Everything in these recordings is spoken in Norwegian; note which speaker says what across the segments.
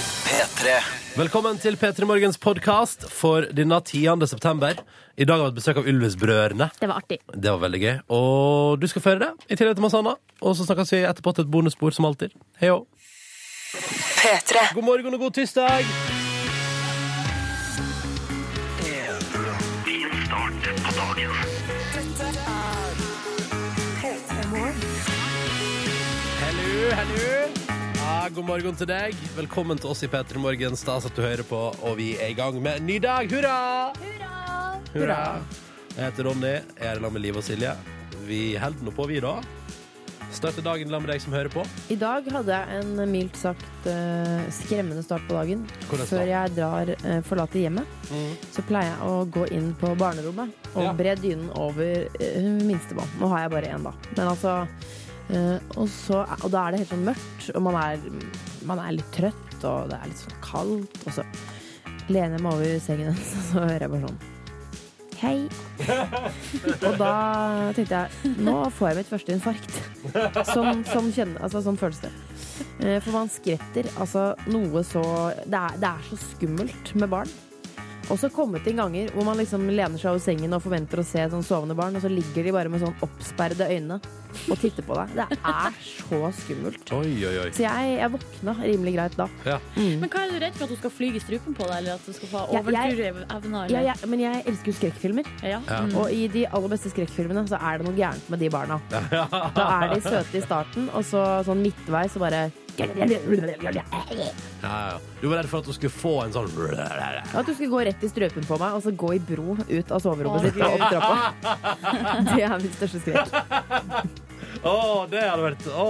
Speaker 1: P3.
Speaker 2: Velkommen til P3 Morgens podkast for denne 10. september. I dag har vi et besøk av Ylvis-brødrene.
Speaker 3: Det var artig.
Speaker 2: Det var veldig gøy. Og du skal føre det, i tillegg til masse annet. Og så snakkes vi etterpå til et bonusbord, som alltid. Hei òg. God morgen og god tirsdag. Hello, hello. Ja, god morgen til deg. Velkommen til oss i P3 Morgen. Stas at du hører på, og vi er i gang med en ny dag. Hurra! Hurra! Jeg heter Ronny. Jeg er i lag med Liv og Silje. Vi holder nå på, vi, da. Starter dagen i lag med deg som hører på.
Speaker 4: I dag hadde jeg en mildt sagt eh, skremmende start på dagen.
Speaker 2: Hvordan da?
Speaker 4: Før jeg drar, eh, forlater hjemmet, så pleier jeg å gå inn på barnerommet og
Speaker 2: Ja.
Speaker 4: bre dynen over eh, minstemann. Nå har jeg bare én, da. Men altså eh, og, så, og da er det helt sånn mørkt, og man er, man er litt trøtt, og det er litt sånn kaldt. Og så lener jeg meg over sengen hennes, og så hører jeg bare sånn Hei. og da tenkte jeg nå får jeg mitt første infarkt. Sånn, sånn, kjenne, altså, sånn føles det. Eh, For man skvetter. Altså, noe så det er, det er så skummelt med barn. Og så kommet inn ganger hvor man liksom lener seg over sengen og forventer å se sånn sovende barn, og så ligger de bare med sånn oppsperrede øyne og titter på deg. Det er så skummelt.
Speaker 2: Oi, oi, oi.
Speaker 4: Så jeg, jeg våkna rimelig greit da.
Speaker 2: Ja.
Speaker 3: Men hva er du redd for? At hun skal flyge i strupen på deg? Eller at du skal få
Speaker 4: Ja, jeg-
Speaker 3: overnaturlige evner?
Speaker 4: Ja,
Speaker 3: eller-
Speaker 4: jeg, men jeg elsker jo skrekkfilmer.
Speaker 3: Ja.
Speaker 2: Ja.
Speaker 3: Mm.
Speaker 4: Og i de aller beste skrekkfilmene så er det noe gærent med de barna. Da er de søte i starten, og så sånn midtveis så bare
Speaker 2: Ja, ja. Du var redd for at du skulle få en sånn
Speaker 4: Ja, At du skulle gå rett i strøpen på meg og så gå i bro ut av
Speaker 3: Å,
Speaker 4: soverommet ditt og opp trappa. Det er min største skrekk.
Speaker 2: Å, det hadde vært Å,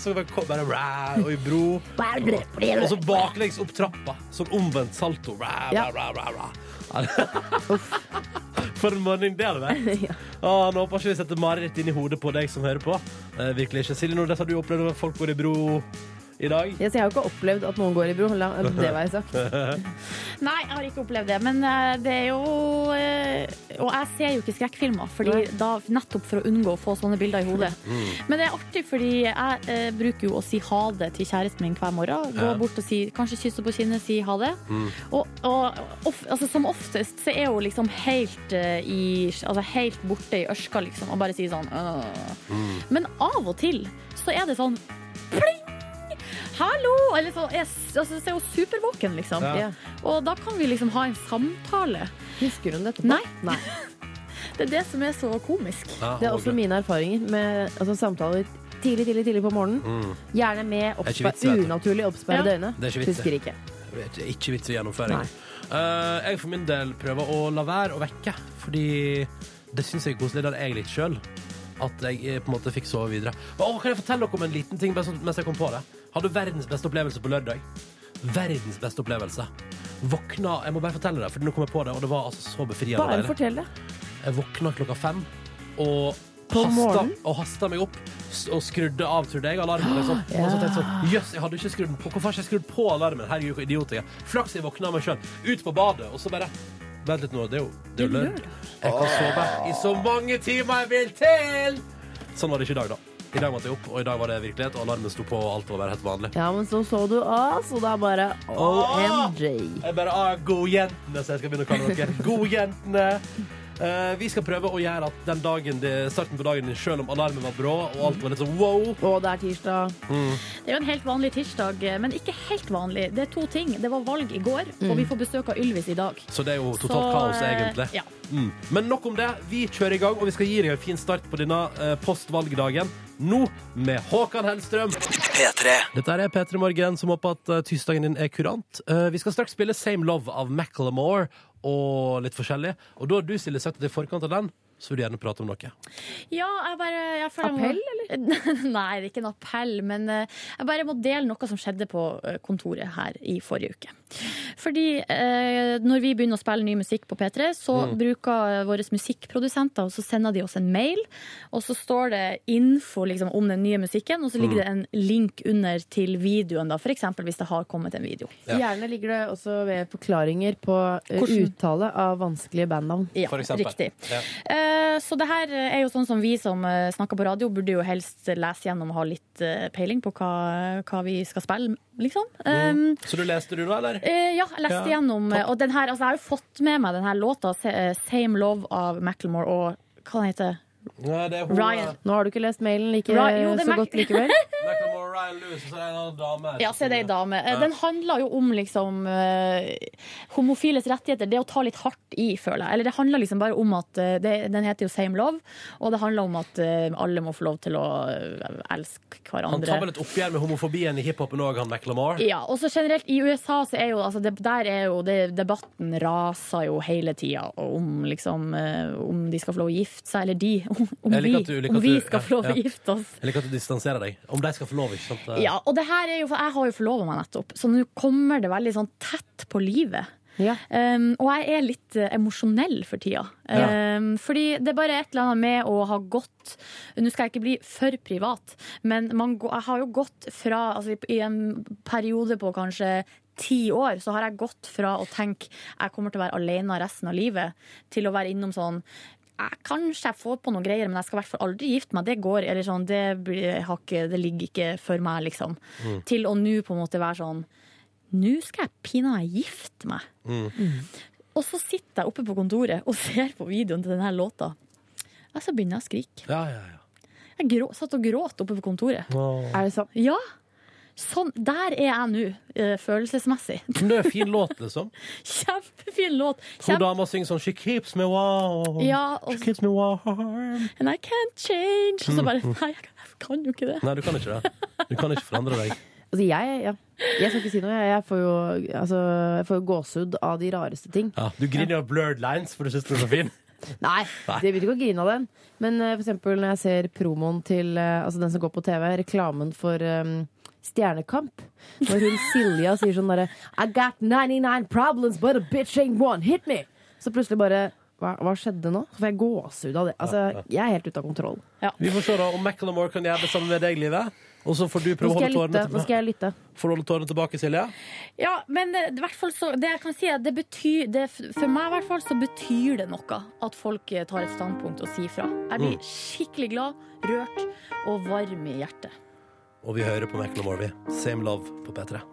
Speaker 2: så bare kom bare ræ, Og i bro. Og så baklengs opp trappa. Sånn omvendt salto. Ræ, ræ,
Speaker 4: Ja.
Speaker 2: ræ, ræ, ræ. For en morgen det hadde vært.
Speaker 4: Ja.
Speaker 2: Å, nå håper jeg ikke vi setter mareritt inn i hodet på deg som hører på. Eh, virkelig ikke. Silje Nordnes, har du opplevd at folk går i bro i dag?
Speaker 4: Jeg har jo ikke opplevd at noen går i bro. La, det var jeg sagt.
Speaker 3: Nei, jeg har ikke opplevd det. Men eh, det er jo eh, Og jeg ser jo ikke skrekkfilmer, fordi
Speaker 4: Nei.
Speaker 3: da, nettopp for å unngå å få sånne bilder i hodet.
Speaker 2: Mm.
Speaker 3: Men det er artig, fordi jeg eh, bruker jo å si ha det til kjæresten min hver morgen. Gå
Speaker 2: Ja. Mm.
Speaker 3: bort og si Kanskje kysse på kinnet, si ha det. Og, og of, altså, som oftest så er hun liksom helt eh, i Altså helt borte i ørska, liksom, og bare sier sånn «Åh».
Speaker 2: Mm.
Speaker 3: Men av og til så er det sånn pling! Hallo! Eller så er, altså, så er hun supervåken, liksom.
Speaker 2: Ja.
Speaker 4: Ja.
Speaker 3: Og da kan vi liksom ha en samtale.
Speaker 4: Husker hun dette? på?
Speaker 3: Nei. Det er det som er så komisk.
Speaker 2: Ja,
Speaker 4: Det er
Speaker 2: og
Speaker 4: også
Speaker 2: glem-
Speaker 4: mine erfaringer med altså, samtaler tidlig, tidlig tidlig på morgenen. Gjerne med
Speaker 2: Mm. er ikke
Speaker 4: oppspar
Speaker 2: vits, vet du.
Speaker 4: unaturlig oppsperrede
Speaker 3: Ja.
Speaker 4: øyne.
Speaker 2: Det er ikke vits,
Speaker 4: Husker ikke.
Speaker 2: Det er ikke vits i gjennomføring.
Speaker 4: Nei.
Speaker 2: Eh, jeg for min del prøver å la være å vekke, fordi det syns jeg er koselig. Det hadde jeg likt sjøl. At jeg eh, på en måte fikk sove videre. Men, å, kan jeg fortelle dere om en liten ting bare sånn mens jeg kom på det? Hadde verdens beste opplevelse på lørdag. Verdens beste opplevelse. Våkna Jeg må bare fortelle det, for nå kom jeg på det, og det var altså så befriende.
Speaker 4: Bare
Speaker 2: deilig.
Speaker 4: fortell det.
Speaker 2: Jeg våkna klokka fem og
Speaker 4: På
Speaker 2: hasta,
Speaker 4: morgenen?
Speaker 2: og hasta meg opp s- og skrudde av, trodde jeg, alarmen. Liksom. Og så tenkte jeg sånn, jøss, jeg hadde ikke skrudd den på. Hvorfor har jeg ikke skrudd på alarmen? Herregud, hvor idiot jeg er. Flaks jeg våkna av meg sjøl. Ut på badet, og så bare Vent litt nå, det er jo, det er jo lørdag. Jeg kan sove i så mange timer jeg vil til! Sånn var det ikke i dag, da. I dag måtte jeg opp, og i dag var det virkelighet, og alarmen sto på, og alt var bare helt vanlig.
Speaker 4: Ja, men så så du oss, og da bare OMG.
Speaker 2: Jeg bare ah, Godjentene, så jeg skal begynne å kalle dere. Godjentene. Eh, vi skal prøve å gjøre at den dagen det, starten på dagen din, selv om alarmen var brå, og alt var litt sånn wow
Speaker 4: Og det er tirsdag.
Speaker 3: Det er jo en helt vanlig tirsdag, men ikke helt vanlig. Det er to ting. Det var valg i går, og vi får besøk av Ylvis i dag.
Speaker 2: Så det er jo Mm. totalt
Speaker 3: Så,
Speaker 2: kaos,
Speaker 3: eh,
Speaker 2: egentlig.
Speaker 3: Ja.
Speaker 2: Mm. Men nok om det. Vi kjører i gang, og vi skal gi deg en fin start på denne eh, postvalgdagen. Nå med Håkan Hellstrøm.
Speaker 1: P3.
Speaker 2: Dette er P3 Morgen, som håper at eh, tirsdagen din er kurant. Eh, vi skal straks spille Same Love av Macklemore og litt forskjellig. Og da har du, Silje, sagt at i forkant av den, så vil du gjerne prate om noe.
Speaker 3: Ja, jeg bare jeg føler jeg
Speaker 4: Appell,
Speaker 3: eller? Nei, det er ikke en appell, men eh, jeg bare må dele noe som skjedde på eh, kontoret her i forrige uke. Fordi eh, når vi begynner å spille ny musikk på P3, så
Speaker 2: Mm.
Speaker 3: bruker eh, våre musikkprodusenter, og så sender de oss en mail, og så står det info liksom, om den nye musikken, og så
Speaker 2: Mm.
Speaker 3: ligger det en link under til videoen, da, for eksempel hvis det har kommet en video.
Speaker 2: Ja.
Speaker 4: Gjerne ligger det også ved forklaringer på eh,
Speaker 3: Hvordan?
Speaker 4: uttale av vanskelige bandnavn.
Speaker 3: Ja,
Speaker 2: For eksempel.
Speaker 3: riktig.
Speaker 2: Ja.
Speaker 3: Eh, Så det her er jo sånn som vi som eh, snakker på radio, burde jo helst lese gjennom og ha litt eh, peiling på hva, hva vi skal spille liksom. Um,
Speaker 2: Så du leste du da, eller?
Speaker 3: Eh, ja, jeg leste
Speaker 2: Ja,
Speaker 3: gjennom. eh, Og den her, altså, jeg har jo fått med meg den her låta, se- eh, 'Same Love' av Macklemore og hva den heter
Speaker 2: Nei, det er hun,
Speaker 3: Ryan.
Speaker 4: Nå har du ikke lest mailen like,
Speaker 3: Right, jo, det
Speaker 4: så
Speaker 3: merk-
Speaker 4: godt likevel.
Speaker 2: eh, Macklemore, Ryan Lewis, og så er det en annen dame her.
Speaker 3: Ja, se det er ei dame. Eh,
Speaker 2: Ja.
Speaker 3: Den handler jo om liksom eh, homofiles rettigheter. Det å ta litt hardt i, føler jeg. Eller det handler liksom bare om at eh, det, Den heter jo 'Same Love', og det handler om at eh, alle må få lov til å eh, elske
Speaker 2: Han
Speaker 3: hverandre.
Speaker 2: tar vel et oppgjør med homofobien i hiphopen òg, han Macklemore.
Speaker 3: Ja, og så generelt I USA så er jo, altså, det, der er jo det, debatten raser jo hele tida om liksom eh, om de skal få lov å gifte seg, eller de. Om, om,
Speaker 2: Jeg
Speaker 3: vi,
Speaker 2: liker at du- liker
Speaker 3: om
Speaker 2: at
Speaker 3: vi
Speaker 2: du-
Speaker 3: skal
Speaker 2: ja,
Speaker 3: få lov å
Speaker 2: ja.
Speaker 3: gifte oss.
Speaker 2: Jeg liker at du distanserer deg. Om de skal få lov, ikke sant?
Speaker 3: Ja, og det her er jo, for Jeg har jo forlova meg nettopp, så nå kommer det veldig sånn tett på livet.
Speaker 4: Ja.
Speaker 3: Um, og jeg er litt eh, emosjonell for tida.
Speaker 2: Ja.
Speaker 3: Um, fordi det er bare et eller annet med å ha gått Nå skal jeg ikke bli for privat, men man, gå- jeg har jo gått fra altså, I en periode på kanskje ti år så har jeg gått fra å tenke jeg kommer til å være alene resten av livet, til å være innom sånn jeg, kanskje jeg får på noen greier, men jeg skal i hvert fall aldri gifte meg. Det går, eller sånn, det, blir, har ikke, det ligger ikke for meg, liksom. Til å nå på en måte være sånn Nå skal jeg pinadø gifte meg. Og så sitter jeg oppe på kontoret og ser på videoen til denne låta. Ja, så begynner jeg å skrike.
Speaker 2: ja, ja. ja.
Speaker 3: Jeg grå, satt og gråt oppe på kontoret.
Speaker 2: Åh.
Speaker 4: Er det sant?
Speaker 3: Ja, sånn, Der er jeg nå, eh, følelsesmessig.
Speaker 2: Men det er en fin låt, liksom.
Speaker 3: Kjempefin låt.
Speaker 2: To
Speaker 3: Kjempe,
Speaker 2: damer synger sånn She keeps me warm.
Speaker 3: ja,
Speaker 2: She
Speaker 3: og,
Speaker 2: keeps me warm.
Speaker 3: And I can't change. Og så bare Nei, jeg kan- jeg kan jo ikke det.
Speaker 2: Nei, du kan ikke det. Du kan ikke forandre deg.
Speaker 4: Altså, jeg, ja. jeg skal ikke si noe. Jeg, jeg får jo altså, jeg får jo gåsehud av de rareste ting.
Speaker 2: Ja, du griner av blurred lines, for du syns den er så fin.
Speaker 4: Nei,
Speaker 2: Nei.
Speaker 4: det begynner ikke å grine av den. Men eh, for eksempel når jeg ser promoen til eh, altså den som går på TV, reklamen for eh, Stjernekamp. Når hun Silja sier sånn derre I got 99 problems, but a bitch ain't one. Hit me! Så plutselig bare hva, hva skjedde nå? Så får jeg gåsehud av det. Altså, jeg er helt ute av kontroll.
Speaker 2: Vi får se da om Macklemore kan gjøre det samme med deg, Live. Og så får du
Speaker 4: Nå
Speaker 2: prøve å
Speaker 4: skal
Speaker 2: holde
Speaker 4: jeg lytte.
Speaker 2: tårene
Speaker 4: Nå skal
Speaker 2: tilbake.
Speaker 4: jeg lytte.
Speaker 2: Får du holde tårene tilbake, Silje?
Speaker 3: Ja, men eh, i hvert fall så, det jeg kan si er at det betyr det, For meg i hvert fall så betyr det noe at folk eh, tar et standpunkt og sier fra. Jeg blir skikkelig glad, rørt og varm i hjertet.
Speaker 2: Og vi hører på Macklemore, vi. Same love på P3.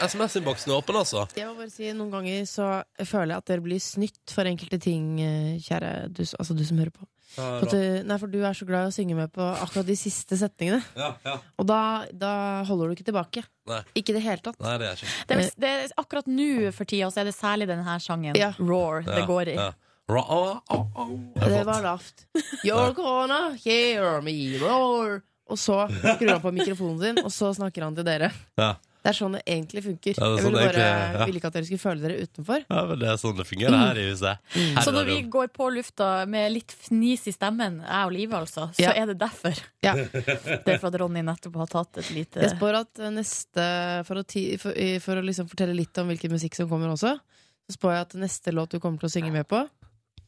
Speaker 2: SMS-innboksen er åpen, altså.
Speaker 4: Jeg må bare si, Noen ganger så føler jeg at dere blir snytt for enkelte ting, eh, kjære du, s- altså du som hører på. For, at du, nei, for du er så glad i å synge med på akkurat de siste setningene.
Speaker 2: Ja, ja.
Speaker 4: Og da, da holder du ikke tilbake.
Speaker 2: Nei.
Speaker 4: Ikke i det hele tatt.
Speaker 2: Nei, det er ikke
Speaker 4: Eh.
Speaker 3: akkurat nå for tida så er det særlig denne sangen,
Speaker 4: Ja.
Speaker 3: Roar, det går i.
Speaker 2: Ja. Ra- å, å, å. Det er
Speaker 4: Det
Speaker 2: flott.
Speaker 4: var lavt. You're gonna hear me roar. Og så skrur han på mikrofonen sin, og så snakker han til dere.
Speaker 2: Ja.
Speaker 4: Det er sånn det egentlig funker.
Speaker 2: Ja, det er
Speaker 4: jeg
Speaker 2: sånn
Speaker 4: ville
Speaker 2: det
Speaker 4: bare,
Speaker 2: egentlig- ja.
Speaker 4: ville ikke at dere skulle føle dere utenfor.
Speaker 2: Ja, men det er sånn det fungerer her i huset. Her
Speaker 3: Mm. Så
Speaker 2: i
Speaker 3: når vi
Speaker 2: radioen.
Speaker 3: går på lufta med litt fnis i stemmen, jeg og Live altså, så
Speaker 4: Ja.
Speaker 3: er det derfor.
Speaker 4: Ja.
Speaker 3: Det er for at Ronny nettopp har tatt et lite
Speaker 4: Jeg spår at eh, neste For å, ti, for, i- for å liksom fortelle litt om hvilken musikk som kommer også, så spår jeg at neste låt du kommer til å synge med på,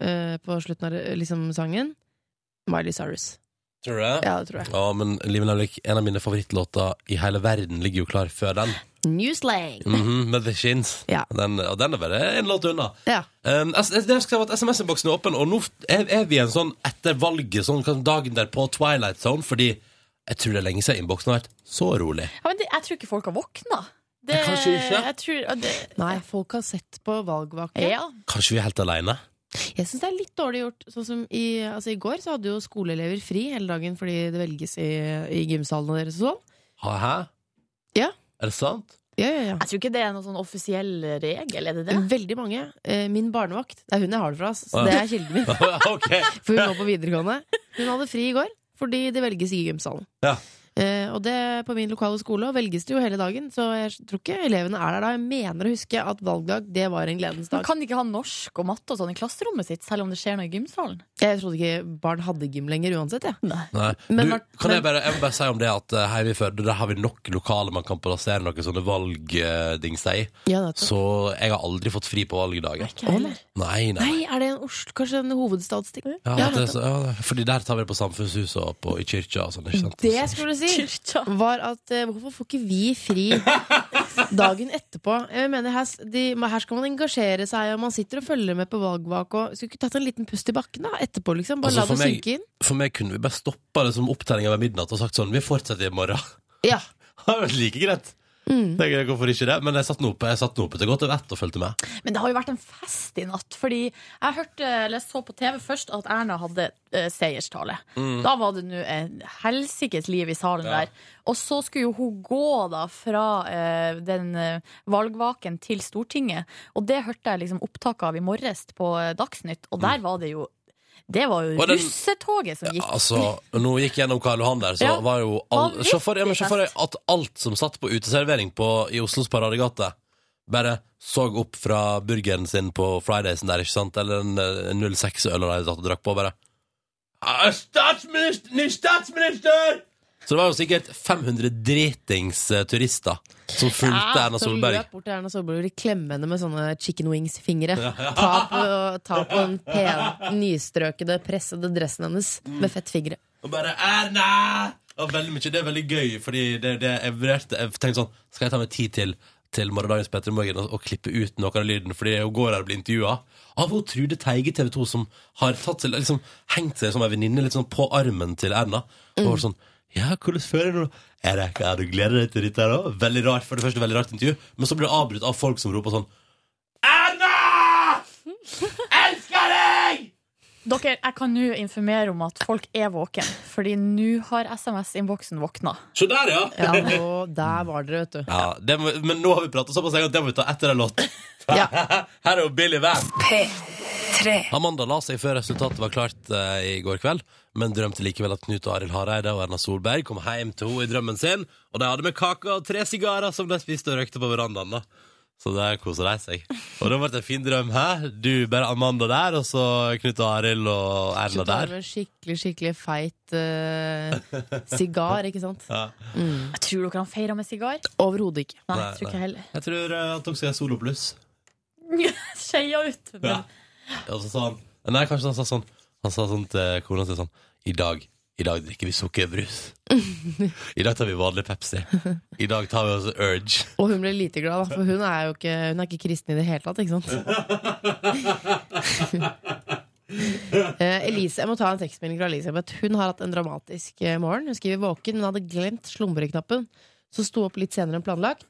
Speaker 4: eh, på slutten av eh, liksom, sangen, Miley Cyrus.
Speaker 2: Tror du det?
Speaker 4: Ja, det tror jeg.
Speaker 2: Ja, men Liv Nelvik, en av mine favorittlåter i hele verden ligger jo klar før den.
Speaker 4: New slang!
Speaker 2: Mhm, Med The Shins.
Speaker 4: Ja.
Speaker 2: Den, og den er bare en låt unna.
Speaker 4: Ja.
Speaker 2: Um, S- det jeg skal si var at SMS-innboksen er åpen, og nå er, er vi en sånn etter valget, sånn kan- dagen der på Twilight Zone, fordi jeg tror det er lenge siden innboksen har vært så rolig.
Speaker 3: ja, men det, Jeg tror ikke folk har våkna. Det,
Speaker 2: Kanskje ikke.
Speaker 3: Jeg tror, og det,
Speaker 4: Nei, folk har sett på valgvake.
Speaker 3: ja.
Speaker 2: Kanskje vi er helt alene?
Speaker 4: Jeg syns det er litt dårlig gjort. Sånn som i, altså, I går så hadde jo skoleelever fri hele dagen fordi det velges i, i gymsalene deres og sånn.
Speaker 2: Ha, hæ?
Speaker 4: Ja.
Speaker 2: Er det sant?
Speaker 4: Ja, ja, ja.
Speaker 3: Jeg tror ikke det er noen sånn offisiell regel, er det det?
Speaker 4: Veldig mange. Eh, Min barnevakt, det er hun jeg har det fra, ass. så
Speaker 2: Å, ja.
Speaker 4: det er kilden min.
Speaker 2: ok.
Speaker 4: For hun var på videregående. Hun hadde fri i går fordi det velges i gymsalen.
Speaker 2: Ja.
Speaker 4: Eh, og det på min lokale skole og velges det jo hele dagen, så jeg tror ikke elevene er der da. Jeg mener å huske at valgdag det var en gledens
Speaker 3: Man
Speaker 4: dag.
Speaker 3: kan ikke ha norsk og matte og sånn i klasserommet sitt, selv om det skjer noe i gymsalen.
Speaker 4: Jeg trodde ikke barn hadde gym lenger uansett. Jeg.
Speaker 2: Nei.
Speaker 4: Men
Speaker 2: du,
Speaker 4: Mart-
Speaker 2: kan jeg,
Speaker 4: men-
Speaker 2: bare, jeg vil bare si om det at eh, her i Førde der har vi nok lokaler man kan plassere noen sånne valgdingser i.
Speaker 4: Ja, nettopp.
Speaker 2: Så jeg har aldri fått fri på valgdagen.
Speaker 3: Ikke heller.
Speaker 2: Nei, nei.
Speaker 4: Nei, er det en Oslo, kanskje en hovedstadsting?
Speaker 2: Ja,
Speaker 4: Ja,
Speaker 2: det, er så- ja, fordi der tar vi det på samfunnshuset og på, i kyrkja og sånn, ikke sant?
Speaker 4: Det jeg skulle si,
Speaker 3: Kyrkja.
Speaker 4: var at eh, hvorfor får ikke vi fri dagen etterpå? Jeg mener, her, s- de, men her skal man engasjere seg, og man sitter og følger med på valgvak. Og, skulle ikke tatt en liten pust i bakken da, etterpå, liksom? Bare
Speaker 2: Altså,
Speaker 4: la
Speaker 2: for
Speaker 4: det
Speaker 2: meg-
Speaker 4: synke inn.
Speaker 2: For meg kunne vi bare stoppa det som opptellinga ved midnatt og sagt sånn, vi fortsetter i morgen.
Speaker 4: Ja,
Speaker 2: hadde vært like greit. Tenker jeg, hvorfor ikke det? Men jeg satt nå oppe, jeg satt nå oppe til godt over ett og fulgte med.
Speaker 3: Men det har jo vært en fest i natt. Fordi jeg hørte, eller så på TV først at Erna hadde eh, seierstale. Da var det nå et helsikes liv i salen
Speaker 2: Mm. Ja.
Speaker 3: der. Og så skulle jo hun gå da fra eh, den eh, valgvaken til Stortinget. Og det hørte jeg liksom opptak av i morges på eh, Dagsnytt, og
Speaker 2: Mm.
Speaker 3: der var det jo Det var jo
Speaker 2: Og den-
Speaker 3: russetoget som gikk.
Speaker 2: Altså, nå gikk jeg gjennom Karl Johan der, så
Speaker 3: Ja.
Speaker 2: var jo all,
Speaker 3: Vanvittig
Speaker 2: Se for ja, men se for deg
Speaker 3: fest.
Speaker 2: at alt som satt på uteservering på, i Oslos Paradegate, bare så opp fra burgeren sin på Fridaysen der, ikke sant? Eller en eh, 06-øl de satt og drakk på, bare. «Ah, Statsminister! Ny statsminister! Så det var jo sikkert 500 dritings eh, turister som fulgte
Speaker 4: Ja,
Speaker 2: Erna
Speaker 4: som
Speaker 2: Solberg.
Speaker 4: løp bort til Erna Solberg og ville klemme henne med sånne chicken wings-fingre. Ta, på- ta på den pen, nystrøkede, pressede dressen hennes med fettfingre.
Speaker 2: Og bare Erna! Og veldig mye, Det er veldig gøy, fordi det, det jeg, vurderte, jeg tenkte sånn Skal jeg ta meg tid til til morgendagens Petter Morgen og, og klippe ut noe av lyden? Fordi jeg går her og blir intervjua av hun Trude Teige i TV 2, som har tatt seg, liksom, hengt seg som ei venninne litt sånn på armen til Erna. Og var sånn ja, hvordan føler du nå? Er det ikke, er du gleder deg til dette her òg? Veldig rart, for det første veldig rart intervju. Men så blir det avbrutt av folk som roper sånn Erna! Elsker deg!
Speaker 3: Dere, jeg kan nå informere om at folk er våken Fordi nå har SMS-innboksen våkna.
Speaker 2: Se der, ja.
Speaker 4: Ja, og der var dere, vet du.
Speaker 2: Ja, det må, men nå har vi pratet såpass lenge at det må vi ta etter en låt.
Speaker 4: Ja.
Speaker 2: Her er jo Billy Van. Amanda la seg før resultatet var klart eh, i går kveld, men drømte likevel at Knut Arild Hareide og Erna Solberg kom hjem til henne i drømmen sin, og de hadde med kake og tre sigarer som de spiste og røykte på verandaen. da. Så der koser de seg. Og det ble det en fin drøm. Hæ? Du, bare Amanda der, og så Knut Arild og Erna
Speaker 4: Slutt å ha
Speaker 2: der.
Speaker 4: med en skikkelig, skikkelig feit eh, sigar, ikke sant?
Speaker 3: Jeg tror dere han feira med sigar. Nei,
Speaker 4: Overhodet ikke.
Speaker 2: Nei,
Speaker 3: jeg tror ikke heller.
Speaker 2: Jeg tror eh, han tok seg en Solo Pluss.
Speaker 3: Skeia ut. Men
Speaker 2: Ja. Og så sa han Nei, kanskje han sa sånn Han sa sånn til kona si sånn I dag, i dag drikker vi sukkerbrus I dag tar vi vanlig Pepsi I dag tar vi også Urge
Speaker 4: Og hun ble lite glad, da, for hun er jo ikke, hun er ikke kristen i det hele tatt. ikke sant? Eh, Elise, jeg må ta en tekstmelding fra Elisabeth. Hun har hatt en dramatisk eh, morgen. Hun skriver våken, men hadde glemt slumreknappen, så sto opp litt senere enn planlagt.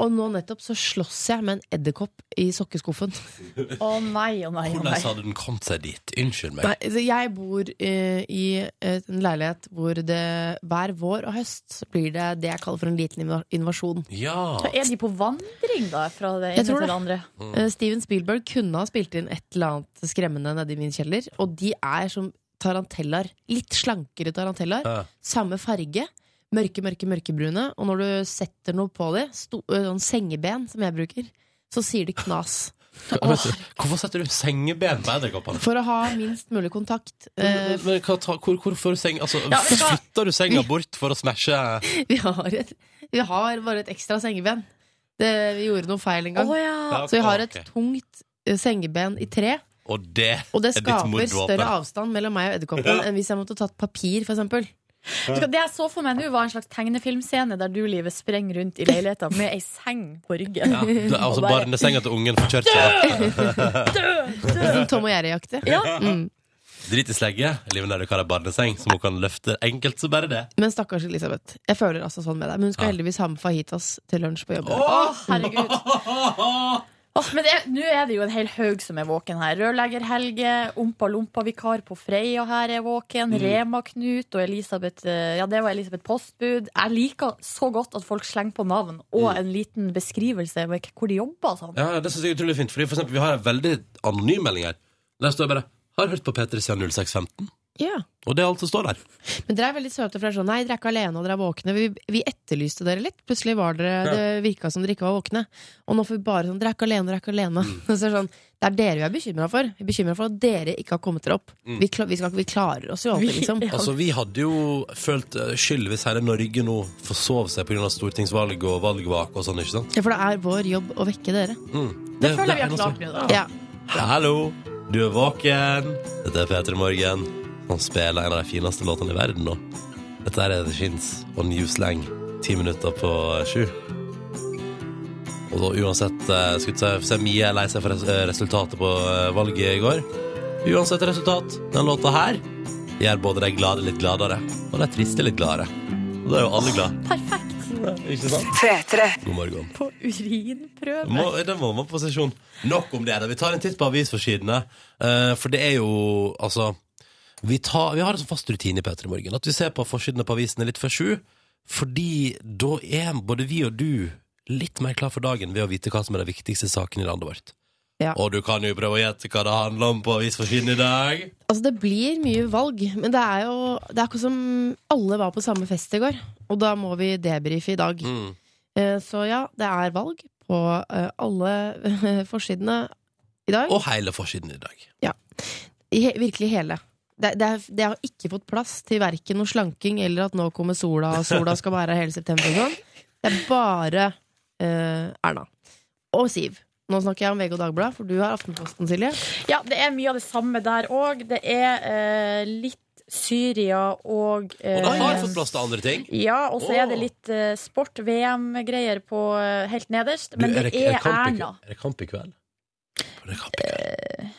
Speaker 4: Og nå nettopp så slåss jeg med en edderkopp i sokkeskuffen.
Speaker 3: Å nei, å nei, å nei.
Speaker 2: Hvordan hadde den kommet seg dit? Unnskyld meg
Speaker 4: Nei, så jeg bor eh, i en leilighet hvor det hver vår og høst så blir det det jeg kaller for en liten inva- invasjon.
Speaker 2: Ja
Speaker 3: Er de på vandring, da? Fra det ene
Speaker 4: Jeg tror
Speaker 3: til det
Speaker 4: det.
Speaker 3: andre?
Speaker 4: Eh, Steven Spielberg kunne ha spilt inn et eller annet skremmende nede i min kjeller, og de er som tarantellaer. Litt slankere tarantellaer.
Speaker 2: Ja.
Speaker 4: Samme farge. Mørke, mørke, mørkebrune. Og når du setter noe på dem, sånn sengeben som jeg bruker, så sier det knas.
Speaker 2: Vet du, Hvorfor setter du sengeben på edderkoppene?
Speaker 4: For å ha minst mulig kontakt. Eh,
Speaker 2: Men hva ta- hvor, hvorfor seng, altså,
Speaker 3: Ja, vet du hva?
Speaker 2: Flytter du senga bort for å smashe
Speaker 4: vi, har et, vi har bare et ekstra sengeben. Det, vi gjorde noe feil en gang.
Speaker 3: Å ja.
Speaker 4: Så vi har et tungt eh, sengeben i tre.
Speaker 2: Og det,
Speaker 4: Og det
Speaker 2: er ditt
Speaker 4: skaper
Speaker 2: mordvåpen.
Speaker 4: større avstand mellom meg og edderkoppen enn hvis jeg måtte tatt papir, for eksempel.
Speaker 3: Vet du hva, Det jeg så for meg nå, var en slags tegnefilmscene der du, Livet, sprenger rundt i leiligheta med ei seng på ryggen.
Speaker 2: ja, det, er Altså
Speaker 3: Og bare-
Speaker 2: barnesenga til ungen får kjørt seg
Speaker 4: Sånn Tom og Jerry-aktig.
Speaker 3: Ja.
Speaker 4: Mm.
Speaker 2: Drit i slegge Livet nær du kaller barneseng Som hun kan løfte enkelt så bare det
Speaker 4: Men stakkars Elisabeth. Jeg føler altså sånn med deg. Men hun skal
Speaker 2: Ja.
Speaker 4: heldigvis ha med fajitas til lunsj på jobb.
Speaker 3: Å, herregud. Åh, men det er- nå er det jo en hel haug som er våken her. Rørlegger Helge, Ompa Lompa-vikar på Freia her er våken.
Speaker 2: Mm.
Speaker 3: Rema-Knut og Elisabeth eh, Ja, det var Elisabeth Postbud. Jeg liker så godt at folk slenger på navn og en liten beskrivelse med k- hvor de jobber og sånn.
Speaker 2: Mm. Ja, det synes jeg er utrolig fint. Fordi for eksempel, vi har en veldig anonym melding her. Der står bare 'Har hørt på P3 siden 0615'.
Speaker 4: Ja.
Speaker 2: Og det er alt som står der.
Speaker 4: Men dere er veldig søte, for det er sånn Nei, dere er ikke alene, og dere er våkne. Vi, vi etterlyste dere litt. Plutselig var dere Det virka som dere ikke var våkne. Og nå får vi bare sånn Dere er ikke alene, dere er ikke alene. Så det er sånn Det er dere vi er bekymra for. Vi er bekymra for at dere ikke har kommet dere opp. Vi, kla- vi, skal, vi klarer oss jo alltid, liksom.
Speaker 2: Altså, Vi hadde jo følt eh, skyld hvis hele Norge nå forsov seg pga. stortingsvalg og valgvake og sånn. ikke sant?
Speaker 4: Ja, for det er vår jobb å vekke dere.
Speaker 2: Mm.
Speaker 3: Det føler jeg vi har
Speaker 2: er noe som-
Speaker 3: klart nå, da.
Speaker 4: Ja.
Speaker 2: Hallo, du er våken. Dette er P3 Morgen. Han spiller en av de fineste låtene i verden nå. Dette er The Shins og New Slang. Ti minutter på sju. Og da uansett eh, Skal vi se om Mie er lei seg for res- eh, resultatet på eh, valget i går. Uansett resultat, den låta her gjør både de glade litt gladere, og de triste litt gladere. Og da er jo alle glad.
Speaker 3: Perfekt.
Speaker 2: Ikke sant? God morgen.
Speaker 3: På urinprøve.
Speaker 2: Må, den må man på sesjon. Nok om det. da. Vi tar en titt på avisforsidene. eh, for det er jo Altså Vi, tar, vi har en sånn fast rutine i Peter i morgen. At vi ser på forsidene på avisene litt før sju. Fordi da er både vi og du litt mer klar for dagen ved å vite hva som er de viktigste sakene i landet vårt.
Speaker 4: Ja.
Speaker 2: Og du kan jo prøve å gjette hva det handler om på avisforsiden i dag.
Speaker 4: Altså Det blir mye valg, men det er jo Det er akkurat som alle var på samme fest i går, og da må vi debrife i dag.
Speaker 2: Mm.
Speaker 4: Eh, Så ja, det er valg på eh, alle eh, forsidene i dag.
Speaker 2: Og hele forsiden i dag.
Speaker 4: I he virkelig hele. Det, det, er, det har ikke fått plass til verken noe slanking eller at nå kommer sola, og sola skal være her hele september og sånn. Det er bare eh, Erna. Og Siv. Nå snakker jeg om VG og Dagbladet, for du har Aftenposten, Silje.
Speaker 3: Ja, det er mye av det samme der òg. Det er eh, litt Syria og eh,
Speaker 2: Og det har fått plass til andre ting.
Speaker 3: Ja, og så
Speaker 2: Åh.
Speaker 3: er det litt eh, sport, VM-greier på eh, helt nederst. Men
Speaker 2: Du,
Speaker 3: det
Speaker 2: er
Speaker 3: er
Speaker 2: kamp i
Speaker 3: Erna.
Speaker 2: kveld? Er det kamp i kveld? Er det kamp i kveld?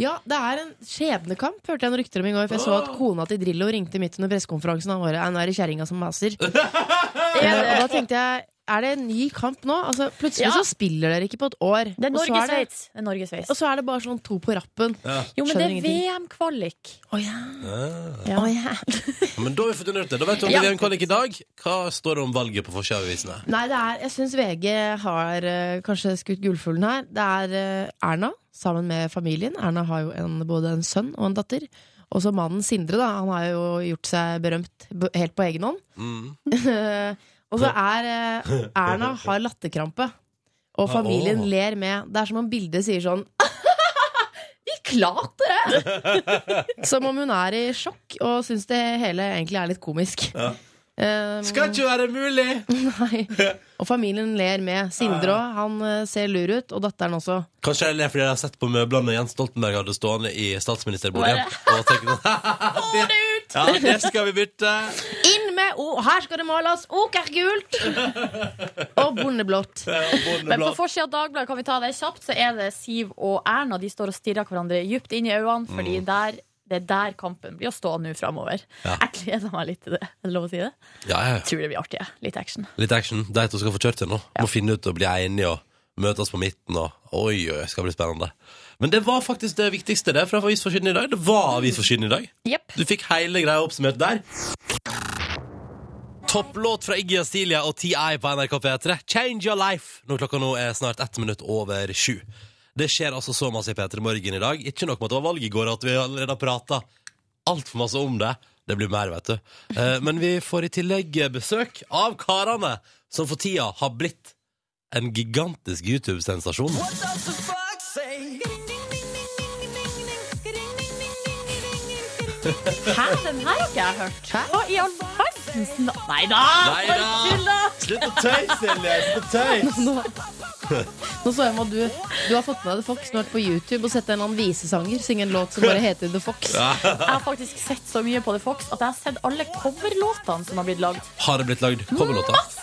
Speaker 4: Ja, det er en skjebnekamp, hørte jeg noen rykter om i går. For jeg så at kona til Drillo ringte midt under pressekonferansen. og Han bare, «Nei, nå er det kjerringa som maser. Eh,
Speaker 3: Er
Speaker 4: og da
Speaker 3: det,
Speaker 4: tenkte jeg, er det en ny kamp nå? Altså, plutselig
Speaker 3: Ja.
Speaker 4: så spiller dere ikke på et år.
Speaker 3: det er
Speaker 4: og, så er det,
Speaker 3: Norge-Sveits. Det er Norge-Sveits.
Speaker 4: og så er det bare sånn to på rappen.
Speaker 2: Ja.
Speaker 3: Jo, men det
Speaker 4: Skjønner
Speaker 3: er
Speaker 4: ingenting.
Speaker 3: VM-kvalik.
Speaker 4: Å ja.
Speaker 2: Ah.
Speaker 4: Å ja.
Speaker 2: Ja, Men da har vi fått undersøkt det. Da vet du om
Speaker 3: Ja.
Speaker 2: VM kvalik i dag. Hva står det om valget på forsida av avisene?
Speaker 4: Nei, det er, jeg syns VG har eh, kanskje skutt gullfuglen her. Det er eh, Erna sammen med familien. Erna har jo en, både en sønn og en datter. Og så mannen Sindre, da. Han har jo gjort seg berømt b- helt på egen hånd.
Speaker 2: Mm.
Speaker 4: og så er eh, Erna har latterkrampe. Og familien
Speaker 2: Ah, åh.
Speaker 4: ler med. Det er som om bildet sier sånn Vi klarte det! som om hun er i sjokk og syns det hele egentlig er litt komisk.
Speaker 2: Ja.
Speaker 4: Eh,
Speaker 2: Skal ikke være mulig!
Speaker 4: Nei. Og familien ler med. Sindre
Speaker 2: Ah.
Speaker 4: òg. Han eh, ser lur ut, og datteren også.
Speaker 2: Kanskje det er fordi jeg har sett på møblene Jens Stoltenberg hadde stående i statsministerbordet. Og tenker sånn det, ja, det skal vi bytte!
Speaker 4: Inn med O! Her skal det males okergult! og bondeblått.
Speaker 2: Ja,
Speaker 3: Men på
Speaker 2: bondeblad.
Speaker 3: forsida av Dagbladet kan vi ta det kjapt, så er det Siv og Erna. De står og stirrer hverandre djupt inn i øynene, fordi der, det er der kampen blir å stå nå framover.
Speaker 2: Ja.
Speaker 3: Jeg gleder meg litt til det. Er det lov å si det?
Speaker 2: Ja, ja.
Speaker 3: Tror det blir artig. jeg. Litt action.
Speaker 2: Litt action. De to skal få kjørt igjen nå. Må finne ut og bli enige og møtes på midten og Oi, oi, det skal bli spennende. Men det var faktisk det viktigste det fra avisforsiden i dag. Det var avisforsiden i dag.
Speaker 3: Jepp.
Speaker 2: Du fikk hele greia oppsummert der. Topplåt fra Iggy Astilia og TI på NRK P3. Change your life! Når klokka nå er snart ett minutt over sju. Det skjer altså så masse i P3 Morgen i dag. Ikke nok med at det var valg i går, at vi allerede har prata altfor masse om det. Det blir mer, vet du. Eh, Men vi får i tillegg besøk av karene som for tida har blitt en gigantisk YouTube-sensasjon.
Speaker 3: Hæ, den her har ikke jeg hørt. Hva i all verdens na- Nei da!
Speaker 2: Nei da! Slutt å tøyse, Silje! Slutt å tøyse!
Speaker 4: Nå, nå så jeg med at du, du har fått med deg The Fox snart på YouTube og sett en eller annen visesanger synge en låt som bare heter The Fox.
Speaker 3: Jeg har faktisk sett så mye på The Fox at jeg har sett alle coverlåtene som har blitt lagd.
Speaker 2: Har det blitt lagd coverlåter?
Speaker 3: Masse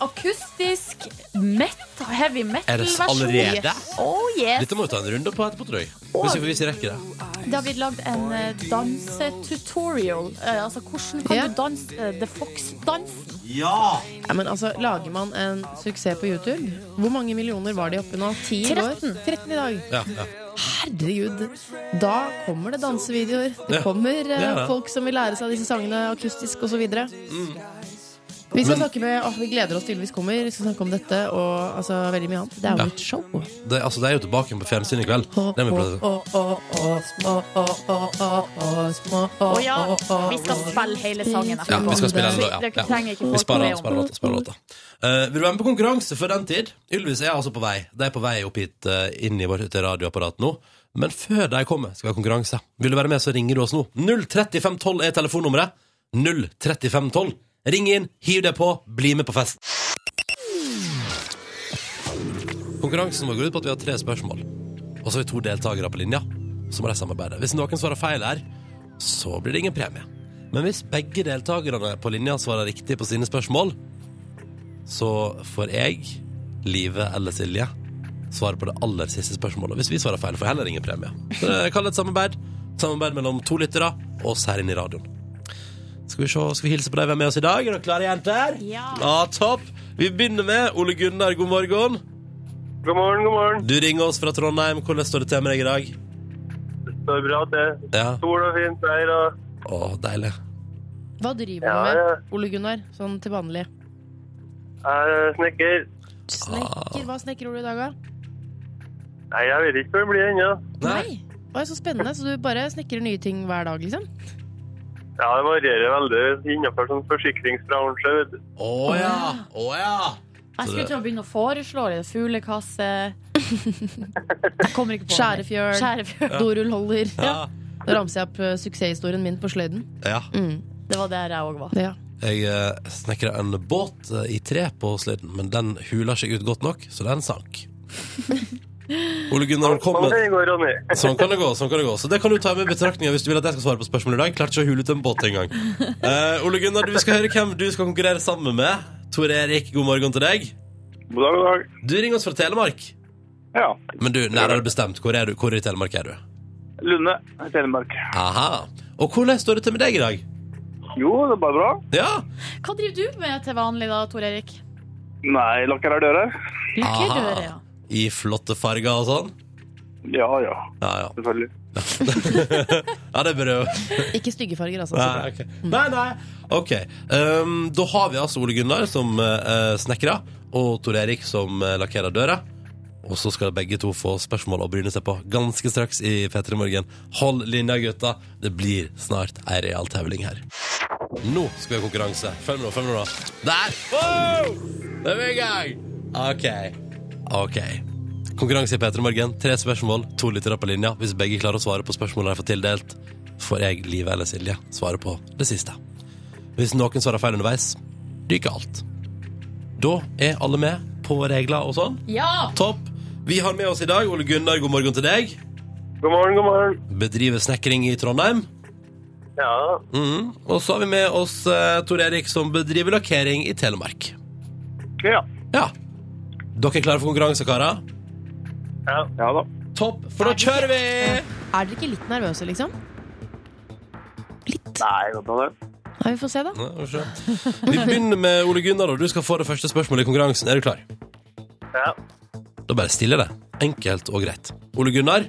Speaker 3: akustisk metal, heavy
Speaker 2: Er det
Speaker 3: metal-versjon.
Speaker 2: allerede?
Speaker 3: Oh yes.
Speaker 2: Dette må vi ta en runde på etterpå, tror jeg. Hvis vi, hvis vi rekker det.
Speaker 3: Det har blitt lagd en eh, dansetutorial. Eh, altså, hvordan kan
Speaker 4: Ja.
Speaker 3: du danse eh, The Fox-dansen?
Speaker 4: Ja, men altså, Lager man en suksess på YouTube? Hvor mange millioner var de oppe nå? 10 i går?
Speaker 3: 13.
Speaker 4: 13 i dag.
Speaker 2: Ja, ja.
Speaker 4: Herregud. Da kommer det dansevideoer.
Speaker 2: Ja.
Speaker 4: Det Mm. kommer eh,
Speaker 2: Ja, ja.
Speaker 4: folk som vil lære seg disse sangene akustisk osv. Vi skal snakke med åh, Vi gleder oss til Ylvis kommer. Vi skal snakke om dette og altså, veldig mye annet. Det er jo et show.
Speaker 2: Det, altså, det er jo tilbake igjen på fjernsyn i kveld. Det må vi prøve.
Speaker 3: Å ja, vi skal spille hele sangen.
Speaker 2: Ja, vi skal spille
Speaker 3: Så
Speaker 2: den låta. Ja,
Speaker 3: Dere
Speaker 2: ja.
Speaker 3: trenger ikke
Speaker 2: Vi
Speaker 3: folk
Speaker 2: sparer,
Speaker 3: med om.
Speaker 2: sparer låta. Sparer låta. Eh, vil du være med på konkurranse før den tid? Ylvis er altså på vei. De er på vei opp hit eh, inn i vårt radioapparat nå. Men før de kommer, skal vi ha konkurranse. Vil du være med, så ringer du oss nå. 03512 er telefonnummeret. 03512. Ring inn, hiv deg på, bli med på fest. Konkurransen vår går ut på at vi har tre spørsmål. Og så har vi to deltakere på linja. Så må de samarbeide. Hvis noen svarer feil her, så blir det ingen premie. Men hvis begge deltakerne på linja svarer riktig på sine spørsmål, så får jeg, Live eller Silje, svare på det aller siste spørsmålet. Hvis vi svarer feil, får jeg heller ingen premie. Så det- jeg kaller det et samarbeid. Samarbeid mellom to lyttere og oss her inne i radioen. Skal vi, se, skal vi hilse på deg vi er med oss i dag? Er dere klare, jenter?
Speaker 3: Ja.
Speaker 2: topp. Vi begynner med Ole Gunnar, god morgen.
Speaker 1: God morgen, god morgen.
Speaker 2: Du ringer oss fra Trondheim. Hvordan står det til med deg i dag?
Speaker 1: Det står bra til.
Speaker 2: Ja.
Speaker 1: Sol og fint vær og
Speaker 2: Å, deilig.
Speaker 4: Hva driver
Speaker 1: Ja,
Speaker 4: du
Speaker 1: ja.
Speaker 4: med, Ole Gunnar? Sånn til vanlig.
Speaker 1: jeg er snekker.
Speaker 4: Snekker, Hva snekrer du i dag, da?
Speaker 1: Nei, jeg vet ikke hvor det blir ennå.
Speaker 4: Nei. Oi, så spennende. Så du bare snekrer nye ting hver dag, liksom?
Speaker 1: Ja, det varierer veldig innenfor sånn forsikringsbransje. vet du.
Speaker 2: Å ja. Å ja.
Speaker 3: Jeg skulle til å begynne å foreslå det. Fuglekasse Jeg kommer ikke på noe.
Speaker 4: Skjærefjøl,
Speaker 3: Skjærefjøl.
Speaker 4: dorullholder.
Speaker 2: Ja.
Speaker 4: Da ramser jeg opp eh, suksesshistorien min på sløyden.
Speaker 2: ja.
Speaker 4: Mm.
Speaker 3: Det var der jeg òg var.
Speaker 4: Ja.
Speaker 2: Jeg eh, snekra en båt eh, i tre på sløyden, men den hula seg ut godt nok, så den sank. Ole Gunnar,
Speaker 1: Sånn
Speaker 2: velkommen.
Speaker 1: kan det gå, Ronny.
Speaker 2: Sånn kan det gå. sånn kan Det gå Så det kan du ta med i betraktninga hvis du vil at jeg skal svare på spørsmålet i dag. Klarte ikke å hule ut en båt engang. Uh, Ole Gunnar, du skal høre hvem du skal konkurrere sammen med. Tor Erik, god morgen til deg.
Speaker 1: God dag, god dag.
Speaker 2: Du ringer oss fra Telemark.
Speaker 1: Ja.
Speaker 2: Men du, nærmere bestemt, hvor er du? Hvor i Telemark er du?
Speaker 1: Lunde, Telemark.
Speaker 2: Aha. Og hvordan står det til med deg i dag?
Speaker 1: Jo, det er bare bra.
Speaker 2: Ja.
Speaker 3: Hva driver du med til vanlig da, Tor Erik? Ah.
Speaker 1: Nei, lakkerer dører.
Speaker 2: Aha.
Speaker 3: Lykkedører, ja.
Speaker 2: I flotte farger og sånn?
Speaker 1: Ja, ja.
Speaker 2: Ja, ja.
Speaker 1: Selvfølgelig.
Speaker 2: ja det er bra.
Speaker 4: Ikke stygge farger, altså. Så
Speaker 2: Nei,
Speaker 4: bra.
Speaker 2: ok. nei, nei. Ok, um, da har vi altså Ole Gunnar som uh, snekrer, og Tor Erik som uh, lakkerer døra. Og så skal begge to få spørsmål å bryne seg på ganske straks i P3 Morgen. Hold linja, gutta. Det blir snart ei real tevling her. Nå skal vi ha konkurranse. Følg med nå, følg med nå. Der! Wow! Da er vi i gang! OK. OK. Konkurranse i P3 Morgen. Tre spørsmål, to lyttere på linja. Hvis begge klarer å svare på spørsmålene de får tildelt, får jeg, Live eller Silje, svare på det siste. Hvis noen svarer feil underveis, ryker alt. Da er alle med på regler og sånn.
Speaker 3: Ja!
Speaker 2: Topp. Vi har med oss i dag Ole Gunnar, god morgen til deg.
Speaker 1: God morgen, god morgen.
Speaker 2: Bedriver snekring i Trondheim.
Speaker 1: Ja,
Speaker 2: Mhm. Og så har vi med oss eh, Tor Erik, som bedriver lakkering i Telemark.
Speaker 1: ja.
Speaker 2: Ja. Dere er klare for konkurranse, karer?
Speaker 1: Ja, ja da.
Speaker 2: Topp, for da kjører vi!
Speaker 4: Er dere ikke litt nervøse, liksom? Litt?
Speaker 1: Nei, godt av det.
Speaker 4: Nei, vi får se, da.
Speaker 2: Ja, vi får se. Vi begynner med Ole Gunnar, og du skal få det første spørsmålet i konkurransen. Er du klar?
Speaker 1: Ja,
Speaker 2: Da bare stiller jeg det. Enkelt og greit. Ole Gunnar,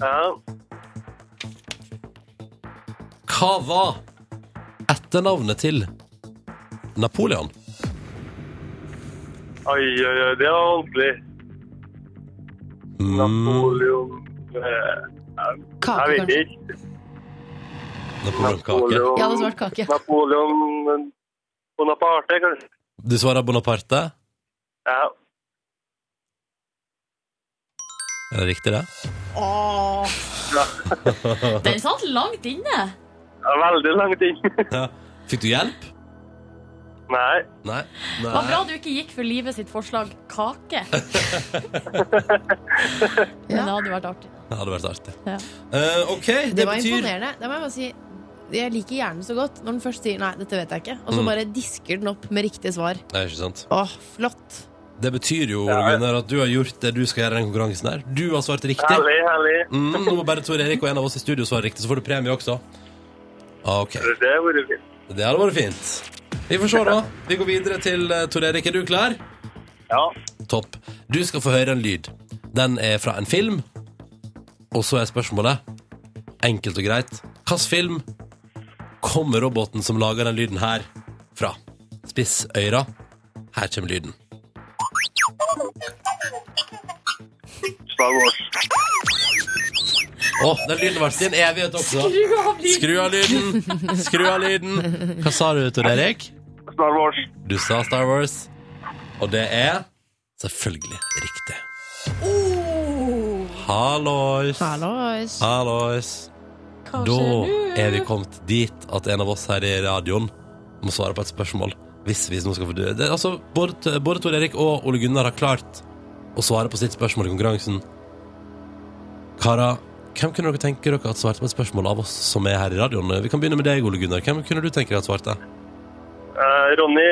Speaker 1: ja.
Speaker 2: hva var etternavnet til Napoleon?
Speaker 1: Oi, oi, oi, det var vanskelig.
Speaker 2: Mm.
Speaker 1: Napoleon... eh,
Speaker 4: Kake,
Speaker 1: Jeg vet
Speaker 4: kanskje.
Speaker 1: ikke.
Speaker 2: Napoleon Kake.
Speaker 1: Napoleon,
Speaker 4: Jeg hadde svart kake.
Speaker 1: Napoleon eh, Bonaparte, kanskje.
Speaker 2: Du svarer Bonaparte.
Speaker 1: Ja.
Speaker 2: Er det riktig, det?
Speaker 3: Den satt langt inne.
Speaker 1: Ja, Veldig langt inn.
Speaker 2: Ja. Fikk du hjelp?
Speaker 1: Nei.
Speaker 2: Nei.
Speaker 3: Det var bra
Speaker 2: Nei.
Speaker 3: du ikke gikk for livet sitt forslag kake. Men det
Speaker 4: Ja.
Speaker 3: hadde vært artig.
Speaker 2: Det hadde vært artig.
Speaker 3: Ja.
Speaker 2: Eh, OK, det,
Speaker 4: Det var
Speaker 2: betyr
Speaker 4: imponerende. Det må jeg bare si. Jeg liker hjernen så godt når den først sier 'nei, dette vet jeg ikke', og så
Speaker 2: Mm.
Speaker 4: bare disker den opp med riktig svar.
Speaker 2: Nei, ikke sant.
Speaker 4: Åh, flott.
Speaker 2: Det betyr jo Ole
Speaker 1: Ja, ja.
Speaker 2: Gunnar, at du har gjort det du skal gjøre i den konkurransen her. Du har svart riktig.
Speaker 1: Herlig, herlig.
Speaker 2: Mm, nå må bare Tor Erik og en av oss i studio svare riktig, så får du premie også. Ah, OK.
Speaker 1: Det har vært fint.
Speaker 2: Det hadde vært fint. Vi får se, da. Vi går videre til eh, Tor Erik. Er du klar?
Speaker 1: Ja.
Speaker 2: Topp. Du skal få høre en lyd. Den er fra en film. Og så er spørsmålet, enkelt og greit, hvilken film kommer roboten som lager den lyden her, fra? Spiss øyra. Her kommer lyden.
Speaker 1: Star Wars.
Speaker 2: Å, den lyden ble sin evighet også. Skru av lyden! Skru av lyden! Hva sa du, Tor Erik?
Speaker 1: Star Wars.
Speaker 2: Du sa Star Wars, og det er selvfølgelig riktig. Hallois.
Speaker 4: Hallois.
Speaker 2: Hallois. Da er vi kommet dit at en av oss her i radioen må svare på et spørsmål. Hvis vi nå skal få dø. Det, er altså, både, både Tor Erik og Ole Gunnar har klart å svare på sitt spørsmål i konkurransen. Kara, hvem kunne dere tenke dere at svarte på et spørsmål av oss som er her i radioen? Vi kan begynne med deg, Ole Gunnar. Hvem kunne du tenke deg at svarte?
Speaker 1: Eh, Ronny.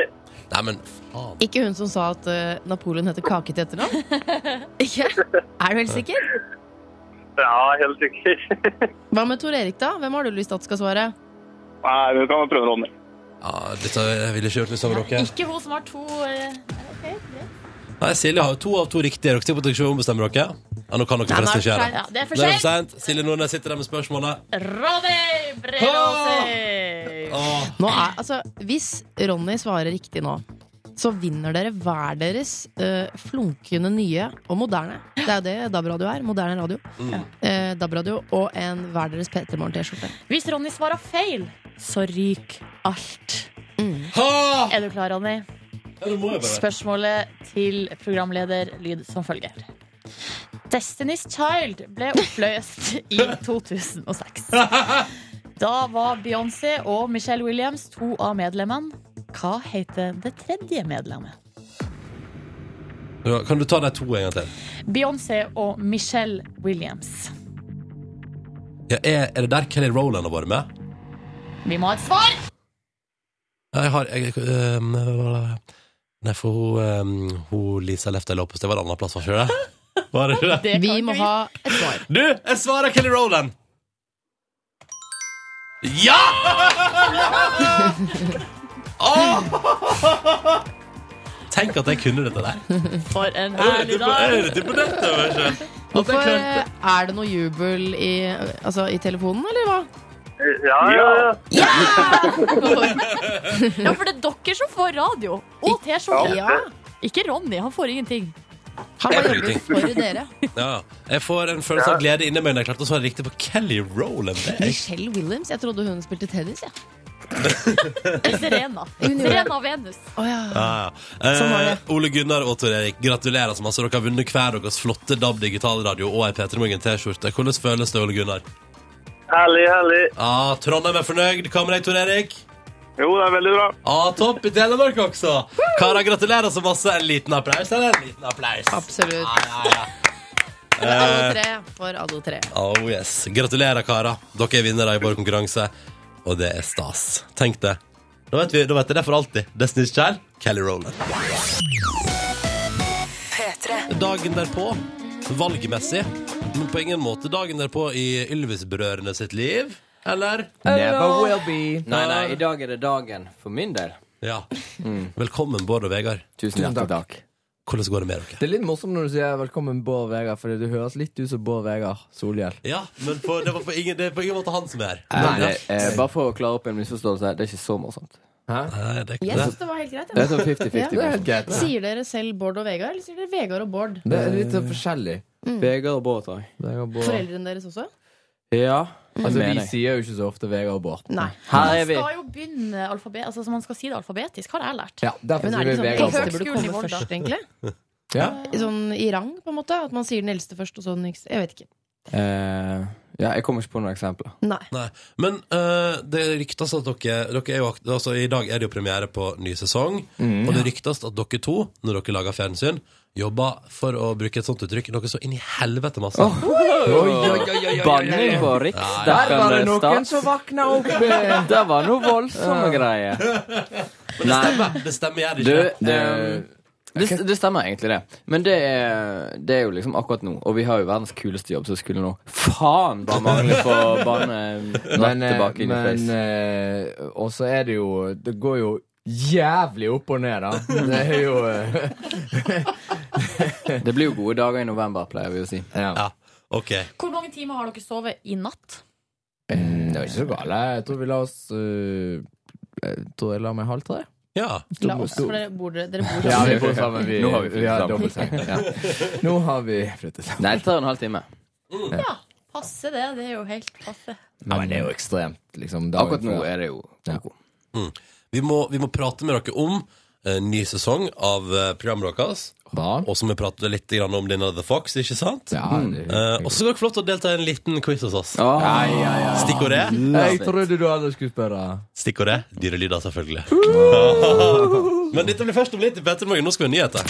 Speaker 2: Nei, men faen.
Speaker 4: Ikke hun som sa at eh, Napoleon heter kake til etternavn? Ikke? Er du helt sikker?
Speaker 1: Ja, helt sikker.
Speaker 4: Hva med Tor Erik, da? Hvem har du lyst til at skal svare?
Speaker 1: Nei, vi kan prøve Ronny.
Speaker 2: Ja, dette ville ikke gjort hvis over dere.
Speaker 3: Ikke hun som har to eh,
Speaker 2: Nei, Silje har jo to av to riktige. Dere ser på at dere ikke ombestemmer dere. Ja, nå kan dere
Speaker 3: nå er det
Speaker 2: forresten ikke
Speaker 3: for
Speaker 2: gjøre
Speaker 3: sent. Ja, det er for
Speaker 2: Nå
Speaker 3: sent.
Speaker 2: sent. Silje Nordnes sitter der med spørsmålet.
Speaker 3: Ronny Bredåsøy!
Speaker 2: Åh.
Speaker 4: Nå er, altså, hvis Ronny svarer riktig nå, så vinner dere hver deres eh, flunkende nye og moderne. Det er jo det DAB-radio er. Moderne radio. Eh, DAB-radio og en hver deres P3 Morgen-T-skjorte.
Speaker 3: Hvis Ronny svarer feil, så ryker alt.
Speaker 2: Ha!
Speaker 3: Er du klar, Ronny?
Speaker 2: Ja, nå må jeg bare.
Speaker 3: Spørsmålet til programleder lyd som følger. Destiny's Child ble oppløst i 2006. Da var Beyoncé og Michelle Williams to av medlemmene. Hva heter det tredje medlemmet?
Speaker 2: Ja, Kan du ta de to en gang til?
Speaker 3: Beyoncé og Michelle Williams.
Speaker 2: Ja, er, er det der Kelly Rowland har vært med?
Speaker 3: Vi må ha et svar!
Speaker 2: Ja, Jeg har jeg, øhm, øh, Nei, for hun, øhm, hun Lisa Lefta Lopez, det var en annen plass, var ikke det? Var det ikke det?
Speaker 3: Det kan
Speaker 4: Vi
Speaker 3: ikke
Speaker 4: må ha et svar.
Speaker 2: Du, jeg svarer Kelly Rowland! Ja! Åh! Tenk at jeg kunne dette der.
Speaker 3: For en
Speaker 2: Er
Speaker 3: herlig
Speaker 2: du på,
Speaker 3: dag!
Speaker 2: er du på dette, vet du? At jeg
Speaker 4: Hvorfor
Speaker 2: klarte
Speaker 4: eh, er det noe jubel i, altså, i telefonen, eller hva?
Speaker 1: Ja, ja, ja.
Speaker 3: Ja, for det er dere som får radio og T-skjorte.
Speaker 4: Ja.
Speaker 3: Ikke Ronny, han får ingenting.
Speaker 4: Han
Speaker 2: Jeg
Speaker 4: bare
Speaker 2: får
Speaker 4: jobber
Speaker 2: ingenting.
Speaker 4: for dere.
Speaker 2: Ja, jeg får en følelse av glede inni meg når jeg klarte å svare riktig på Kelly Rowland. Det er
Speaker 4: Michelle Williams? Jeg trodde hun spilte tennis, jeg.
Speaker 3: Serena.
Speaker 4: gjorde det.
Speaker 3: Serena Venus.
Speaker 4: Å ja.
Speaker 2: Ja, ja.
Speaker 4: Sånn var det.
Speaker 2: Eh, Ole Gunnar og Tor Erik, gratulerer så masse. Dere har vunnet hver deres flotte DAB digitalradio og ei P3 Morgen-T-skjorte. Hvordan føles det, Ole Gunnar?
Speaker 1: Herlig, herlig.
Speaker 2: Ah, Trondheim er fornøyd. Hva med deg, Tor Erik?
Speaker 1: Jo, det er veldig bra.
Speaker 2: Ah, topp i Telemark også. Karer, gratulerer så masse. En liten applaus, eller? En liten applaus.
Speaker 4: Absolutt.
Speaker 2: Ja, ja, ja.
Speaker 4: For alle tre. For alle tre.
Speaker 2: Oh yes. Gratulerer, karer. Dere er vinnere i vår konkurranse, og det er stas. Tenk det. Da vet, vi, da vet jeg det for alltid. Destiny's Child, Kelly Rowland. Dagen derpå, valgmessig, men på ingen måte dagen derpå i Ylvis-brødrene sitt liv. Eller?
Speaker 5: Never will be. Nei, nei, i dag er det dagen for min del. Mm.
Speaker 2: Ja. Velkommen, Bård og Vegard.
Speaker 5: Tusen hjertelig takk.
Speaker 2: Hvordan går det med dere?
Speaker 6: Det er litt morsomt når du sier 'velkommen, Bård Vegard', for du høres litt ut som Bård Vegard Solhjell.
Speaker 2: Ja, men på, det, var på ingen, det er på ingen måte han som er her.
Speaker 5: Nei, det, eh, bare for å klare opp en misforståelse, det er ikke så morsomt.
Speaker 2: Nei, det er ikke
Speaker 4: Jeg
Speaker 2: det.
Speaker 4: syns det var helt greit.
Speaker 5: Det
Speaker 4: Ja.
Speaker 5: er sånn 50-50.
Speaker 6: Det er helt greit. Det
Speaker 4: Sier dere selv Bård og Vegard, eller sier dere Vegard og Bård?
Speaker 6: er litt sånn forskjellig.
Speaker 5: Vegard og Bård, tror jeg.
Speaker 6: Vegard og Bård.
Speaker 4: Foreldrene deres også?
Speaker 5: Ja,
Speaker 6: Altså,
Speaker 5: mener
Speaker 6: vi
Speaker 5: jeg.
Speaker 6: sier jo ikke så ofte Vegard og Bård.
Speaker 4: Nei.
Speaker 5: Her er vi.
Speaker 3: Skal jo begynne alfabet, altså så Man skal si det alfabetisk, har jeg lært.
Speaker 6: Ja, derfor
Speaker 4: Men
Speaker 6: sier
Speaker 4: er det
Speaker 6: vi
Speaker 4: ikke sånn
Speaker 6: Vegard og
Speaker 4: eldste
Speaker 6: Bård.
Speaker 3: Høgskolen
Speaker 4: burde
Speaker 3: i
Speaker 4: komme
Speaker 3: Volda.
Speaker 4: først, egentlig?
Speaker 6: Ja.
Speaker 4: I Sånn i rang, på en måte? At man sier den eldste først, og så den yngste? Jeg vet ikke.
Speaker 5: Eh, ja, jeg kommer ikke på noen eksempler.
Speaker 4: Nei.
Speaker 2: Nei, Men eh, det ryktes at dere, dere er jo, akt- altså, I dag er det jo premiere på ny sesong.
Speaker 5: Mm.
Speaker 2: og det ryktes at dere to, når dere lager fjernsyn, jobber for å bruke et sånt uttrykk noe så inn i helvete masse.
Speaker 5: Banning
Speaker 6: Der
Speaker 5: på
Speaker 6: var det
Speaker 5: riksdekkende
Speaker 6: noen
Speaker 5: stat.
Speaker 6: som våkna opp!
Speaker 5: Det var noe voldsomme greier. Nei,
Speaker 2: Det stemmer, gjør det
Speaker 5: du
Speaker 2: ikke?
Speaker 5: eh, det, det stemmer egentlig, det. Men det er, det er jo liksom akkurat nå. Og vi har jo verdens kuleste jobb, så skulle nå faen bare mangle på bane rett
Speaker 6: Men, eh,
Speaker 5: tilbake inn i
Speaker 6: men
Speaker 5: face.
Speaker 6: eh, Og så er det jo Det går jo jævlig opp og ned, da. Det er jo eh,
Speaker 5: Det blir jo gode dager i november, pleier vi å si.
Speaker 6: Ja.
Speaker 2: Ja, ok.
Speaker 3: Hvor mange timer har dere sovet i natt?
Speaker 5: Eh,
Speaker 6: Det var ikke så gale. Jeg tror vi la oss eh, Jeg tror jeg la meg halv tre.
Speaker 2: Ja.
Speaker 4: La oss, for dere bor dere bor sammen.
Speaker 6: Ja, vi bor sammen. Vi,
Speaker 5: Nå har vi flyttet
Speaker 6: har
Speaker 5: sammen.
Speaker 6: dobbeltseng. Ja. Nå har vi flyttet sammen.
Speaker 5: Nei, det tar en halv time.
Speaker 3: Passe det. Det er jo helt passe.
Speaker 6: Ja, men det er jo ekstremt. Liksom, dagen
Speaker 5: Akkurat nå
Speaker 6: før.
Speaker 5: er det jo
Speaker 6: Ja.
Speaker 5: koko.
Speaker 2: Vi må, vi må prate med dere om eh, ny sesong av eh, programmet deres.
Speaker 6: Bra.
Speaker 2: Og så må vi prate litt grann om denne The Fox, ikke sant?
Speaker 6: Ja, det,
Speaker 2: Eh, og så går det flott å delta i en liten quiz hos oss.
Speaker 5: Åh,
Speaker 2: Stikkordet er
Speaker 6: jeg trodde du aldri skulle spørre.
Speaker 2: Stikkordet dyrelyder, selvfølgelig. Men dette blir først om litt i Petter Morgen. Nå skal vi ha nyheter.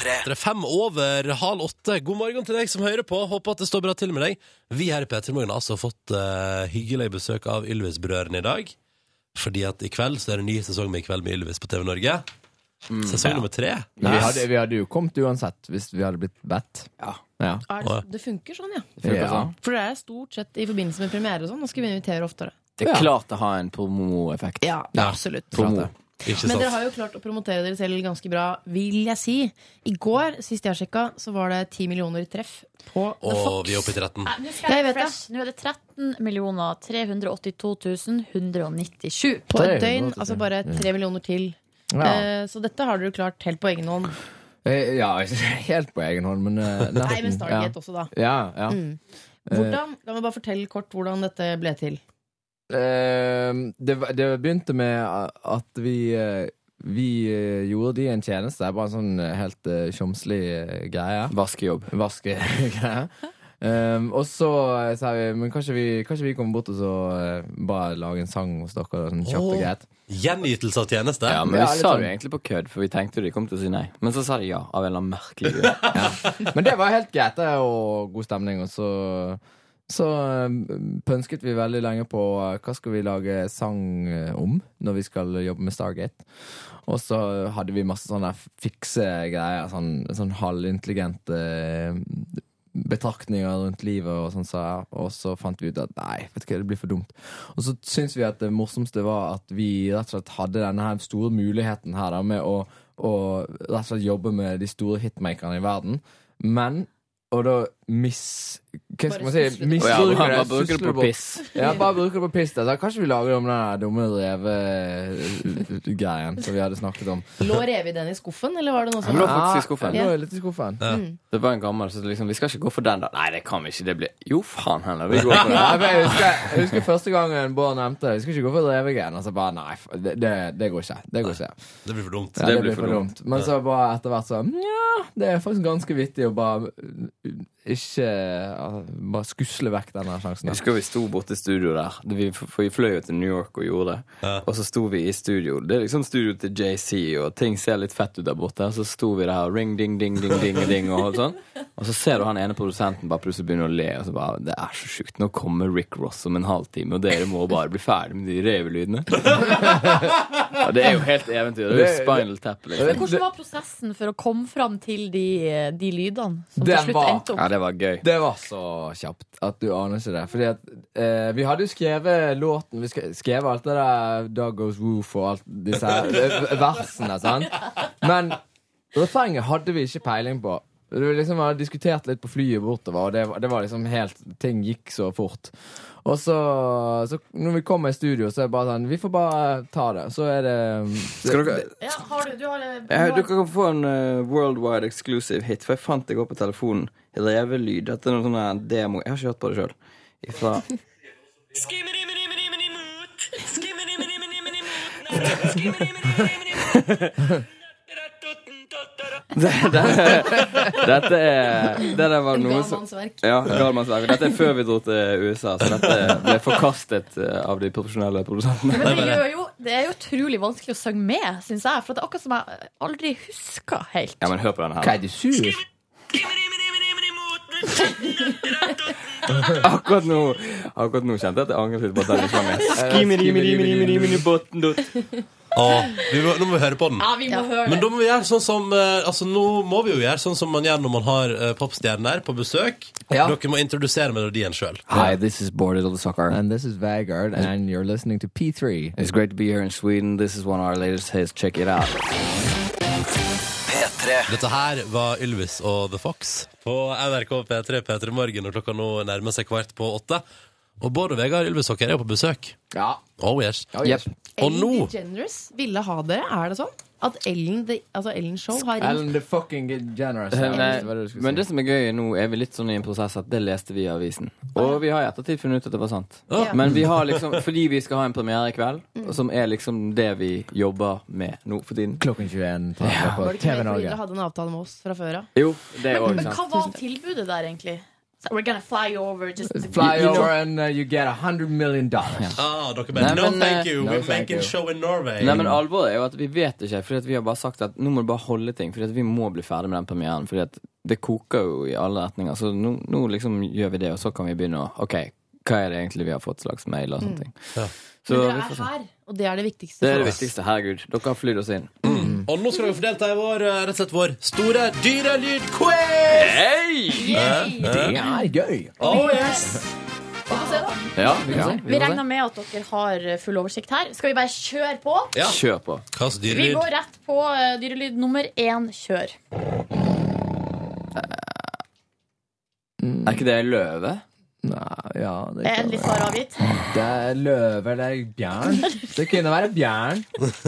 Speaker 2: Det er fem over halv åtte. God morgen til deg som hører på. Håper at det står bra til med deg. Vi her i P3 Morgen har altså fått eh, hyggelig besøk av Ylvis-brødrene i dag. Fordi at i kveld så er det ny sesong med I kveld med Ylvis på TV Norge.
Speaker 7: Sesong nummer tre.
Speaker 6: Men Vi hadde, vi hadde jo kommet uansett hvis vi hadde blitt bedt.
Speaker 5: Ja.
Speaker 6: Ja.
Speaker 4: Er
Speaker 7: Åja.
Speaker 4: det, det funker sånn, ja.
Speaker 5: Funker
Speaker 6: Ja.
Speaker 5: sånn.
Speaker 4: For det er stort sett i forbindelse med premiere og sånn. Nå skal vi invitere oftere.
Speaker 5: Det er
Speaker 6: Ja.
Speaker 5: klart det har en promoeffekt.
Speaker 4: Ja,
Speaker 7: Ja.
Speaker 4: absolutt.
Speaker 5: Promo.
Speaker 7: Ikke
Speaker 4: Men
Speaker 7: sant?
Speaker 4: dere har jo klart å promotere dere selv ganske bra, vil jeg si. I går, sist jeg sjekka, så var det ti millioner treff på The
Speaker 7: Og
Speaker 4: Fox.
Speaker 7: vi er oppe i 13.
Speaker 3: Nei, Nå skal jeg
Speaker 4: Jeg vet det.
Speaker 3: refresh. Nå er det 13 382 197.
Speaker 4: På et døgn.
Speaker 6: 300, tror jeg.
Speaker 4: Altså bare tre millioner til.
Speaker 6: Ja.
Speaker 4: Eh, Så dette har dere klart helt på egen hånd.
Speaker 6: Eh, ja, helt på egen hånd, men eh,
Speaker 4: Nei,
Speaker 6: nesten.
Speaker 4: men Stargate også, da.
Speaker 6: Ja, ja. Eh, ja.
Speaker 4: Hvordan, La meg bare fortelle kort hvordan dette ble til.
Speaker 6: Eh, det, var- det begynte med at vi eh, Vi eh, gjorde de en tjeneste. Bare en sånn eh, helt eh, tjomslig eh, greie.
Speaker 5: Vaskejobb.
Speaker 6: Vaskegreier. Um, og så eh, sa vi Men kanskje vi, kanskje vi kommer bort og så eh, bare lage en sang hos dere. Sånn kjapt
Speaker 7: Åh.
Speaker 6: og greit
Speaker 7: Gjennytelse av tjeneste.
Speaker 5: Ja, men
Speaker 6: Ja,
Speaker 5: vi
Speaker 6: litt
Speaker 5: sa
Speaker 6: sånn.
Speaker 5: det jo egentlig på kødd, for vi tenkte de kom til å si nei. Men så sa de ja, av en eller annen merkelig grunn.
Speaker 6: Men det var helt greit, det, og god stemning. Og så, så eh, pønsket vi veldig lenge på eh, hva skal vi lage sang eh, om når vi skal jobbe med Stargate. Og så hadde vi masse sånne fikse greier, sånn, sånn halvintelligente eh, betraktninger rundt livet og sånn, sa jeg. Og så fant vi ut at nei, vet du hva, det blir for dumt. Og så syns vi at det morsomste var at vi rett og slett hadde denne her store muligheten her da, med å, å rett og slett jobbe med de store hitmakerne i verden. Men og da mis... Hva skal man si?
Speaker 4: Bare sysle det.
Speaker 5: Og ja,
Speaker 6: Misbruker
Speaker 5: bare
Speaker 6: det,
Speaker 5: bruker det
Speaker 6: sysler
Speaker 5: på
Speaker 6: bort.
Speaker 5: piss.
Speaker 6: Ja, bare bruker det på piss. Da. Kanskje vi lager om den der dumme reve-greien som vi hadde snakket om.
Speaker 4: Lå revet den i skuffen, eller var det noe
Speaker 5: Men
Speaker 4: sånn som
Speaker 5: da- faktisk i skuffen.
Speaker 6: Ja, nå er jeg litt i skuffen.
Speaker 5: Det var en gammel som liksom Vi skal ikke gå for den, da. Nei, det kan vi ikke. Det blir Jo, faen heller. Vi går for
Speaker 6: Ja,
Speaker 5: den.
Speaker 6: men jeg, husker, jeg husker første gangen Bård nevnte det. Vi skal ikke gå for revegreiene. Altså bare nei, f- det, det, det går ikke. Det går ikke.
Speaker 7: Det blir for dumt.
Speaker 6: Ja, det, blir for dumt. Men så bare etter hvert så Nja, det er faktisk ganske vittig å bare uh, ikke uh, Bare skusle vekk denne sjansen.
Speaker 5: Jeg
Speaker 6: der.
Speaker 5: husker vi sto borte i studio der. Vi, for vi fløy jo til New York og gjorde det. Og så sto vi i studio. Det er liksom studio til JC, og ting ser litt fett ut der borte. Og så sto vi der og ring, ding, ding, ding, ding, ding og sånn. Og så ser du han ene produsenten bare plutselig begynner å le, og så bare Det er så sjukt. Nå kommer Rick Ross om en halvtime, og dere må bare bli ferdig med de revelydene. ja, det er jo helt eventyr. Det er jo Spinal Tap, liksom.
Speaker 3: Hvordan var prosessen for å komme fram til de, de lydene som
Speaker 6: Den
Speaker 3: til slutt
Speaker 6: var-
Speaker 3: endte opp?
Speaker 5: Ja, det var gøy.
Speaker 6: Det var så kjapt at du aner ikke det. Fordi at eh, vi hadde jo skrevet låten Vi sk- skrev alt det der Dog Goes Woof og alt disse her eh, versene, sant? Men refrenget hadde vi ikke peiling på. Det var liksom, vi hadde diskutert litt på flyet bortover, og det, var- det var liksom helt Ting gikk så fort. Og så, så når vi kommer i studio, så er det bare sånn Vi får bare ta det. Så er det mm,
Speaker 5: Skal dere
Speaker 4: Ja, har du, du har, eh,
Speaker 5: Ja, dere kan få en eh, worldwide exclusive hit, for jeg fant det i går på telefonen. Revelyd. Dette er noen sånne her demo Jeg har ikke hørt på det sjøl. Ifra det, det, Dette er Det der var noe som
Speaker 4: Galmannsverk.
Speaker 5: ja, Galmannsverk. Dette er før vi dro til USA, så dette ble forkastet eh, av de profesjonelle produsentene.
Speaker 3: Men det, gjør jo, det er jo utrolig vanskelig å synge med, syns jeg. For det er akkurat som jeg aldri husker helt.
Speaker 5: Ja, men hør på denne
Speaker 6: Hva,
Speaker 5: her.
Speaker 6: er du sur?
Speaker 5: Akkurat nå, akkurat nå kjente jeg at jeg angret litt på at den ikke var med. Skimini-mini-mini-mini-mini-botten-dot.
Speaker 7: Å, vi må, nå må vi høre på den.
Speaker 3: vi må høre
Speaker 7: Men da må vi gjøre sånn som eh, Altså nå må vi jo gjøre sånn som man gjør når man har eh, popstjerner på besøk.
Speaker 6: Ja.
Speaker 7: Dere må introdusere melodien sjøl.
Speaker 5: Hi, this is Bored Little Soccer.
Speaker 6: And this is Vagard, and you're listening to P3.
Speaker 5: It's great to be here in Sweden. This is one of our latest hits. Check it out.
Speaker 7: Dette her var Ylvis og The Fox på NRK P3 P3 Morgen, og klokka nå nærmer seg kvart på åtte. Og Bård og Vegard Ylvis dere er jo på besøk.
Speaker 6: Ja.
Speaker 7: Oh yes.
Speaker 5: Yep.
Speaker 7: Og nå
Speaker 4: Ellen DeGeneres ville ha dere, er det sånn? At Ellen, The- altså Ellen Show har ringt
Speaker 6: Ellen the fucking generous.
Speaker 5: Nei, Men det som er gøy nå, er vi litt sånn i en prosess at det leste vi i avisen. Og vi har i ettertid funnet ut at det var sant.
Speaker 7: Ja.
Speaker 5: Men vi har liksom, fordi vi skal ha en premiere i kveld,
Speaker 4: Mm.
Speaker 5: som er liksom det vi jobber med nå for tiden.
Speaker 6: Klokken 21 tar jeg på
Speaker 4: Var det ikke
Speaker 6: TV
Speaker 4: mer fordi
Speaker 6: Norge.
Speaker 4: dere hadde en avtale med oss fra før av?
Speaker 5: Jo, det er òg
Speaker 3: Men
Speaker 5: sant.
Speaker 3: hva var tilbudet der, egentlig? So we're gonna fly over just
Speaker 6: Fly over and uh, you get 100 million dollars.
Speaker 7: ah, dere bare
Speaker 5: Nei,
Speaker 7: No
Speaker 5: men,
Speaker 7: thank
Speaker 5: eh,
Speaker 7: you,
Speaker 6: no
Speaker 7: we're
Speaker 6: thank
Speaker 7: making
Speaker 6: you.
Speaker 7: show in Norway.
Speaker 5: Nei, men alvoret er jo at vi vet ikke, fordi at vi har bare sagt at nå må du bare holde ting, fordi at vi må bli ferdig med den premieren, fordi at det koker jo i alle retninger, så nå, nå liksom gjør vi det, og så kan vi begynne å, ok, hva er det egentlig vi har fått slags mail og
Speaker 6: Mm.
Speaker 5: sånne ting.
Speaker 7: Ja.
Speaker 5: Så
Speaker 4: Men
Speaker 5: vi
Speaker 4: dere er
Speaker 5: får se.
Speaker 4: her, og det er det viktigste.
Speaker 5: Det er
Speaker 4: for
Speaker 5: det
Speaker 4: oss.
Speaker 5: viktigste, herregud, dere har flytt oss inn.
Speaker 7: Mm.
Speaker 2: Og nå skal dere få delta i vår, eh, rett og slett vår store dyrelyd-quiz!
Speaker 3: Yay!
Speaker 6: Det er gøy.
Speaker 2: Oh yes!
Speaker 5: Ja, vi kan se.
Speaker 3: Vi regner med at dere har full oversikt her. Skal vi bare kjøre på?
Speaker 2: Ja,
Speaker 5: Kjør på.
Speaker 2: hva slags
Speaker 3: Vi
Speaker 2: dyrelyd?
Speaker 3: går rett på eh, dyrelyd nummer én. Kjør.
Speaker 5: Er ikke det en løve?
Speaker 6: Nei, ja,
Speaker 3: Er
Speaker 6: det kan
Speaker 3: endelig svar avgitt.
Speaker 6: være. Det er løve eller bjørn. Det kunne være bjørn.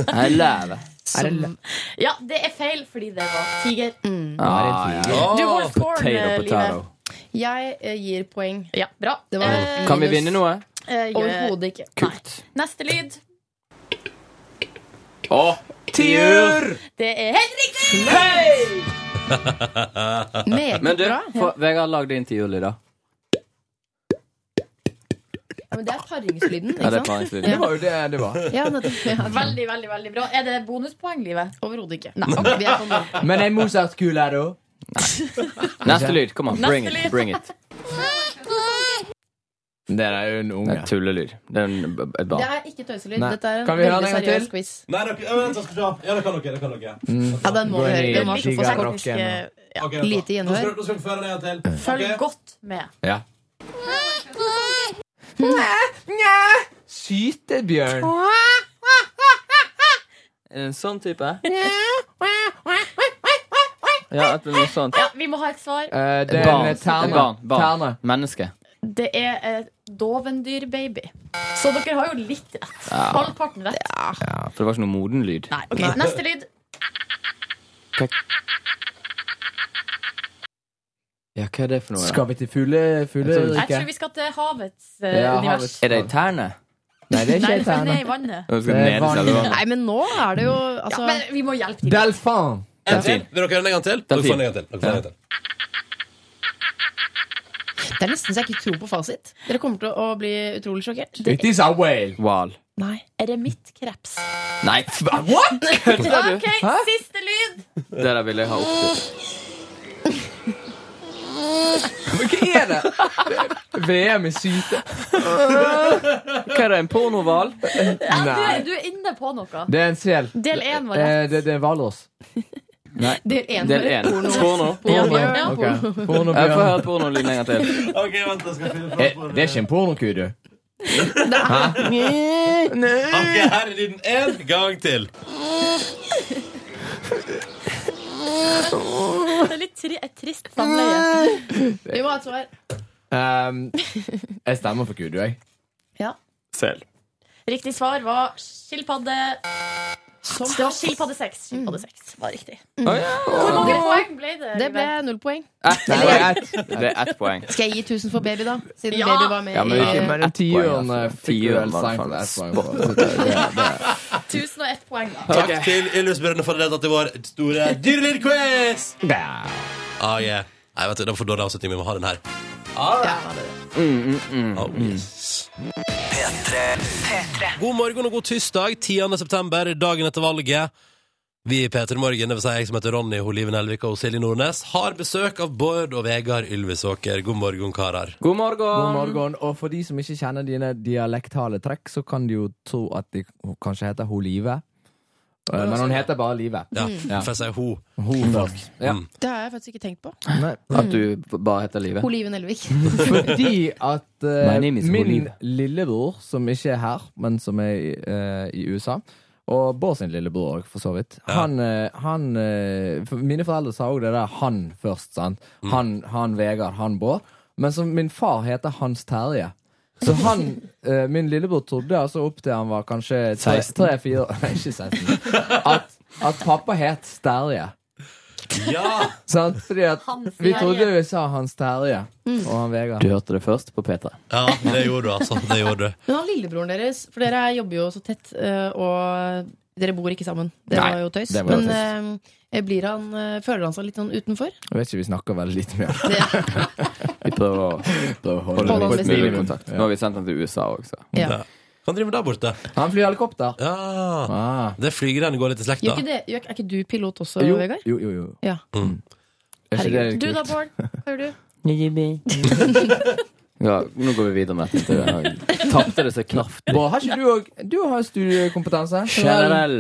Speaker 5: Nei, løve.
Speaker 6: Er det lø-
Speaker 3: Ja, det er feil, fordi det var tiger.
Speaker 5: Ah, ja.
Speaker 3: Du
Speaker 2: Åh,
Speaker 3: går scoren, eh, Live.
Speaker 5: Potato, potato.
Speaker 4: Jeg eh, gir poeng.
Speaker 3: Ja, bra.
Speaker 4: Det var-
Speaker 3: Eh,
Speaker 5: Kan vi vinne noe?
Speaker 3: eh, gjør-
Speaker 4: Overhodet ikke.
Speaker 5: Kult.
Speaker 3: Neste lyd.
Speaker 5: Å, tiur!
Speaker 3: Det er helt riktig!
Speaker 5: Men
Speaker 4: Meget
Speaker 5: du,
Speaker 4: bra.
Speaker 5: for, Vegard, lag din tiurlyder.
Speaker 4: Ja, men det er paringslyden,
Speaker 5: Ja,
Speaker 4: ikke
Speaker 5: det er
Speaker 4: sant?
Speaker 5: paringslyden.
Speaker 6: Det var jo det det var.
Speaker 4: Ja, nettopp. Ja,
Speaker 3: Veldig, veldig veldig bra. Er det bonuspoeng, Livet?
Speaker 4: Overhodet ikke. Ok, vi er på null.
Speaker 6: Men ei Mozart-kule er det òg.
Speaker 5: Neste lyd. Kom an. Bring
Speaker 3: Neste
Speaker 5: it.
Speaker 3: lyd.
Speaker 5: Bring it.
Speaker 6: Det er jo en
Speaker 5: Det er en tullelyd. Det er en, et
Speaker 4: Det
Speaker 5: barn.
Speaker 4: er ikke tøyselyd.
Speaker 6: Nei.
Speaker 4: Dette er en
Speaker 6: Kan vi høre
Speaker 4: veldig
Speaker 6: den en
Speaker 4: seriøs
Speaker 6: gang til?
Speaker 4: quiz.
Speaker 8: Nei, dere,
Speaker 7: eh,
Speaker 8: ja, vent, jeg skal se. Ja, det kan dere. Det kan dere.
Speaker 4: Ja, den må
Speaker 6: Gå
Speaker 4: vi
Speaker 6: inn
Speaker 4: høre.
Speaker 6: i
Speaker 4: Den var så
Speaker 6: giga-
Speaker 3: Tekniske-
Speaker 4: kort.
Speaker 6: rocken.
Speaker 3: ja.
Speaker 8: Ok,
Speaker 4: Lite
Speaker 8: da. Nå skal,
Speaker 4: gjenhør.
Speaker 8: nå skal dere få høre det en gang til.
Speaker 3: Følg
Speaker 8: Ok.
Speaker 3: godt med.
Speaker 6: Ja. Sytebjørn.
Speaker 5: En sånn type? Ja, et eller annet sånt.
Speaker 3: Ja, Vi må ha et svar.
Speaker 6: Eh, det
Speaker 5: Et
Speaker 6: er
Speaker 5: barn.
Speaker 6: en
Speaker 5: Et
Speaker 6: terne.
Speaker 5: barn. barn.
Speaker 6: Terne.
Speaker 5: Menneske.
Speaker 3: Det er eh, dovendyrbaby. Så dere har jo litt rett. Halvparten rett.
Speaker 5: Ja, for det var ikke noe moden lyd.
Speaker 3: Nei, ok, Neste lyd.
Speaker 5: Ja, hva er det for noe? da?
Speaker 6: Skal vi til fugle...
Speaker 3: Jeg
Speaker 6: fugleriket?
Speaker 3: tror vi skal til havets eh,
Speaker 6: Ja,
Speaker 3: univers.
Speaker 5: Er det ei terne?
Speaker 6: Nei, det er
Speaker 3: Nei,
Speaker 6: ikke
Speaker 3: for
Speaker 6: ei
Speaker 3: den
Speaker 6: terne.
Speaker 3: er i vannet.
Speaker 5: Skal
Speaker 6: Det er
Speaker 5: den nede,
Speaker 6: vanlig.
Speaker 5: så er det-
Speaker 4: Nei, men nå er det jo altså,
Speaker 3: Men vi må hjelpe til.
Speaker 6: Delfin.
Speaker 5: fin.
Speaker 2: En til? Vil dere høre den en gang til?
Speaker 5: Den er
Speaker 2: Dere får
Speaker 5: fin.
Speaker 2: den en gang til. Dere får den en gang til.
Speaker 4: Det er nesten så jeg ikke tror på fasit. Dere kommer til å bli utrolig sjokkert.
Speaker 6: It is a whale.
Speaker 5: Hval.
Speaker 4: Nei.
Speaker 3: Eremittkreps.
Speaker 5: Nei, f- what?! Kødder du?
Speaker 3: OK, siste lyd.
Speaker 5: Det der ville jeg ha opp til.
Speaker 6: Men hva er det? VM i syte.
Speaker 5: Hva er det, en pornohval?
Speaker 3: Ja, du,
Speaker 6: Nei.
Speaker 3: er- du er inne på noe.
Speaker 6: Det er en sel.
Speaker 3: Del én var
Speaker 6: Eh,
Speaker 3: rett.
Speaker 6: det, det er hvalross.
Speaker 5: Nei.
Speaker 4: Del én.
Speaker 5: Del én. Porno.
Speaker 3: Ja,
Speaker 6: Porno.
Speaker 3: ja.
Speaker 6: Ok. Porno,
Speaker 5: Jeg får
Speaker 6: bjørn.
Speaker 5: høre pornolyden en gang til.
Speaker 8: Ok, vent, jeg skal finne fram
Speaker 6: Eh,
Speaker 8: for
Speaker 6: Det er ikke en pornoku, du.
Speaker 2: Ok, her er lyden en gang til.
Speaker 3: Det er litt tri et trist samleie.
Speaker 4: Vi må ha et svar.
Speaker 6: Um, jeg stemmer for kudu, jeg.
Speaker 5: Sel.
Speaker 3: Riktig svar var skilpadde. Det var skilpadde 6. Skilpadde 6 var riktig.
Speaker 6: Mm.
Speaker 3: Hvor mange poeng ble det?
Speaker 4: Det ble
Speaker 3: Live?
Speaker 4: null poeng.
Speaker 5: Ett.
Speaker 6: Det er ett.
Speaker 5: Det er ett poeng.
Speaker 4: Skal jeg gi 1000 for baby, da? Siden
Speaker 3: Ja!
Speaker 4: baby var med
Speaker 5: Ja, men vi
Speaker 4: i
Speaker 5: fikk
Speaker 6: Men
Speaker 5: ett poeng.
Speaker 6: tiuren
Speaker 5: altså.
Speaker 6: fikk du
Speaker 5: Tiuren
Speaker 6: vel
Speaker 5: var
Speaker 6: seint.
Speaker 5: faen
Speaker 6: ett poeng
Speaker 5: spot.
Speaker 6: for. Så det- det- det-
Speaker 3: 1001 poeng, da.
Speaker 2: Takk til Ylvis-brødrene for å delta i vår store dyrelyd-quiz. Ah, yeah. Nei, vet du, det var for dårlig avslutning. Vi må ha den her. Ah, yes. God morgen og god tirsdag, 10. september, dagen etter valget. Vi i P3 Morgen, det vil si jeg som heter Ronny, hun Liven Elvik og Silje Nordnes, har besøk av Bård og Vegard Ylvisåker. God morgen, karer.
Speaker 5: God morgen.
Speaker 6: God morgen. Og for de som ikke kjenner dine dialektale trekk, så kan de jo tro at de hun kanskje heter hun Live. Eh, Men hun heter bare Live.
Speaker 2: Ja, for jeg sier ho.
Speaker 6: Hun folk. Ja.
Speaker 2: Mm.
Speaker 4: Det har jeg faktisk ikke tenkt på.
Speaker 6: Nei.
Speaker 5: At du bare heter Live.
Speaker 4: Oliven Elvik.
Speaker 6: Fordi at eh,
Speaker 5: My name is
Speaker 6: min
Speaker 5: Olive.
Speaker 6: lillebror, som ikke er her, men som er i, eh, i USA og Bård sin lillebror òg, for så vidt. Han, eh, han eh, for Mine foreldre sa òg det der 'han' først. sant?
Speaker 5: Mm.
Speaker 6: Han, han Vegard, han Bård. Men som min far heter Hans Terje. Så han, eh, min lillebror trodde altså opp til han var kanskje
Speaker 5: 16.
Speaker 6: 3-4 Ikke 16. At, at pappa het Sterje.
Speaker 2: Ja!
Speaker 6: Sant? Fordi at
Speaker 3: Hans
Speaker 6: vi
Speaker 3: Terje.
Speaker 6: trodde vi sa Hans Terje og han Vegard.
Speaker 5: Du hørte det først på P3.
Speaker 2: ja, det gjorde du, altså. Det gjorde du.
Speaker 4: Men han lillebroren deres, for dere jobber jo så tett, eh, og dere bor ikke sammen. Det
Speaker 6: Nei,
Speaker 4: var jo tøys.
Speaker 6: det var jo
Speaker 4: men eh, blir han, eh, føler han seg litt sånn utenfor?
Speaker 6: Jeg vet ikke, vi snakker veldig lite med ham.
Speaker 5: Vi prøver å holde
Speaker 4: Holde
Speaker 5: på
Speaker 4: oss
Speaker 5: et
Speaker 4: litt
Speaker 5: mulig
Speaker 4: i
Speaker 5: kontakt. Nå har vi sendt den til USA også.
Speaker 4: Ja.
Speaker 2: Kan drive med der borte.
Speaker 6: Han flyr helikopter.
Speaker 2: Ja.
Speaker 6: Ah.
Speaker 2: Det flygreiene går litt i slekt,
Speaker 4: Gjør
Speaker 2: da.
Speaker 4: ikke det, gjør, er ikke du pilot også,
Speaker 6: Jo,
Speaker 4: Vegard?
Speaker 6: jo, jo. jo.
Speaker 4: Ja.
Speaker 6: Er ikke det
Speaker 3: Du da,
Speaker 6: kult?
Speaker 3: Bård? Hva gjør du?
Speaker 5: Ja, nå går vi videre med dette. intervjuet. Tapte det seg knapt.
Speaker 6: Bård, har ikke du òg Du har studiekompetanse.
Speaker 5: Generell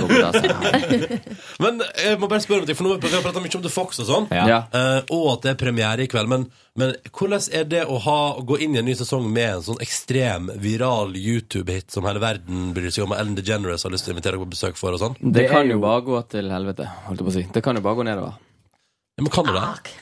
Speaker 5: studiekompetanse.
Speaker 2: Men eh, jeg må bare spørre om ting, for nå har vi pratet mye om The Fox og sånn.
Speaker 5: Ja.
Speaker 2: Eh, og at det er premiere i kveld. Men, men hvordan er det å, ha, å gå inn i en ny sesong med en sånn ekstrem viral YouTube-hit som hele verden bryr seg om, og Ellen DeGeneres har lyst til å invitere deg på besøk for og sånn?
Speaker 5: Det kan jo bare gå til helvete, holdt jeg på å si. Det kan jo bare gå nedover.
Speaker 2: Ja, Men kan du det?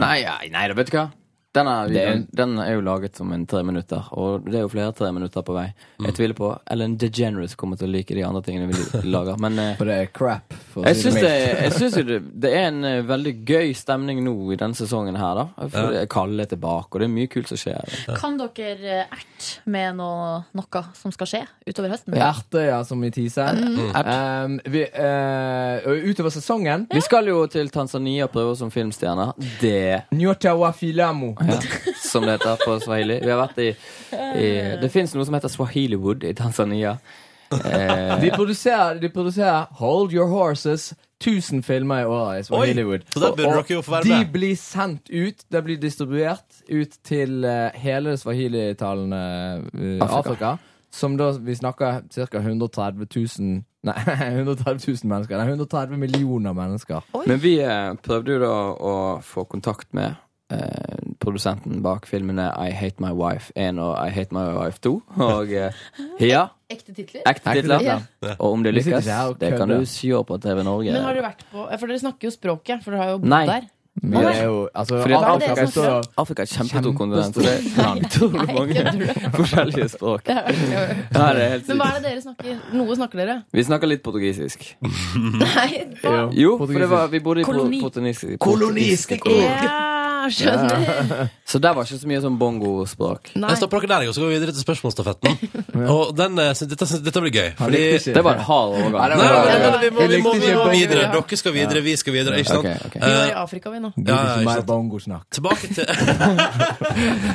Speaker 5: Nei, nei, nei da, vet du hva. Den er,
Speaker 6: Det-
Speaker 5: den er jo laget som en tre minutter, og det er jo flere tre minutter på vei. Jeg tviler på Ellen DeGeneres kommer til å like de andre tingene vi lager, men eh,
Speaker 6: For det er crap. For å
Speaker 5: jeg
Speaker 6: si
Speaker 5: syns,
Speaker 6: det
Speaker 5: det,
Speaker 6: mildt.
Speaker 5: jeg syns jo det, det er en eh, veldig gøy stemning nå i denne sesongen her, da. For det er Kalle er tilbake, og det er mye kult som skjer.
Speaker 3: Kan dere erte med noe, noe som skal skje utover høsten?
Speaker 6: Erte, ja, som i teaser.
Speaker 2: Mm.
Speaker 6: Um, vi, eh, og utover sesongen
Speaker 5: Vi skal jo til Tanzania og prøve oss som filmstjerner. Det,
Speaker 6: Nyocha wa filamu.
Speaker 5: som det heter på swahili. Vi har vært i, i Det fins noe som heter Swahiliwood i Tanzania. Eh,
Speaker 6: De produserer, de produserer Hold Your Horses 1000 filmer i året i
Speaker 2: Oi,
Speaker 6: Hollywood.
Speaker 2: så der
Speaker 6: Og-
Speaker 2: burde
Speaker 6: og
Speaker 2: dere jo få være
Speaker 6: de
Speaker 2: med.
Speaker 6: blir sendt ut. De blir distribuert ut til eh, hele det swahilitalende eh,
Speaker 5: Afrika.
Speaker 6: Afrika. Som da vi snakker ca. 130 000 Nei, 130 000 mennesker. Nei, 130 millioner mennesker.
Speaker 5: Men vi eh, prøvde jo da å få kontakt med eh, produsenten bak filmene I Hate My Wife 1 og I Hate My Wife 2. Og eh, ja,
Speaker 4: Ekte titler?
Speaker 5: ekte titler.
Speaker 4: Ja.
Speaker 5: Og om det
Speaker 6: Vi sitter
Speaker 5: lykkes,
Speaker 6: der og
Speaker 5: det kan
Speaker 6: kødder.
Speaker 5: du se på TV Norge.
Speaker 4: Men har dere vært på For dere snakker jo språket, for dere har jo bodd
Speaker 5: Nei.
Speaker 4: der.
Speaker 6: Men det er jo altså,
Speaker 5: Fordi at
Speaker 4: Hva er det
Speaker 5: Afrika,
Speaker 4: som
Speaker 5: er
Speaker 4: er
Speaker 5: stor-
Speaker 4: bra?
Speaker 5: Afrika er et kjempestort kontinent. så Det
Speaker 6: Kjempestort.
Speaker 5: er utrolig mange forskjellige språk. Ja, det er helt
Speaker 4: Men hva
Speaker 5: sykt.
Speaker 4: er det dere snakker? Noe snakker dere.
Speaker 5: Vi snakker litt portugisisk.
Speaker 4: Nei, hva?
Speaker 5: Jo, for det var, vi bodde i
Speaker 3: Koloni.
Speaker 5: portugisisk.
Speaker 4: Ja, skjønner.
Speaker 5: Så der var ikke så mye sånn bongospråk.
Speaker 4: Nei.
Speaker 2: Jeg stopper dere der, jeg, og så går vi videre til spørsmålstafetten. Og den, eh, synes- dette, synes- dette blir gøy.
Speaker 6: Han
Speaker 2: Fordi
Speaker 6: likte ikke.
Speaker 5: Det var en hard overgang.
Speaker 2: Nei, nei,
Speaker 4: Ja,
Speaker 2: nei, vi må,
Speaker 6: jeg
Speaker 2: vi må,
Speaker 6: likte
Speaker 2: vi må
Speaker 6: ikke
Speaker 2: videre.
Speaker 6: bongo.
Speaker 2: Dere skal videre, vi skal videre. Ikke sant?
Speaker 5: Ok, ok.
Speaker 4: Vi
Speaker 2: Eh,
Speaker 4: var i Afrika, vi nå.
Speaker 6: Gud,
Speaker 2: Ja, ja,
Speaker 6: ikke
Speaker 2: ikke
Speaker 6: mer
Speaker 2: sant.
Speaker 6: bongosnakk.
Speaker 2: tilbake til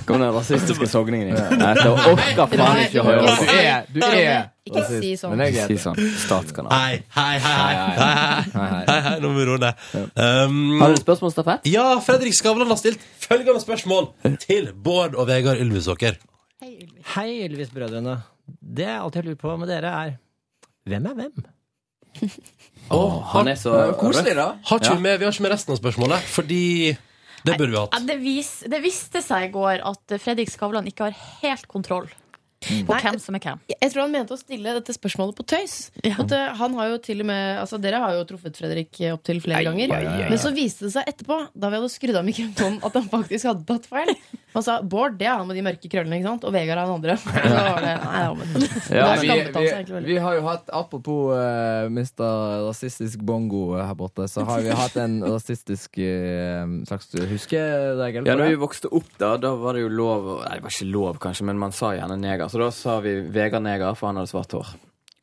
Speaker 5: Kom den rasistiske sogningen inn. Nei, det orker faen ikke å
Speaker 6: Du
Speaker 5: høre.
Speaker 6: er, du er
Speaker 4: Ikke si sånn.
Speaker 6: Men jeg er
Speaker 5: Si sånn. Statskanal.
Speaker 2: Hei, hei, hei, hei. hei, hei, hei, hei. Nå må vi roe ned. Um,
Speaker 5: Har du et spørsmålsstafett?
Speaker 2: Ja, Fredrik Skavlan har stilt følgende spørsmål til Bård og Vegard Ylvisåker.
Speaker 9: Hei, Ylvis-brødrene. Det jeg alltid har lurt på med dere, er hvem er hvem?
Speaker 5: Åh, han er så
Speaker 6: Koselig, da.
Speaker 2: Har ikke vi, med, vi har ikke med resten av spørsmålet, fordi det burde vi
Speaker 3: Ja,
Speaker 2: hatt.
Speaker 3: det, vis, det viste seg i går at Fredrik Skavlan ikke har helt kontroll på
Speaker 4: Nei,
Speaker 3: hvem som er hvem.
Speaker 4: Jeg tror han mente å stille dette spørsmålet på tøys.
Speaker 3: Ja.
Speaker 4: At, eh, han har jo til og med, altså, dere har jo truffet Fredrik eh, opptil flere ganger. Men så viste det seg etterpå, da vi hadde skrudd av mikrofonen, at han faktisk hadde tatt feil. Han sa Bård, det er han med de mørke krøllene, ikke sant? Og Vegard er han andre. Så var det, nei, ja, men.
Speaker 6: Ja,
Speaker 4: Da
Speaker 6: vi,
Speaker 4: skammet han seg egentlig
Speaker 6: vi,
Speaker 4: veldig.
Speaker 6: vi har jo hatt, apropos eh, Mr. Rasistisk Bongo her borte, så har vi hatt en rasistisk eh, slags huskeregel.
Speaker 5: Ja,
Speaker 6: på
Speaker 5: når vi
Speaker 6: det.
Speaker 5: vokste opp, da da var det jo lov å- Nei, det var ikke lov, kanskje, men man sa gjerne neger. Så da sa vi Vegard Neger, for han hadde svart hår.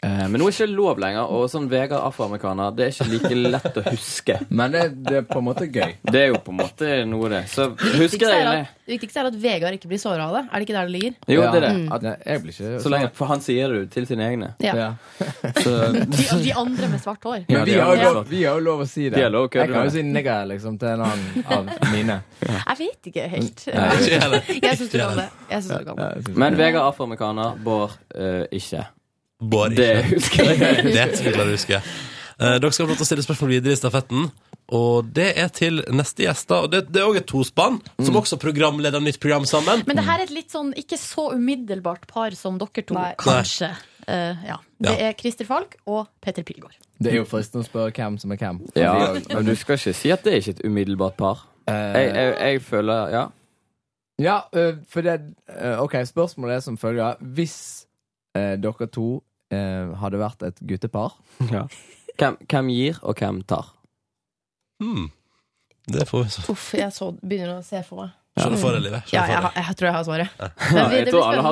Speaker 5: Eh, Men nå er ikke det lov lenger, og sånn Vegard afroamerikaner Det er ikke like lett å huske.
Speaker 6: Men det, det er på en måte gøy.
Speaker 5: Det er jo på en måte noe, det. Så
Speaker 4: Det viktigste er
Speaker 5: huskegreiene
Speaker 4: at- Det viktigste er at Vegard ikke blir såra av det. Er det ikke der det ligger?
Speaker 5: Jo, det er det.
Speaker 6: Ja.
Speaker 5: At,
Speaker 6: Nei, jeg blir ikke
Speaker 5: så lenge, for han sier det jo til sine egne.
Speaker 4: Ja.
Speaker 6: Ja.
Speaker 5: Så
Speaker 3: De, de andre med svart hår.
Speaker 5: Ja,
Speaker 6: Men vi
Speaker 5: det er
Speaker 6: har, jo
Speaker 5: det.
Speaker 6: lov, vi har jo lov å si det.
Speaker 5: Vi har lov å kødde
Speaker 6: jeg kan
Speaker 5: med
Speaker 6: jo si nigger liksom, til en annen av mine.
Speaker 3: Jeg vet ikke helt.
Speaker 2: Ikke jeg heller.
Speaker 4: Jeg syns du kan det. Jeg synes du kan det.
Speaker 5: Men Vegard afroamerikaner, Bård eh, ikke.
Speaker 2: Bård,
Speaker 5: Det
Speaker 2: ikke.
Speaker 5: husker jeg.
Speaker 2: Det skal vi klare å huske. Eh, Dere skal få lov til å stille spørsmål videre i stafetten. Og det er til neste gjester. Og det, det er òg et tospann,
Speaker 5: Mm.
Speaker 2: som også programleder nytt program sammen.
Speaker 3: Men det her er et litt sånn ikke så umiddelbart par som dere to,
Speaker 4: Nei.
Speaker 3: kanskje. Eh, ja. Det
Speaker 2: Ja.
Speaker 3: er Christer Falk og Petter Pilgaard.
Speaker 6: Det er jo fristende å spørre hvem som er hvem.
Speaker 5: Ja, men du skal ikke si at det er ikke et umiddelbart par. Jeg, jeg, jeg føler Ja.
Speaker 6: eh, Ja, øh, for det øh, Ok, spørsmålet er som følger. Hvis øh, dere to øh, hadde vært et guttepar
Speaker 5: Hvem, hvem gir, og hvem tar?
Speaker 2: Hmm. Det får vi så
Speaker 4: Uff, jeg så, begynner å se for meg.
Speaker 2: se det for deg, livet. Se
Speaker 4: Ja,
Speaker 2: det
Speaker 4: jeg,
Speaker 2: for deg.
Speaker 4: har- jeg tror jeg har svaret.
Speaker 5: Ja, jeg tror alle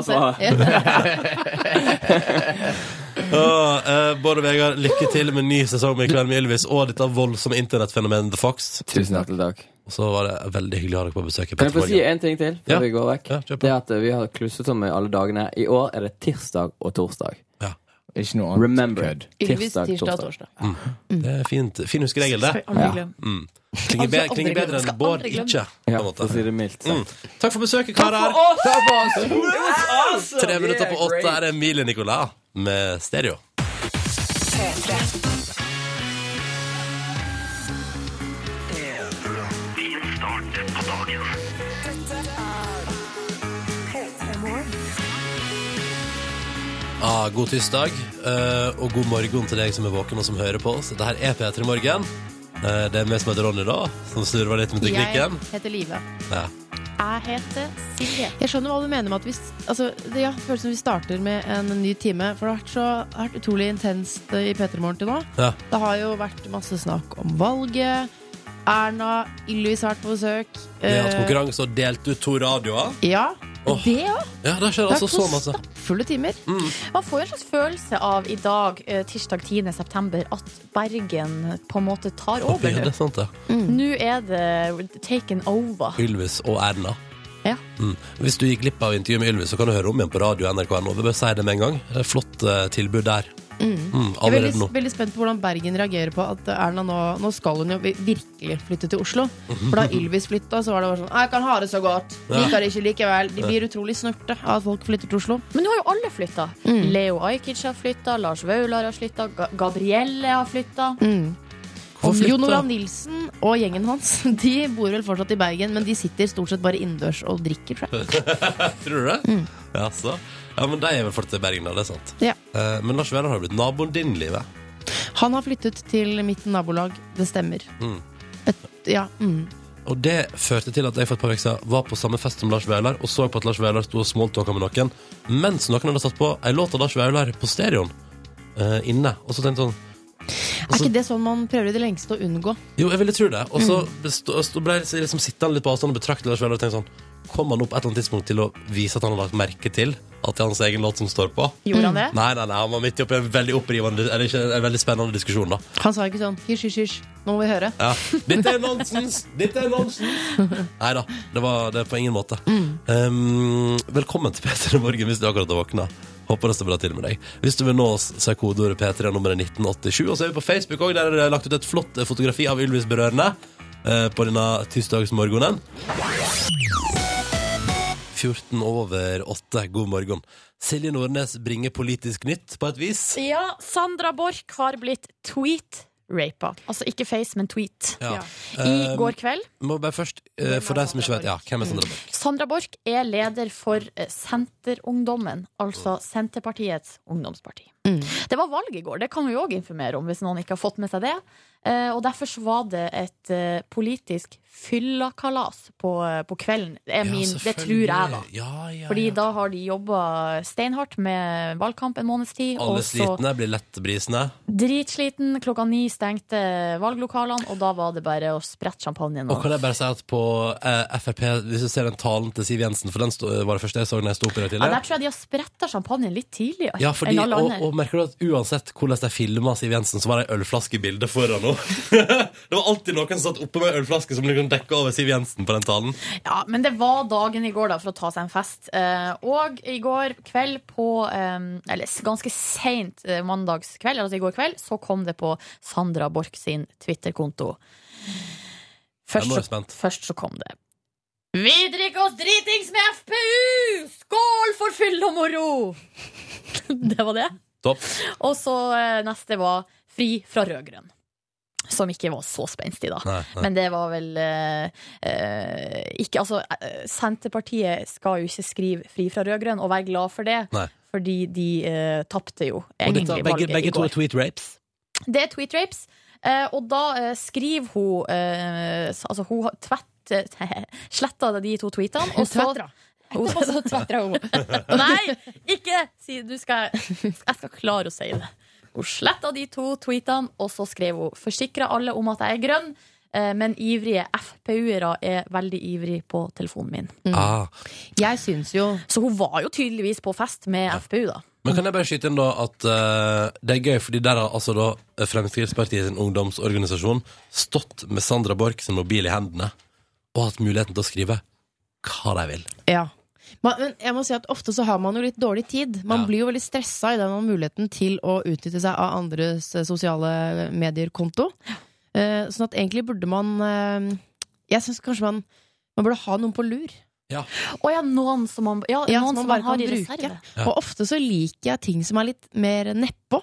Speaker 5: har
Speaker 2: Og, eh, Bård og Vegard, lykke til med ny sesong med I kveld med Ylvis og dette voldsomme internettfenomenet The Fox.
Speaker 5: Tusen hjertelig takk.
Speaker 2: Og så var det veldig hyggelig å ha dere på besøk. i
Speaker 5: Kan jeg få
Speaker 2: Petter
Speaker 5: si
Speaker 2: Morgen.
Speaker 5: en ting til
Speaker 2: Ja.
Speaker 5: før vi går vekk?
Speaker 2: Ja, kjør på.
Speaker 5: Det er at eh, vi har klusset om i alle dagene. I år er det tirsdag og torsdag.
Speaker 2: Ja.
Speaker 8: Ikke noe annet.
Speaker 5: Remember.
Speaker 8: kødd.
Speaker 4: Ylvis tirsdag og torsdag.
Speaker 2: Det er fint. Fin huskeregel, det.
Speaker 3: Aldri glem.
Speaker 2: Mm. Klinger, be
Speaker 3: Altså, aldri
Speaker 2: klinger bedre
Speaker 3: glemme. Skal
Speaker 2: enn Bård
Speaker 3: aldri glemme.
Speaker 2: ikke, på
Speaker 5: Ja,
Speaker 2: en
Speaker 5: for å
Speaker 2: måte.
Speaker 5: si det mildt.
Speaker 2: Mm.
Speaker 5: sant.
Speaker 2: Takk for besøket, karer.
Speaker 8: Takk for oss!
Speaker 2: Tre minutter på åtte her er Emilie Nicolas med stereo. Ah, god tirsdag, eh, og god morgen til deg som er våken og som hører på oss. Dette her er P3 Morgen. Eh, det er vi som heter Ronny, da, som snurver litt med
Speaker 4: Jeg
Speaker 2: teknikken.
Speaker 4: heter Live.
Speaker 2: Ja.
Speaker 3: Jeg heter Silje.
Speaker 4: Jeg skjønner hva du mener med at vi s- altså, det, ja, det føles som vi starter med en ny time. For det har vært så det har vært utrolig intenst eh, i P3 Morgen til nå.
Speaker 2: Ja.
Speaker 4: Det har jo vært masse snakk om valget. Erna, Ylvis har vært på besøk.
Speaker 2: Vi har hatt
Speaker 4: Eh,
Speaker 2: konkurranse og delt ut to radioer.
Speaker 4: Ja,
Speaker 2: Åh.
Speaker 4: det òg.
Speaker 2: Ja, det skjer
Speaker 4: Det er
Speaker 2: altså så
Speaker 4: to
Speaker 2: masse.
Speaker 4: stappfulle timer.
Speaker 3: Man får jo en slags følelse av i dag, eh, tirsdag 10. september, at Bergen på en måte tar over.
Speaker 2: Ja, det er sant, det.
Speaker 3: Nå er det taken over.
Speaker 2: Ylvis og Erna.
Speaker 3: Ja.
Speaker 2: Mm. Hvis du gikk glipp av intervjuet med Ylvis, så kan du høre om igjen på radio nrk.no. Vi bør si det med en gang. Det er Flott eh, tilbud der. Mm,
Speaker 4: Jeg er
Speaker 2: allerede
Speaker 4: veldig,
Speaker 2: nå.
Speaker 4: veldig spent på hvordan Bergen reagerer på at eh, Erna nå, nå skal hun jo vi- virkelig flytte til Oslo.
Speaker 2: Mhm.
Speaker 4: For da Ylvis flytta, så var det bare sånn Jeg kan ha det så godt. Liker det ikke likevel. De blir utrolig snørte av at folk flytter til Oslo.
Speaker 3: Men nå har jo alle flytta. Leo Ajkic har flytta, Lars Vaular har flytta, Ga- Gabrielle har flytta.
Speaker 4: Og
Speaker 2: flytta?
Speaker 4: Jon Olav Nilsen og gjengen hans De bor vel fortsatt i Bergen, men de sitter stort sett bare innendørs og drikker. Tror jeg.
Speaker 2: Tror du det? Ja, så. ja, men de er vel flyttet til Bergen, da. Det er sant.
Speaker 4: Ja.
Speaker 2: Eh, men Lars Vaular har jo blitt naboen din, Live.
Speaker 4: Han har flyttet til mitt nabolag. Det stemmer.
Speaker 2: Mm.
Speaker 4: Et, ja, mm.
Speaker 2: Og det førte til at jeg for et par uker siden var på samme fest som Lars Vaular og så på at Lars Vaular sto og smalltalka med noen mens noen hadde satt på ei låt av Lars Vaular på stereoen eh, inne. Og så tenkte jeg sånn
Speaker 4: Er
Speaker 2: Altså-
Speaker 4: ikke det sånn man prøver i det lengste å unngå?
Speaker 2: Jo, jeg ville tro det. Og så bestå- så ble jeg liksom sittende litt på avstand og betrakte Lars Vaular og tenkte sånn Kom han opp et eller annet tidspunkt til å vise at han har lagt merke til at det er hans egen låt som står på?
Speaker 3: Gjorde han det?
Speaker 2: Nei, nei, nei, han var midt oppi en veldig opprivende Eller ikke, en veldig spennende diskusjon, da.
Speaker 4: Han sa ikke sånn hysj, hysj, hysj, nå må vi høre.
Speaker 2: Ja. Dette er nonsens! Dette er nonsens! Nei da, det var det er på ingen måte. Um, velkommen til P3 Morgen hvis du akkurat har våkna. Håper det står bra til med deg. Hvis du vil nå oss, så er kodeordet P3 nummeret 1987. Og så er vi på Facebook òg, der er det lagt ut et flott eh, fotografi av Ylvis Berørende eh, på denne tirsdagsmorgenen. 14 over 8, god morgen. Silje Nordnes bringer politisk nytt på et vis.
Speaker 3: Ja, Sandra Borch har blitt tweet-rapa. Altså ikke face, men tweet.
Speaker 2: Ja.
Speaker 3: I
Speaker 2: Um,
Speaker 3: går kveld.
Speaker 2: Må bare først, eh, for deg som ikke vet, ja, hvem er Sandra Borch?
Speaker 3: Sandra Borch er leder for eh, Senterungdommen, altså Senterpartiets ungdomsparti. Det var valg i går, det kan vi òg informere om hvis noen ikke har fått med seg det. Eh, Og derfor så var det et eh, politisk fyllakalas på, eh, på kvelden. Det, er min, det tror jeg, da.
Speaker 2: Ja, ja,
Speaker 3: Fordi
Speaker 2: ja.
Speaker 3: da har de jobba steinhardt med valgkamp en måneds tid.
Speaker 2: Alle
Speaker 3: og så
Speaker 2: slitne blir lettbrisende.
Speaker 3: dritsliten. Klokka ni stengte valglokalene, og da var det bare å sprette champagnen.
Speaker 2: Og kan jeg bare si at på eh, Frp, hvis du ser den talen til Siv Jensen, for den sto, var det første jeg så da jeg sto opp i dag
Speaker 3: Ja,
Speaker 2: tidlig
Speaker 3: der tror jeg de har spretta champagnen litt tidligere
Speaker 2: ja, fordi,
Speaker 3: enn alle
Speaker 2: og,
Speaker 3: andre.
Speaker 2: og merker du at uansett hvordan de filma Siv Jensen, så var det ei ølflaske i bildet foran henne. det var alltid noen som satt oppe med ei ølflaske som liksom dekka over Siv Jensen på den talen.
Speaker 3: Ja, men det var dagen i går da for å ta seg en fest. Eh, og i går kveld på eh, Eller s- ganske seint eh, mandagskveld, altså i går kveld, så kom det på Sandra Borch sin Twitter-konto.
Speaker 2: Jeg
Speaker 3: Først,
Speaker 2: nå er jeg
Speaker 3: så-
Speaker 2: spent.
Speaker 3: først så kom det. Vi drikker oss dritings med FPU! Skål for fyll og moro! det var det.
Speaker 2: Topp.
Speaker 3: Og så eh, neste var Fri fra rød-grønn. Som ikke var så spenstig, da.
Speaker 2: Nei, nei.
Speaker 3: Men det var vel eh, eh, ikke Altså, eh, Senterpartiet skal jo ikke skrive fri fra rød-grønn og være glad for det.
Speaker 2: Nei.
Speaker 3: Fordi de uh, tapte jo
Speaker 2: Og
Speaker 3: egentlig
Speaker 2: dette, begge,
Speaker 3: valget
Speaker 2: begge
Speaker 3: i går.
Speaker 2: to er tweet rapes.
Speaker 3: Det er tweet rapes. eh, og da eh, skriver hun eh, s- Altså, hun har tvett Sletta de to tweetene, og så Hun- og så tvetra hun. Nei, ikke si Du skal Jeg skal klare å si det. Hun sletta de to tweetene, og så skrev hun 'Forsikra alle om at jeg er grønn', eh, men ivrige FPU-ere er veldig ivrig på telefonen min.
Speaker 2: Ah.
Speaker 4: Jeg syns jo
Speaker 3: Så hun var jo tydeligvis på fest med FPU, da.
Speaker 2: Men kan jeg bare skyte inn da at eh, det er gøy, fordi der har altså da Fremskrittspartiet sin ungdomsorganisasjon stått med Sandra Borch sin mobil i hendene og hatt muligheten til å skrive hva de vil.
Speaker 4: Ja. Man, men jeg må si at Ofte så har man jo litt dårlig tid. Man
Speaker 2: Ja.
Speaker 4: blir jo veldig stressa i den man har muligheten til å utnytte seg av andres eh, sosiale medier-konto. Eh, sånn at egentlig burde man eh, Jeg syns kanskje man man burde ha noen på lur.
Speaker 3: Å ja, noen som man, ja,
Speaker 4: Ja,
Speaker 3: noen
Speaker 4: som man
Speaker 3: som
Speaker 4: bare
Speaker 3: man har
Speaker 4: kan
Speaker 3: i
Speaker 4: bruke.
Speaker 3: reserve.
Speaker 2: Ja.
Speaker 4: Og ofte så liker jeg ting som er litt mer nedpå.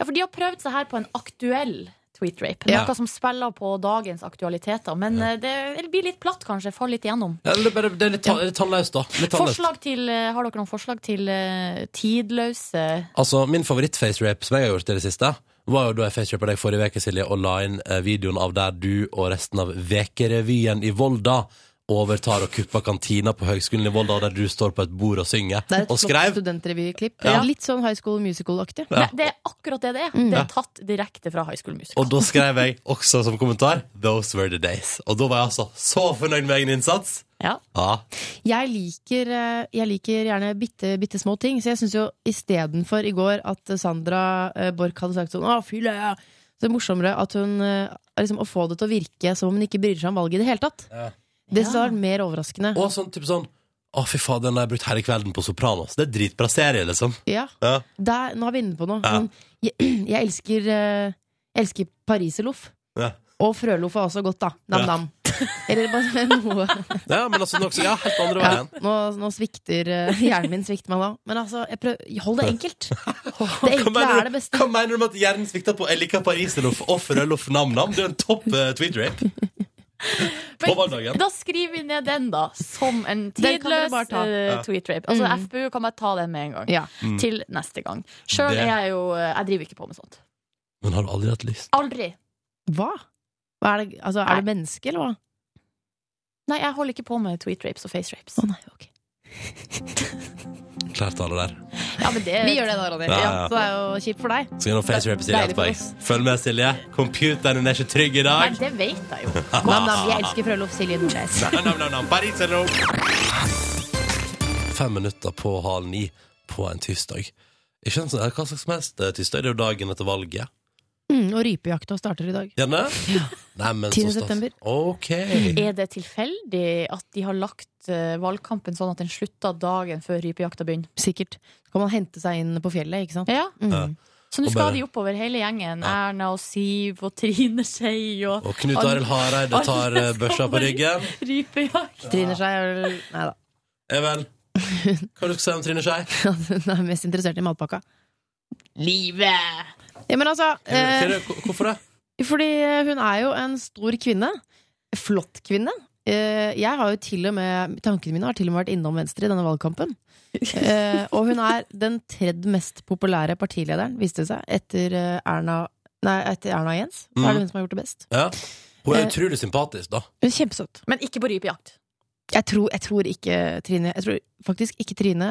Speaker 3: Ja, for de har prøvd seg her på en aktuell tweet-rape.
Speaker 2: Ja.
Speaker 3: Noe som spiller på dagens aktualiteter. Men eh, det blir litt platt, kanskje. Faller litt igjennom.
Speaker 2: Ja, det, er bare, det er litt, ta- litt tannløst, da. Litt tannløst.
Speaker 3: Forslag til, eh, har dere noen forslag til eh, tidløse
Speaker 2: Altså, min favoritt-facerape som jeg har gjort i det siste, var jo da jeg facerapa deg forrige uke, Silje, og la inn eh, videoen av der du og resten av Vekerevyen i Volda overtar og kupper kantina på Høgskolen i Volda, og der du står på et bord og synger.
Speaker 4: Det er et
Speaker 2: Og
Speaker 4: flott
Speaker 2: skrev.
Speaker 4: studentrevyklipp.
Speaker 2: Ja.
Speaker 4: Litt sånn High School Musical-aktig.
Speaker 2: Ja.
Speaker 3: Nei, Det er akkurat det det
Speaker 4: Mm.
Speaker 3: er. Det er tatt direkte fra High School Musical.
Speaker 2: Og da skrev jeg også som kommentar 'Those were the days'. Og da var jeg altså så fornøyd med egen innsats.
Speaker 3: Ja.
Speaker 2: Ja.
Speaker 4: Jeg liker, eh, jeg liker gjerne bitte, bitte små ting, så jeg syns jo istedenfor i går at Sandra eh, Borch hadde sagt sånn Å, fylle, ja. Så er det morsommere at hun eh, liksom, Å få det til å virke som om hun ikke bryr seg om valget i det hele tatt.
Speaker 2: Ja.
Speaker 4: Det som har vært mer overraskende.
Speaker 2: Og sånn type sånn 'Å, fy fader, den har jeg brukt hele kvelden på Sopranos'. Det er dritbra serie, liksom.
Speaker 4: Ja.
Speaker 2: Ja.
Speaker 4: Der, nå er vi inne på noe.
Speaker 2: Ja.
Speaker 4: Sånn, jeg, jeg elsker, eh, jeg elsker pariserloff.
Speaker 2: Ja.
Speaker 4: Og frøloff er også godt, da.
Speaker 2: Ja.
Speaker 4: Nam-nam. Eller bare noe
Speaker 2: Ja, men altså, nok, ja, helt andre
Speaker 4: ja,
Speaker 2: veien.
Speaker 4: nå, nå svikter eh, hjernen min svikter meg da. Men altså, jeg prøv, hold det enkelt. Det
Speaker 2: Hva
Speaker 4: enkle
Speaker 2: mener
Speaker 4: er det beste.
Speaker 2: Hva mener du med at hjernen svikta på 'Jeg liker pariserloff og frøloff nam-nam'? Det er jo en topp uh, tweet-rape. På valgdagen.
Speaker 3: Da skriver vi ned den, da, som en
Speaker 4: Den kan dere
Speaker 3: tidløs
Speaker 4: bare ta.
Speaker 3: eh, tweet-rape. Altså,
Speaker 4: Mm.
Speaker 3: FBU kan bare ta den med en gang.
Speaker 4: Ja.
Speaker 3: Til neste gang. Sjøl
Speaker 2: Mm. Det-
Speaker 3: er jeg jo eh, Jeg driver ikke på med sånt.
Speaker 2: Men har du aldri hatt lyst?
Speaker 3: Aldri.
Speaker 4: Hva? hva er, det, altså, er det menneske, eller hva?
Speaker 3: Nei, jeg holder ikke på med tweet-rapes og face-rapes.
Speaker 4: Å nei, ok.
Speaker 2: Klart alle der.
Speaker 3: Ja, men det,
Speaker 4: Vi gjør det da, Ronny.
Speaker 2: Ja,
Speaker 4: Eh, Ja,
Speaker 2: ja.
Speaker 4: Så det er jo kjipt for deg.
Speaker 2: Så gjennom facerape Silje
Speaker 4: Deilig for
Speaker 2: etterpå. jeg.
Speaker 4: oss.
Speaker 2: Følg med, Silje. Computeren din er ikke trygg i dag.
Speaker 3: Nei, det vet jeg jo.
Speaker 4: Ah. Nam-nam, jeg elsker frøloff Silje Nordnes.
Speaker 2: Nam, nam, nam, nam. Pariserloff. Fem minutter på halv ni på en tirsdag. Ikke en sånn, hva slags som helst eh, tirsdag. Det er jo dagen etter valget.
Speaker 4: Mm, og rypejakta starter i dag.
Speaker 2: Gjerne? Nei, men så
Speaker 4: 10.
Speaker 2: stas.
Speaker 4: september.
Speaker 2: Ok.
Speaker 3: Er det tilfeldig at de har lagt eh, valgkampen sånn at den slutter dagen før rypejakta begynner?
Speaker 4: Sikkert. Så kan man hente seg inn på fjellet, ikke sant?
Speaker 3: Ja.
Speaker 2: Ja.
Speaker 4: Mm.
Speaker 3: Så nå
Speaker 2: Og
Speaker 3: skal
Speaker 2: bare-
Speaker 3: de oppover hele gjengen.
Speaker 2: Ja.
Speaker 3: Erna og Siv og Trine Skei og
Speaker 2: Og Knut Arild Hareide tar eh, børsa på ryggen.
Speaker 3: rypejakt.
Speaker 4: Trine Skei er vel Nei da.
Speaker 2: Even, hva du skal du si om Trine Skei?
Speaker 4: Hun er mest interessert i matpakka. Livet! Ja, men altså eh,
Speaker 2: Hva- hva- Hvorfor det?
Speaker 4: Fordi eh, hun er jo en stor kvinne. Flott kvinne. Eh, Jeg har jo til og med Tankene mine har til og med vært innom Venstre i denne valgkampen. Eh, Og hun er den tredje mest populære partilederen, viste det seg, etter eh, Erna Nei, etter Erna og Jens. Så
Speaker 2: Mm.
Speaker 4: er det hun som har gjort det best.
Speaker 2: Ja. Hun er
Speaker 4: Eh,
Speaker 2: utrolig sympatisk, da.
Speaker 4: Hun er kjempesøt.
Speaker 3: Men ikke på rypejakt.
Speaker 4: Jeg tror, jeg tror ikke Trine Jeg tror faktisk ikke Trine.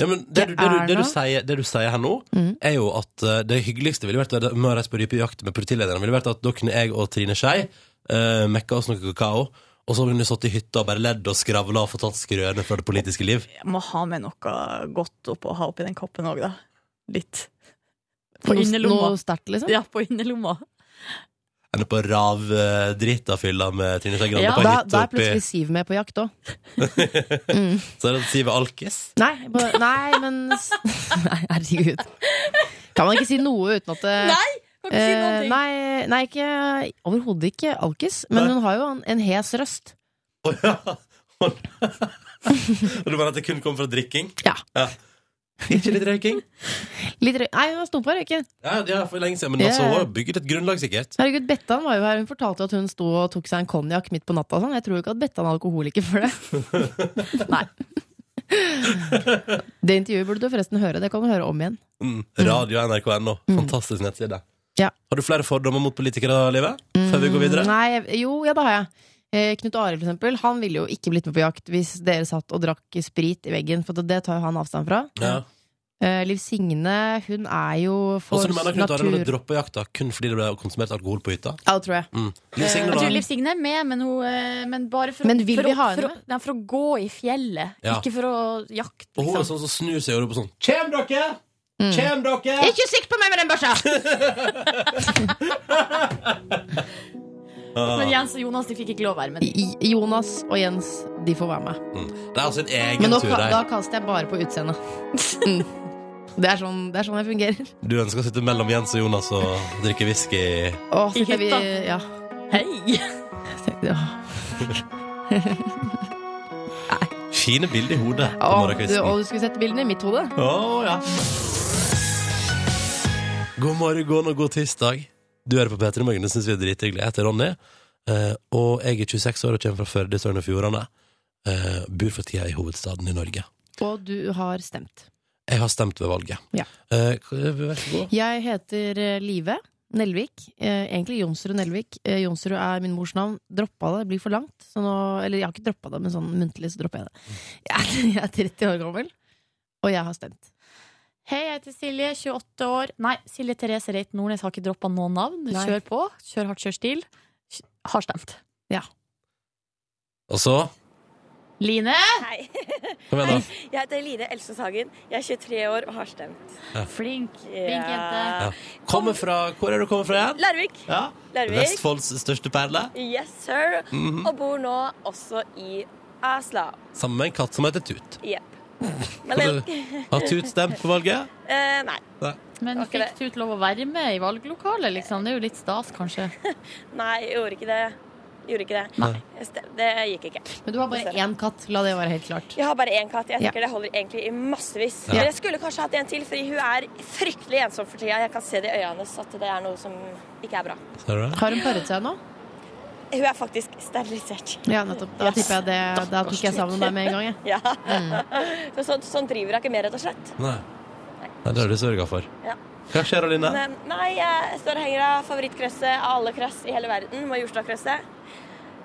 Speaker 2: Ja, men det, du, det, du, det, du
Speaker 4: Erna.
Speaker 2: sier, det du sier her nå,
Speaker 4: Mm.
Speaker 2: er jo at eh, det hyggeligste ville vært med å reise på rypejakt med partilederne. ville vært at da kunne jeg og Trine Skei eh, mekka oss noe kakao, og så kunne vi satt i hytta og bare ledd og skravla og fortalt skrøner fra det politiske liv.
Speaker 3: Jeg må ha med noe godt opp og ha oppi den koppen òg, da. Litt. På
Speaker 4: Noe-
Speaker 3: innerlomma.
Speaker 4: Noe sterkt, liksom.
Speaker 3: Ja, på innerlomma.
Speaker 2: Ender på ravdrita fylla med Trine Skei Grande
Speaker 3: Ja,
Speaker 2: på ei
Speaker 4: Da,
Speaker 2: hytte
Speaker 4: da er
Speaker 2: oppi
Speaker 4: plutselig Siv med på jakt òg.
Speaker 2: Så er det Sive Alkis.
Speaker 4: Nei, på, nei, men Nei, herregud. Kan man ikke si noe uten at det
Speaker 3: Nei! Kan ikke si noen
Speaker 4: Eh,
Speaker 3: ting.
Speaker 4: nei, nei ikke, overhodet ikke alkis, men
Speaker 2: Nei.
Speaker 4: hun har jo en, en hes røst.
Speaker 2: Å ja! Og du mener at det kun kom fra drikking?
Speaker 4: Ja.
Speaker 2: Ikke litt røyking?
Speaker 4: Litt røy nei, hun har stumpa røyken.
Speaker 2: Ja, ja, for lenge siden. Men
Speaker 4: Ja.
Speaker 2: altså, hun har bygget et grunnlag, sikkert.
Speaker 4: Herregud, Bettan var jo her. Hun fortalte jo at hun sto og tok seg en konjakk midt på natta. og Sånn. Jeg tror jo ikke at Bettan er alkoholiker for det. nei. Det intervjuet burde du forresten høre. Det kan du høre om igjen.
Speaker 2: Mm. Radio NRK.no. Fantastisk nettside.
Speaker 4: Mm. Ja.
Speaker 2: Har du flere fordommer mot politikere, Live? Før vi går videre?
Speaker 4: Mm, Nei, jeg- jo, ja, det har jeg. Eh, Knut Arild, for eksempel, han ville jo ikke blitt med på jakt hvis dere satt og drakk sprit i veggen, for det tar jo han avstand fra.
Speaker 2: Ja.
Speaker 4: Eh, Liv Signe, hun er jo
Speaker 2: Og
Speaker 4: for
Speaker 2: så du mener Knut Arild hadde
Speaker 4: natur...
Speaker 2: droppa jakta kun fordi det ble konsumert alkohol på hytta?
Speaker 4: Ja, det tror Eh, jeg.
Speaker 2: Mm. Liv Signe,
Speaker 3: Jeg tror
Speaker 2: da?
Speaker 3: Liv Signe er med, men, hun, eh, men bare for,
Speaker 4: Men vil
Speaker 3: for,
Speaker 4: vi
Speaker 3: å-
Speaker 4: ha henne
Speaker 3: for, å- nei, for å gå i fjellet,
Speaker 2: Ja.
Speaker 3: ikke for å jakte.
Speaker 2: Og hun er
Speaker 3: Liksom.
Speaker 2: sånn som snur seg og roper sånn Kjem dere!
Speaker 4: Mm.
Speaker 2: Kjem dere!
Speaker 4: Ikke sikt på meg med den børsa!
Speaker 3: Men Jens og Jonas de fikk ikke lov å være med.
Speaker 4: I- Jonas og Jens, de får være med.
Speaker 2: Det er altså en
Speaker 4: Men
Speaker 2: egen
Speaker 4: nå,
Speaker 2: tur
Speaker 4: ka- da
Speaker 2: her.
Speaker 4: kaster jeg bare på utseendet. Mm. Det er sånn, det er sånn jeg fungerer.
Speaker 2: Du ønsker å sitte mellom Jens og Jonas og drikke whisky.
Speaker 4: Åh,
Speaker 3: I
Speaker 4: sitter vi,
Speaker 3: hytta.
Speaker 4: ja.
Speaker 3: Hei!
Speaker 4: Ja.
Speaker 2: Fine bilder i hodet på
Speaker 4: Åh, du,
Speaker 2: morgenkvisten.
Speaker 4: og du skulle sett bildene i mitt hode.
Speaker 2: Å, ja. God morgen og god tirsdag. Du hører på P3 Morgen, det syns vi er drithyggelig. Jeg heter Ronny, eh, og jeg er 26 år og kommer fra Førde i Sogn og Fjordane. Eh, Bor for tida i hovedstaden i Norge.
Speaker 4: Og du har stemt.
Speaker 2: Jeg har stemt ved valget.
Speaker 4: Ja.
Speaker 2: Eh, vær så god.
Speaker 4: Jeg heter eh, Live Nelvik. Eh, egentlig Jonsrud Nelvik. Eh, Jonsrud er min mors navn. Droppa det, det blir for langt. Så nå, eller jeg har ikke droppa det, men sånn muntlig så dropper jeg det. Jeg, er 30 år gammel, og jeg har stemt.
Speaker 3: Hei, jeg heter Silje, 28 år. Nei, Silje Therese Reit Nordnes har ikke droppa noen navn.
Speaker 4: Nei.
Speaker 3: Kjør på. Kjør hardt, kjør stil. Kj- Har stemt.
Speaker 2: Og så
Speaker 3: Line,
Speaker 10: Hei.
Speaker 2: Kom igjen, da.
Speaker 10: Jeg heter Line Elsåshagen. Jeg er 23 år og har stemt.
Speaker 3: flink. eh, Flink jente.
Speaker 10: Ja.
Speaker 2: Kommer fra, hvor er du kommet fra igjen?
Speaker 10: Larvik.
Speaker 2: Ja.
Speaker 10: Larvik.
Speaker 2: Vestfolds største perle.
Speaker 10: Yes, sir.
Speaker 2: Mhm.
Speaker 10: Og bor nå også i Asla.
Speaker 2: Sammen med en katt som heter Tut.
Speaker 10: Jepp.
Speaker 2: Har
Speaker 10: Men
Speaker 2: du-
Speaker 10: det-
Speaker 2: Har Tut stemt på valget?
Speaker 10: eh, Nei.
Speaker 3: Men
Speaker 10: Takk for
Speaker 3: fikk du lov å være med i valglokalet, liksom? Det er jo litt stas, kanskje.
Speaker 10: Nei, jeg gjorde ikke det. Gjorde ikke det.
Speaker 2: Nei.
Speaker 10: Jeg stem- Det gikk ikke.
Speaker 4: Men du har bare én katt, la det være helt klart.
Speaker 10: Jeg har bare én katt. Jeg
Speaker 4: Ja.
Speaker 10: tenker Det holder egentlig i massevis.
Speaker 2: Ja.
Speaker 10: Men jeg skulle kanskje hatt en til, fordi hun er fryktelig ensom for tida. Jeg kan se det i øynene hennes at det er noe som ikke er bra.
Speaker 2: Ser du det?
Speaker 4: Har hun paret seg nå?
Speaker 10: Hun er faktisk sterilisert.
Speaker 4: Ja, nettopp. Da tipper jeg det. Da tok jeg sammen deg med en gang, jeg.
Speaker 10: Ja.
Speaker 4: Mm.
Speaker 10: Så sånn, sånn driver hun ikke mer, rett og slett.
Speaker 2: Nei. Nei, det har du sørga for.
Speaker 10: Ja.
Speaker 2: Hva skjer, Aline?
Speaker 10: Men, eh, nei, jeg står og henger av favorittkrøsset av alle krøss i hele verden, Majorstadkrøsset.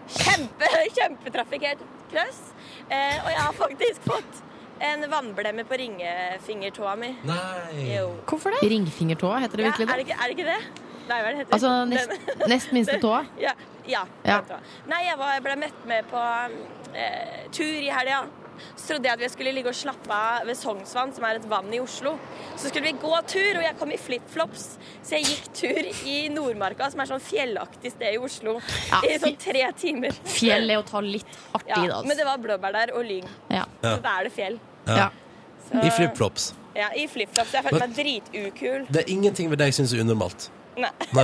Speaker 10: Kjempe, kjempetrafikkert krøss. Eh, og jeg har faktisk fått en vannblemme på ringefingertåa mi.
Speaker 2: Nei.
Speaker 10: Jo.
Speaker 4: Hvorfor det? Ringfingertåa, heter det
Speaker 10: Ja, er,
Speaker 4: virkelig
Speaker 10: det
Speaker 4: det?
Speaker 10: ikke, er det ikke det? Nei, hva er det heter?
Speaker 4: Altså
Speaker 10: Den-
Speaker 4: nest, nest minste tåa.
Speaker 10: Ja. ja,
Speaker 4: Ja.
Speaker 10: den tåa. Nei, jeg, var, jeg ble møtt med på eh, tur i helga. Så trodde jeg at vi skulle ligge og slappe av ved Sognsvann, som er et vann i Oslo. Så skulle vi gå tur, og jeg kom i flipflops. Så jeg gikk tur i Nordmarka, som er sånn fjellaktig sted i Oslo,
Speaker 3: Ja,
Speaker 10: i sånn tre timer.
Speaker 3: Fjell er å ta litt hardt
Speaker 10: Ja,
Speaker 3: i det,
Speaker 10: men det
Speaker 3: altså.
Speaker 10: var blåbær der og lyng,
Speaker 3: Ja.
Speaker 10: så da er det fjell.
Speaker 2: Ja.
Speaker 10: Så,
Speaker 2: I flipflops.
Speaker 10: Ja, i flipflops. Jeg følte meg dritukul.
Speaker 2: Det er ingenting ved deg jeg syns er unormalt.
Speaker 10: Nei.
Speaker 2: Nei.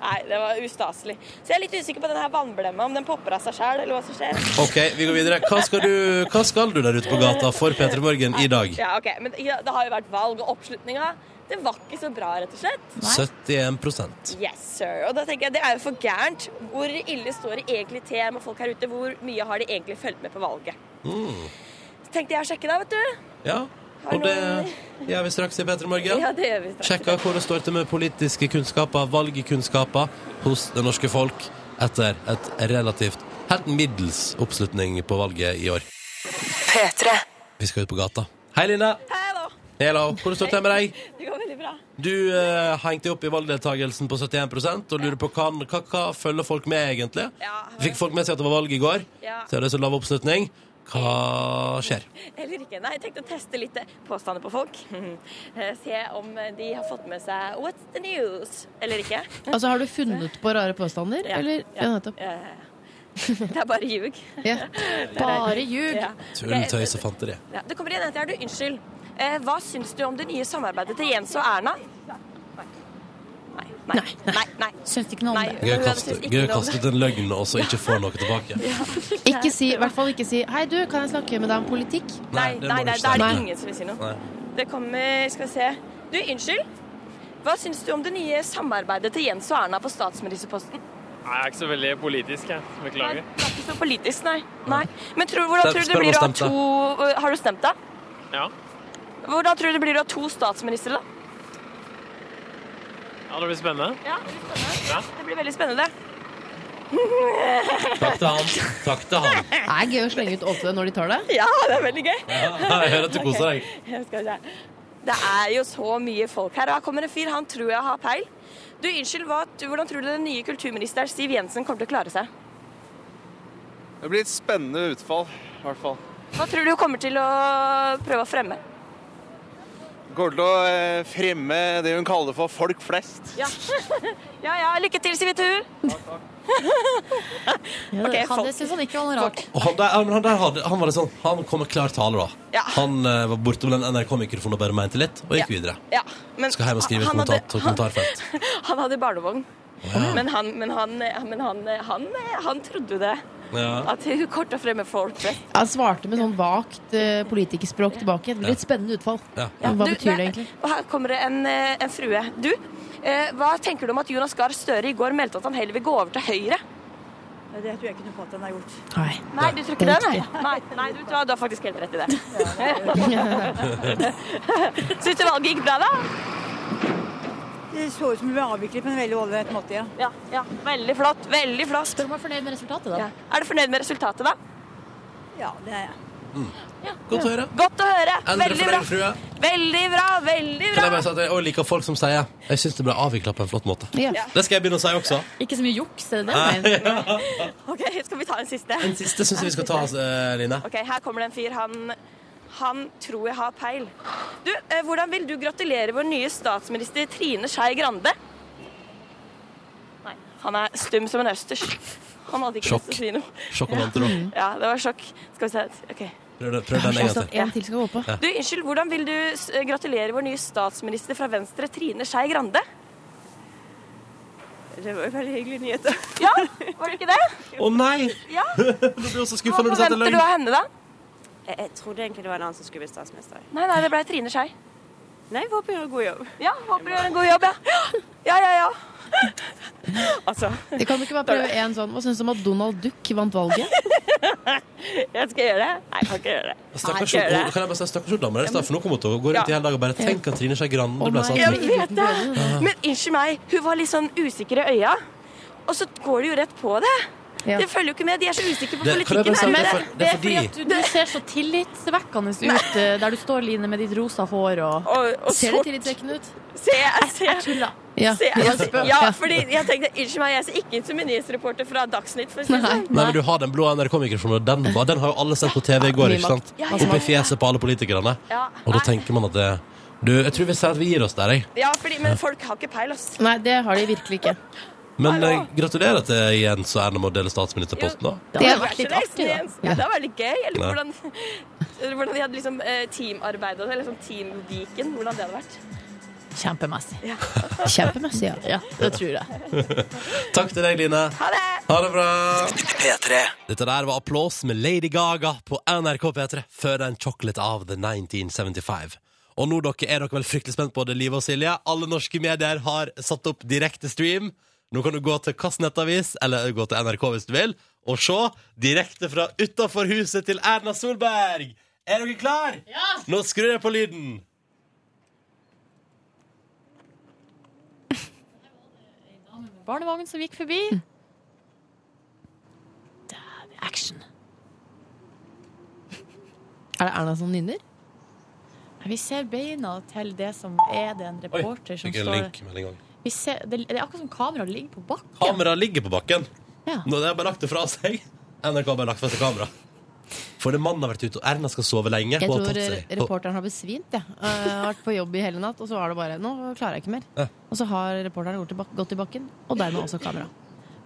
Speaker 10: Nei, det var ustaselig. Så jeg er litt usikker på den her vannblemma, om den popper av seg sjæl, eller hva som skjer.
Speaker 2: OK, vi går videre. Hva skal du, hva skal du der ute på gata for P3 Morgen i dag?
Speaker 10: Ja, ok, men ja, Det har jo vært valg, og oppslutninga det var ikke så bra, rett og slett.
Speaker 2: 71
Speaker 10: Yes, sir. Og da tenker jeg, Det er jo for gærent. Hvor ille står det egentlig til med folk her ute? Hvor mye har de egentlig fulgt med på valget? Så tenkte jeg å sjekke da, vet du.
Speaker 2: Mm. Ja. Og det gjør vi straks i P3 Morgen.
Speaker 10: Ja, det gjør vi straks.
Speaker 2: Sjekka hvor det står til med politiske kunnskaper, valgkunnskaper, hos det norske folk etter et relativt helt middels oppslutning på valget i år. Vi skal ut på gata. Hei, Line.
Speaker 10: Hello.
Speaker 2: Hello. Hvor står det til med deg?
Speaker 10: Det går veldig bra.
Speaker 2: Du eh, hengte deg opp i valgdeltagelsen på 71 og lurer på hva, hva, hva følger folk med, egentlig?
Speaker 10: Ja.
Speaker 2: Fikk folk med seg at det var valg i går?
Speaker 10: Ja.
Speaker 2: Så er det så lav oppslutning. Hva skjer?
Speaker 10: Eller ikke. Nei, jeg tenkte å teste litt eh, påstander på folk. Eh, Se om de har fått med seg What's the news? Eller ikke.
Speaker 4: Altså, har du funnet på rare påstander,
Speaker 10: Ja,
Speaker 4: eller?
Speaker 10: ja.
Speaker 4: Ja, nettopp.
Speaker 10: Eh, Det er bare ljug.
Speaker 4: Ja.
Speaker 3: Bare ljug.
Speaker 10: Ja.
Speaker 2: Tull,
Speaker 10: Ok,
Speaker 2: tøys og fanteri.
Speaker 10: Ja, det kommer igjen en til her, du. Unnskyld. Eh, hva syns du om det nye samarbeidet til Jens og Erna? Nei. Nei. Nei. nei, nei.
Speaker 3: Syns ikke noe om
Speaker 10: Nei.
Speaker 3: det.
Speaker 2: Gøy å
Speaker 10: Hun
Speaker 2: kaste,
Speaker 10: synes ikke
Speaker 2: gøy å
Speaker 10: noe om
Speaker 2: kaste ut en løgn og så ikke få noe tilbake.
Speaker 4: Ikke si, i hvert fall ikke si Hei du, kan jeg snakke med deg om politikk?
Speaker 10: Nei, nei,
Speaker 2: det må du
Speaker 10: nei, da
Speaker 2: ikke
Speaker 10: er det
Speaker 2: si.
Speaker 10: ingen som vil si noe.
Speaker 2: Nei.
Speaker 10: Det kommer Skal vi se. Du, unnskyld. Hva syns du om det nye samarbeidet til Jens og Erna på statsministerposten?
Speaker 8: Nei, jeg er ikke så veldig politisk, jeg.
Speaker 10: Nei,
Speaker 8: Beklager.
Speaker 10: det er ikke så politisk, nei. nei. Men tror, hvordan
Speaker 2: Spør-
Speaker 10: tror du
Speaker 2: spør
Speaker 10: det
Speaker 2: om
Speaker 10: blir å ha
Speaker 2: hun
Speaker 10: to eh, Har du stemt, da?
Speaker 8: Ja.
Speaker 10: Hvordan tror du det blir å ha to statsministre, da?
Speaker 8: ja, det blir spennende.
Speaker 10: Ja, det blir spennende. Det blir veldig spennende.
Speaker 2: Takk til han. Takk til han.
Speaker 4: Det er gøy å slenge ut åte når de tar det.
Speaker 10: Ja, det er veldig gøy.
Speaker 2: Jeg hører at du koser deg.
Speaker 10: Jeg skal se. Det er jo så mye folk her. Her kommer en fyr, han tror jeg har peil. Du, unnskyld, hva, du, hvordan tror du den nye kulturministeren Siv Jensen kommer til å klare seg?
Speaker 8: Det blir et spennende utfall, i hvert fall.
Speaker 10: Hva tror du hun kommer til å prøve å fremme?
Speaker 8: kommer til å eh, fremme det hun kaller for folk flest.
Speaker 10: Ja. ja, ja. Lykke til, sier vi til hun.
Speaker 3: Ja,
Speaker 10: Ok,
Speaker 3: han,
Speaker 10: folk-
Speaker 3: det syns han ikke var noe rart.
Speaker 2: Og han der, men han der hadde, han var litt sånn, han kom med klar tale, da.
Speaker 10: Ja.
Speaker 2: Han eh, var bortom den NRK-mikrofonen og bare mente litt, og gikk videre.
Speaker 10: Ja, men
Speaker 2: Skal hjem og skrive et
Speaker 10: han hadde-
Speaker 2: kommentar, kommentarfelt.
Speaker 10: Han hadde barnevogn. Men, han, men, han, men han, han, han trodde det.
Speaker 2: Ja.
Speaker 10: At hun kort og fremme folk flest.
Speaker 4: Jeg svarte med sånn vagt eh, politikerspråk tilbake. Det blir et spennende utfall.
Speaker 10: Ja,
Speaker 4: Hva
Speaker 10: du,
Speaker 4: betyr
Speaker 10: nei,
Speaker 4: det egentlig?
Speaker 10: Og her kommer det en, eh, en frue. Du, eh, hva tenker du om at Jonas Gahr Støre i går meldte at han heller vil gå over til Høyre?
Speaker 11: Det tror jeg ikke noe på at han har gjort.
Speaker 4: Nei.
Speaker 10: Nei, du tror ikke det? Nei, nei, nei du, tror, du har faktisk helt rett i det. Syns du valget gikk bra, da?
Speaker 11: Det så ut som det ble avviklet på en veldig ålreit måte, ja.
Speaker 10: Ja, ja. Veldig flott. Veldig flott.
Speaker 3: Spør om han er fornøyd med resultatet, da.
Speaker 10: Ja. Er du fornøyd med resultatet, da?
Speaker 11: Ja, det er jeg.
Speaker 2: Godt å høre.
Speaker 10: Godt å høre.
Speaker 2: Endre
Speaker 10: Veldig bra.
Speaker 2: fornøyd frue.
Speaker 10: Veldig bra, veldig
Speaker 2: Kan jeg
Speaker 10: bra.
Speaker 2: bare si at jeg også liker folk som sier Jeg syns det ble avvikla på en flott måte.
Speaker 4: Ja.
Speaker 2: Det skal jeg begynne å si også.
Speaker 3: Ikke så mye juks, er det det du mener?
Speaker 10: Ok, skal vi ta en siste?
Speaker 2: Den siste syns jeg vi skal ta, eh, Line.
Speaker 10: Ok, her kommer det en fyr. Han, han tror jeg har peil. Du, eh, hvordan vil du gratulere vår nye statsminister Trine Skei Grande? Nei, han er stum som en østers. Han hadde ikke
Speaker 2: Sjokk.
Speaker 10: lyst til å si noe.
Speaker 2: Sjokk og vantro.
Speaker 10: Ja, det var sjokk. Skal vi se. Ok.
Speaker 2: Prøv, det- prøv den en gang
Speaker 4: Altså,
Speaker 2: til.
Speaker 4: en til skal gå på.
Speaker 10: Du, unnskyld, hvordan vil du s- eh, gratulere vår nye statsminister fra Venstre, Trine Skei Grande?
Speaker 11: Det var jo veldig hyggelig nyhet.
Speaker 10: Ja, var det ikke det?
Speaker 2: Å nei!
Speaker 10: Ja.
Speaker 2: Du blir også skuffa
Speaker 10: Hva
Speaker 2: når du setter
Speaker 10: forventer du
Speaker 2: løgn.
Speaker 10: av henne, da?
Speaker 11: Jeg, jeg trodde egentlig det var en annen som skulle bli statsminister.
Speaker 10: Nei, nei, det ble Trine Skei.
Speaker 11: Nei, jeg håper jeg gjør en god jobb.
Speaker 10: Ja, håper du gjør en god jobb, ja. Ja, ja, ja.
Speaker 11: Altså,
Speaker 4: Det kan ikke bare prøve en sånn. Hva syns du om at Donald Duck vant valget?
Speaker 11: jeg skal gjøre det. Nei, jeg kan ikke gjøre det.
Speaker 2: Stakkars
Speaker 11: Nei, gjør det.
Speaker 2: hun- kan jeg bare si, stakkars hun damen der, for nå kommer hun til å gå rundt i hele dag og bare tenk at Trine Skei Grande
Speaker 4: Å,
Speaker 2: ble
Speaker 4: nei.
Speaker 2: satt
Speaker 10: Jeg
Speaker 2: ut.
Speaker 10: vet det. Men unnskyld meg, hun var litt sånn usikker i øya. Og så går de jo rett på det.
Speaker 4: Ja.
Speaker 10: Det følger jo ikke med. De er så usikre på
Speaker 2: Det- kan
Speaker 10: politikken.
Speaker 2: jeg bare si at
Speaker 10: her.
Speaker 3: Men
Speaker 2: er for- det
Speaker 3: det
Speaker 2: er
Speaker 3: er fordi
Speaker 2: fordi-
Speaker 3: at du, du ser så tillitsvekkende ut eh, der du står, Line, med ditt rosa hår og
Speaker 10: Og, og
Speaker 4: Ser det
Speaker 10: så
Speaker 4: tillitvekkende ut?
Speaker 10: ser jeg ser,
Speaker 3: tulla.
Speaker 4: Ja.
Speaker 10: ser jeg- Ja, fordi jeg tenkte unnskyld meg, jeg ser ikke ut som en nyhetsreporter fra Dagsnytt. For å si det sånn.
Speaker 2: Nei, men du har den blå NRK-mikrofonen, og den, var- den har jo alle sett på TV i går, ikke sant?
Speaker 10: Ja, ja,
Speaker 2: Opp i
Speaker 10: ja.
Speaker 2: fjeset på alle politikerne.
Speaker 10: Ja,
Speaker 2: Og da
Speaker 10: nei.
Speaker 2: tenker man at det Du, jeg tror vi sier at vi gir oss der, jeg.
Speaker 10: ja fordi, men folk har ikke peil, ass.
Speaker 4: Nei, det har de virkelig ikke.
Speaker 2: Men eh, gratulerer til Jens og Erna med å dele statsministerposten, da.
Speaker 4: Det hadde vært litt artig, da.
Speaker 10: Congratulations, Jens. Det var veldig gøy. Eller
Speaker 2: Ja.
Speaker 10: hvordan, eller hvordan de hadde liksom eh, teamarbeidet, eller sånn teamviken, hvordan det hadde vært.
Speaker 3: Kjempemessig.
Speaker 4: Kjempemessig, ja.
Speaker 3: Ja, det tror jeg.
Speaker 2: Takk til deg, Line.
Speaker 10: Ha det!
Speaker 2: Ha det bra. Dette der var applaus med Lady Gaga på NRK P3 før den 'Chocolate of the 1975'. Og nå dere, er dere vel fryktelig spent på det, Live og Silje. Alle norske medier har satt opp direkte stream. Nå kan du gå til Kast Nettavis, eller gå til NRK hvis du vil, og se direkte fra utafor huset til Erna Solberg. Er dere klar? Ja! Nå skrur jeg på lyden.
Speaker 3: Barnevogn som gikk forbi.
Speaker 4: Mm.
Speaker 3: Dæven, Action.
Speaker 4: Er det Erna som nynner?
Speaker 3: Vi ser beina til det som er det en
Speaker 2: Oi,
Speaker 3: reporter som
Speaker 2: fikk en
Speaker 3: står
Speaker 2: link med en gang.
Speaker 3: vi ser, det, det er akkurat som kameraet ligger på bakken.
Speaker 2: Kameraet ligger på bakken.
Speaker 3: Ja.
Speaker 2: Nå har de bare lagt det fra seg. NRK har bare lagt fra seg kamera. For det mannen har vært ute, og Erna skal sove lenge.
Speaker 4: Jeg
Speaker 2: Hun har
Speaker 4: tror
Speaker 2: tatt
Speaker 4: eh,
Speaker 2: seg-
Speaker 4: reporteren har besvimt. Ja. Eh, har vært på jobb i hele natt, og så var det bare Nå klarer jeg ikke mer.
Speaker 2: Ja.
Speaker 4: Og så har reporteren gått i, bak gått i bakken, og dermed også kamera.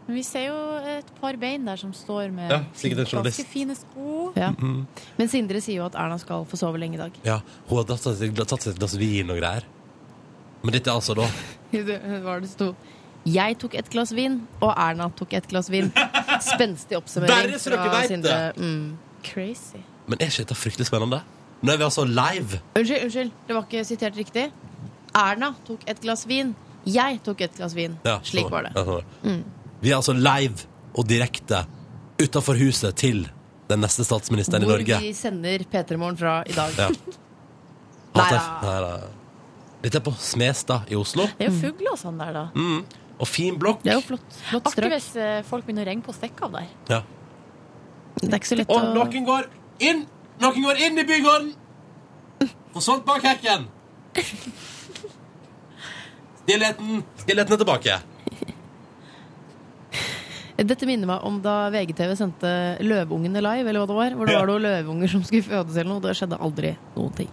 Speaker 3: Men vi ser jo et par bein der som står med
Speaker 2: Ja, sikkert en journalist.
Speaker 3: ganske fine sko.
Speaker 4: Ja.
Speaker 2: Mhm.
Speaker 4: Men Sindre sier jo at Erna skal få sove lenge i dag.
Speaker 2: Ja, hun har tatt seg, tatt seg et glass vin og greier. Men dette er altså da
Speaker 4: Det var det sto. Jeg tok et glass vin, og Erna tok et glass vin. Spenstig oppsummering.
Speaker 2: Bare så dere
Speaker 4: fra
Speaker 2: vet
Speaker 4: Sindre.
Speaker 2: det.
Speaker 4: Mm.
Speaker 3: Crazy.
Speaker 2: Men er ikke dette fryktelig spennende? Nå er vi altså live.
Speaker 4: Unnskyld, unnskyld, det var ikke sitert riktig. Erna tok et glass vin. Jeg tok et glass vin.
Speaker 2: Ja,
Speaker 4: Slik
Speaker 2: sånn.
Speaker 4: var det. Mm.
Speaker 2: Ja, sånn var det. Vi er altså live og direkte utafor huset til den neste statsministeren i
Speaker 4: Hvor
Speaker 2: Norge.
Speaker 4: vi sender P3 Morgen fra i dag.
Speaker 2: Ja.
Speaker 4: Nei da.
Speaker 2: Hatt det- Nei da. Dette er på Smestad i Oslo.
Speaker 3: Det er jo fugler og sånn der, da.
Speaker 2: Mm. Og fin blokk.
Speaker 4: Det er jo flott, flott
Speaker 3: Artig
Speaker 4: strøk.
Speaker 3: hvis eh, folk begynner å ringe på og stikke av der.
Speaker 2: Ja.
Speaker 4: Det er ikke så lett å
Speaker 2: Og noen går inn Noen går inn i bygården Forsvant bak hekken Stillheten Stillheten er tilbake
Speaker 4: Dette minner meg om da VGTV sendte Løveungene live, eller hva det var. Hvor det
Speaker 11: Ja.
Speaker 4: var noen løveunger som skulle fødes eller noe. Det skjedde aldri noen ting.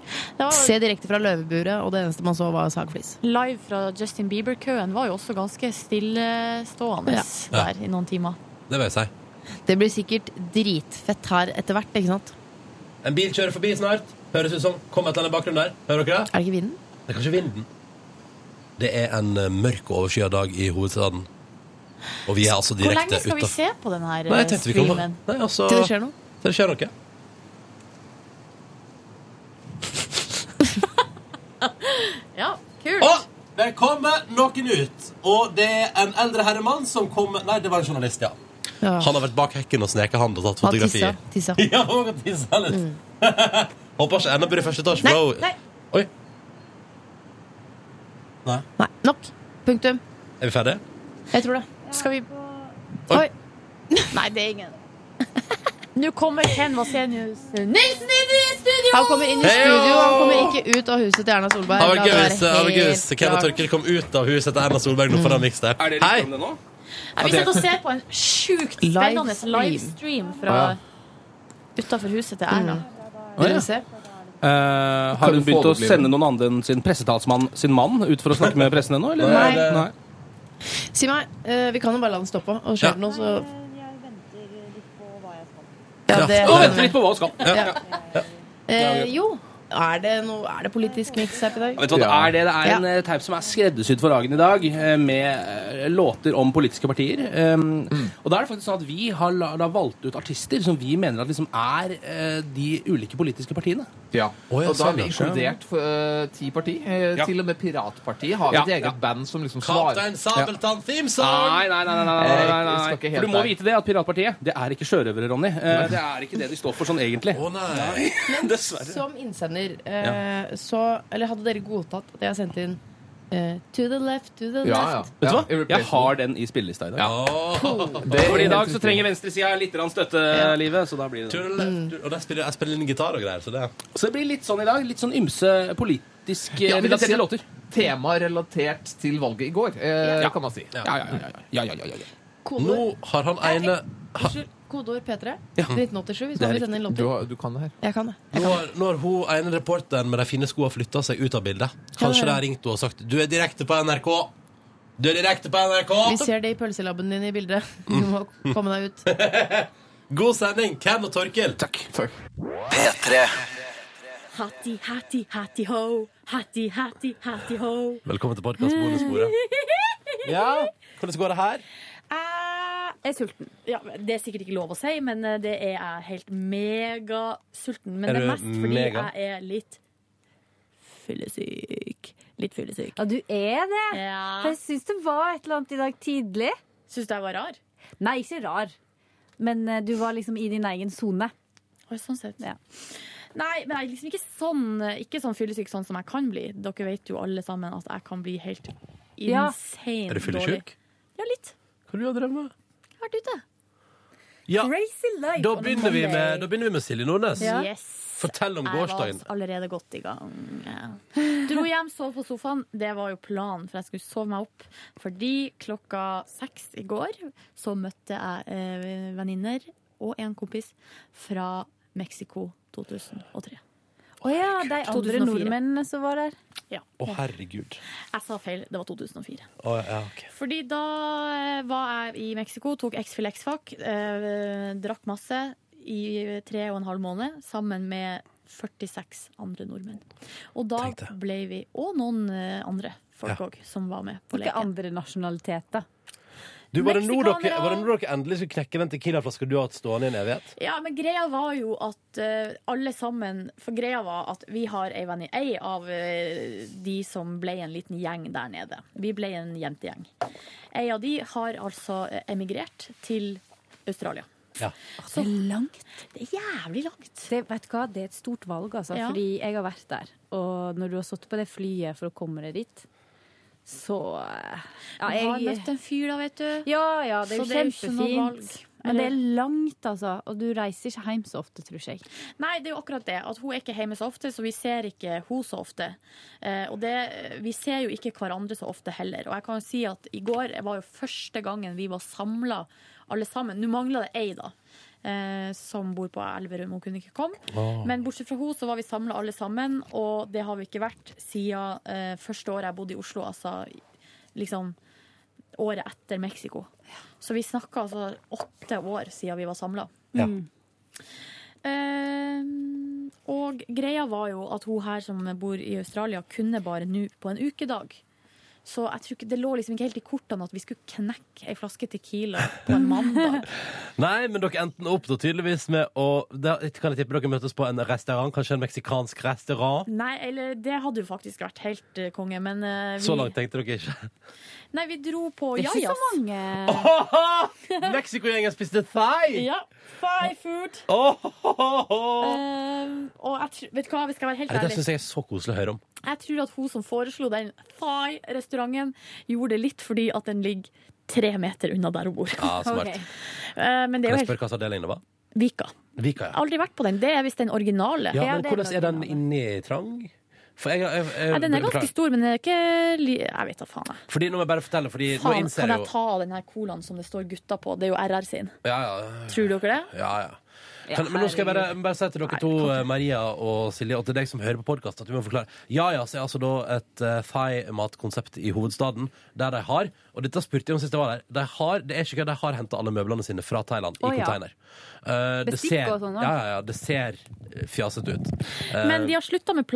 Speaker 4: Se direkte fra løveburet, og det eneste man så, var sagflis.
Speaker 3: Live fra Justin Bieber-køen var jo også ganske stillestående
Speaker 4: Ja.
Speaker 3: der i noen timer.
Speaker 2: Det vil jeg si.
Speaker 4: Det blir sikkert dritfett her etter hvert, ikke sant?
Speaker 12: En bil kjører forbi snart. Høres ut som. Kom et eller annet bakgrunn der. Hører dere det?
Speaker 4: Er det ikke vinden?
Speaker 2: Det er kanskje vinden. Det er en eh, mørk og overskya dag i hovedstaden. Og vi er altså
Speaker 3: Hvor
Speaker 2: direkte
Speaker 3: lenge skal vi
Speaker 2: utaf-
Speaker 3: se på den her
Speaker 2: Nei, jeg
Speaker 3: eh,
Speaker 2: tenkte vi kan-
Speaker 3: streamen?
Speaker 2: Nei, altså- Til det skjer noe. Til det skjer noe.
Speaker 3: Ja, kult.
Speaker 12: Og det kommer noen ut. Og det er en eldre herremann som kommer Nei, det var en journalist, ja.
Speaker 4: Ja.
Speaker 2: Han har vært bak hekken og snekehandlet og tatt
Speaker 4: Han
Speaker 2: fotografi.
Speaker 4: tissa. tissa.
Speaker 12: Ja, han kan tisse litt.
Speaker 2: Håper ikke enda blir i første etasje,
Speaker 4: Nei,
Speaker 2: bro.
Speaker 4: nei.
Speaker 2: Oi. Nei.
Speaker 4: Nok. Punktum.
Speaker 2: Er vi ferdige?
Speaker 4: Jeg tror det. Skal vi
Speaker 2: Oi.
Speaker 3: Nei, det er ingen. Nå kommer Ken Vasenius Nilsen inn i studio!
Speaker 4: Han kommer inn i studio, han kommer ikke ut av huset til Erna Solberg.
Speaker 2: Det var gøy
Speaker 4: La
Speaker 2: hvis det var gøy hvis
Speaker 4: helt
Speaker 2: Kenneth
Speaker 4: klart. Mm.
Speaker 2: Torkel kom ut av huset etter Erna Solberg nå for den miksen der. Hei!
Speaker 8: sånn
Speaker 3: Nei, Vi sitter og ser på en sjukt spennende
Speaker 4: Livestream.
Speaker 3: livestream fra
Speaker 2: Ja.
Speaker 3: utafor huset til Erna.
Speaker 4: Dere Mm. vil se?
Speaker 8: Eh, har hun begynt å sende noen andre enn sin pressetalsmann sin mann ut for å snakke med pressen ennå? eller?
Speaker 4: Nei. Si meg, eh, vi kan jo bare la den stoppe, og skjer det noe, så Ja, det
Speaker 8: Og vente litt på hva hun skal.
Speaker 4: Ja.
Speaker 8: Ja.
Speaker 4: Eh, Jo, er det, noe, er det politisk miks her i dag?
Speaker 8: Vet du hva det er? Det, det er en eh, teip som er skreddersydd for dagen i dag, eh, med eh, låter om politiske partier. Um,
Speaker 6: Mm.
Speaker 8: Og da er det faktisk sånn at vi har la, da valgt ut artister som vi mener at liksom er eh, de ulike politiske partiene.
Speaker 6: Ja.
Speaker 8: Å, ja,
Speaker 6: og da har
Speaker 8: sånn,
Speaker 6: vi
Speaker 8: ja.
Speaker 6: inkludert eh, ti parti. Eh,
Speaker 8: Ja.
Speaker 6: Til og med Piratpartiet har
Speaker 8: Ja,
Speaker 6: et eget
Speaker 8: ja.
Speaker 6: band som liksom svarer.
Speaker 8: Kaptein
Speaker 2: Sabeltann
Speaker 8: Nei, nei, nei. nei, nei, nei, nei,
Speaker 6: Eh,
Speaker 8: nei.
Speaker 6: skal ikke helt
Speaker 8: For du må
Speaker 6: der.
Speaker 8: vite det at Piratpartiet, det er ikke sjørøvere, Ronny. Eh, Det er ikke det de står for sånn egentlig.
Speaker 2: Å nei.
Speaker 8: Dessverre.
Speaker 4: Som innsender, eh, så Eller hadde dere godtatt at jeg sendte inn eh, To the left, to the left?
Speaker 8: Vet du hva? Jeg har den i spillelista i dag.
Speaker 2: Det er
Speaker 8: Fordi i
Speaker 2: helt
Speaker 8: dag så trenger venstresida litt grann støtte,
Speaker 2: Ja.
Speaker 8: livet, så da blir det
Speaker 2: Turn left.
Speaker 4: Mm.
Speaker 2: Og der spiller jeg spiller inn gitar og greier, så det
Speaker 8: Så det blir litt sånn i dag. Litt sånn ymse politisk eh,
Speaker 6: Ja, vil jeg si
Speaker 8: relaterte
Speaker 6: at
Speaker 8: låter.
Speaker 6: Tema relatert til valget i går, eh,
Speaker 8: Ja.
Speaker 6: kan man si.
Speaker 8: Ja, ja, ja,
Speaker 6: ja, ja, ja,
Speaker 4: Kodeord.
Speaker 2: Nå har han ene
Speaker 4: Unnskyld, kodeord P3
Speaker 2: Ja.
Speaker 4: 1987, hvis man vil sende inn låter.
Speaker 6: kan det her.
Speaker 4: Jeg kan det.
Speaker 2: Nå har, nå har hun ene reporteren med de fine skoene flytta seg ut av bildet. Kanskje
Speaker 4: Ja, det er
Speaker 2: de har ringt henne og sagt 'Du er direkte på NRK'. Du er direkte på NRK!
Speaker 4: Vi ser det i pølselabben din i bildet. Du må komme deg ut.
Speaker 2: God sending, Ken og Torkil.
Speaker 6: Takk.
Speaker 13: P3.
Speaker 3: Hatti, hatti, hatti ho. Hatti, hatti, hatti ho.
Speaker 2: Velkommen til podkast bonusbordet. Ja, hvordan går det her?
Speaker 3: Jeg er sulten. Ja, det er sikkert ikke lov å si, men eh, det er jeg helt megasulten. Men
Speaker 2: Er
Speaker 3: det er
Speaker 2: du
Speaker 3: mest fordi
Speaker 2: mega?
Speaker 3: jeg er litt fyllesyk. Litt fyllesyk.
Speaker 11: Ja, du er det.
Speaker 3: Ja.
Speaker 11: For jeg syns det var et eller annet i dag tidlig.
Speaker 3: Syns du jeg var rar?
Speaker 11: Nei, ikke rar. Men eh, du var liksom i din egen sone.
Speaker 3: Sånn sett. Nei, men jeg er liksom ikke sånn Ikke sånn fyllesyk sånn som jeg kan bli. Dere vet jo alle sammen at jeg kan bli helt
Speaker 11: Ja.
Speaker 3: insane
Speaker 2: Er du
Speaker 3: dårlig.
Speaker 2: fyllesyk?
Speaker 3: Ja, litt.
Speaker 2: Hva har du drømt om?
Speaker 3: Jeg har vært ute.
Speaker 2: Ja.
Speaker 3: Crazy life
Speaker 2: Da
Speaker 3: on a
Speaker 2: begynner, vi
Speaker 3: Monday.
Speaker 2: med, da begynner vi med Silje Nordnes.
Speaker 3: Ja. Yes.
Speaker 2: Fortell om
Speaker 3: Jeg
Speaker 2: gårsdagen.
Speaker 3: var altså allerede godt i gang. Ja. Dro hjem, sov på sofaen. Det var jo planen, for jeg skulle sove meg opp. Fordi klokka seks i går så møtte jeg eh, venninner og en kompis fra Mexico 2003.
Speaker 11: Å ja, de andre
Speaker 3: 2004.
Speaker 11: nordmennene som var der.
Speaker 3: Ja.
Speaker 2: Å, herregud.
Speaker 3: Jeg sa feil, det var 2004.
Speaker 2: Å, ja, ok.
Speaker 3: Fordi da eh, var jeg i Mexico, tok X-Fil X-Fac, eh, drakk masse i tre og en halv måned sammen med 46 andre nordmenn. Og da ble vi, og noen eh, andre folk
Speaker 2: Ja.
Speaker 3: òg, som var med på
Speaker 11: Ikke
Speaker 3: leken.
Speaker 11: andre nasjonaliteter.
Speaker 2: Du, var, det nå dere,
Speaker 3: Mexikanere.
Speaker 2: var det nå dere endelig skulle knekke den tequilaflaska du har hatt stående i en evighet?
Speaker 3: Ja, men greia var jo at eh, alle sammen For greia var at vi har ei venninne Ei av eh, de som ble en liten gjeng der nede. Vi ble en jentegjeng. Ei av de har altså eh, emigrert til Australia.
Speaker 2: Ja.
Speaker 3: Så langt. Det er jævlig langt.
Speaker 11: Det, vet du hva, det er et stort valg, altså.
Speaker 3: Ja.
Speaker 11: Fordi jeg har vært der. Og når du har sittet på det flyet for å komme deg dit, så eh, ja,
Speaker 3: jeg... Har
Speaker 11: jeg-
Speaker 3: møtt en fyr, da, vet du.
Speaker 11: Ja, ja, det er
Speaker 3: Så
Speaker 11: jo
Speaker 3: det er jo ikke noe
Speaker 11: kjempefint.
Speaker 3: valg.
Speaker 11: Men det er
Speaker 3: Eller-
Speaker 11: langt, altså. Og du reiser ikke hjem så ofte, tror jeg.
Speaker 3: Nei, det er jo akkurat det. At hun er ikke hjemme så ofte, så vi ser ikke hun så ofte. Eh, og det, vi ser jo ikke hverandre så ofte heller. Og jeg kan jo si at i går var jo første gangen vi var samla alle sammen. Nå mangla det ei, da. eh, Som bor på Elverum. Hun kunne ikke komme.
Speaker 14: Ah.
Speaker 3: Men bortsett fra henne så var vi samla alle sammen, og det har vi ikke vært siden eh, første året jeg bodde i Oslo. Altså liksom året etter Mexico. Så vi snakka altså åtte år siden vi var samla.
Speaker 14: Ja.
Speaker 3: Eh, og greia var jo at hun her som bor i Australia, kunne bare nå på en ukedag. Så jeg tror ikke, det lå liksom ikke helt i kortene at vi skulle knekke ei flaske Tequila på en mandag.
Speaker 2: Nei, men dere endte opp da tydeligvis med å da, Kan jeg tippe dere møtes på en restaurant? Kanskje en meksikansk restaurant?
Speaker 3: Nei, eller det hadde jo faktisk vært helt eh, konge, men eh, vi,
Speaker 2: Så langt tenkte dere ikke.
Speaker 3: Nei, vi dro på
Speaker 11: Det er ikke så
Speaker 3: mange.
Speaker 2: Mexico-gjengen spiste thai!
Speaker 3: Ja. Thai food. Eh, og jeg tror, vet du hva, vi skal være helt
Speaker 2: Det
Speaker 3: ærlige.
Speaker 2: syns jeg er så koselig å høre om.
Speaker 3: Jeg tror at hun som foreslo den Thai-restauranten, gjorde det litt fordi at den ligger tre meter unna der hun bor.
Speaker 2: Ja, smart. Ok.
Speaker 3: Eh, Men det er
Speaker 2: Kan jeg
Speaker 3: jo helt
Speaker 2: spørre hva avdelingen det var?
Speaker 3: Vika.
Speaker 2: Vika,
Speaker 3: Jeg
Speaker 2: ja.
Speaker 3: har aldri vært på den. Det er visst den originale.
Speaker 2: ja men hvordan er den inni trang? For jeg, jeg, jeg,
Speaker 3: Nei, den er ganske
Speaker 2: beklager.
Speaker 3: stor, men den er ikke li- Jeg vet da faen. jeg.
Speaker 2: Fordi nå må jeg bare fortelle, fordi nå
Speaker 3: Faen,
Speaker 2: innser
Speaker 3: kan
Speaker 2: jeg
Speaker 3: jeg
Speaker 2: jo
Speaker 3: ta av den her colaen som det står gutta på? Det er jo RR sin.
Speaker 2: Ja, ja.
Speaker 3: Tror dere det?
Speaker 2: Ja, ja.
Speaker 3: Ja,
Speaker 2: Kan, men nå skal jeg bare, bare si til dere to, eh, Maria og Silje, og til deg som hører på podkast, at du må forklare. Ja ja, så er altså da et eh, thai-matkonsept i hovedstaden, der de har Og dette spurte jeg om sist jeg var der. De har, det er ikke hva de har henta alle møblene sine fra Thailand i
Speaker 11: Å, ja.
Speaker 2: container. Eh, det
Speaker 11: Bestikk
Speaker 2: ser,
Speaker 11: og sånn, da.
Speaker 2: ja, ja, ja, det ser eh, fjasete ut. Eh,
Speaker 3: Men de har slutta med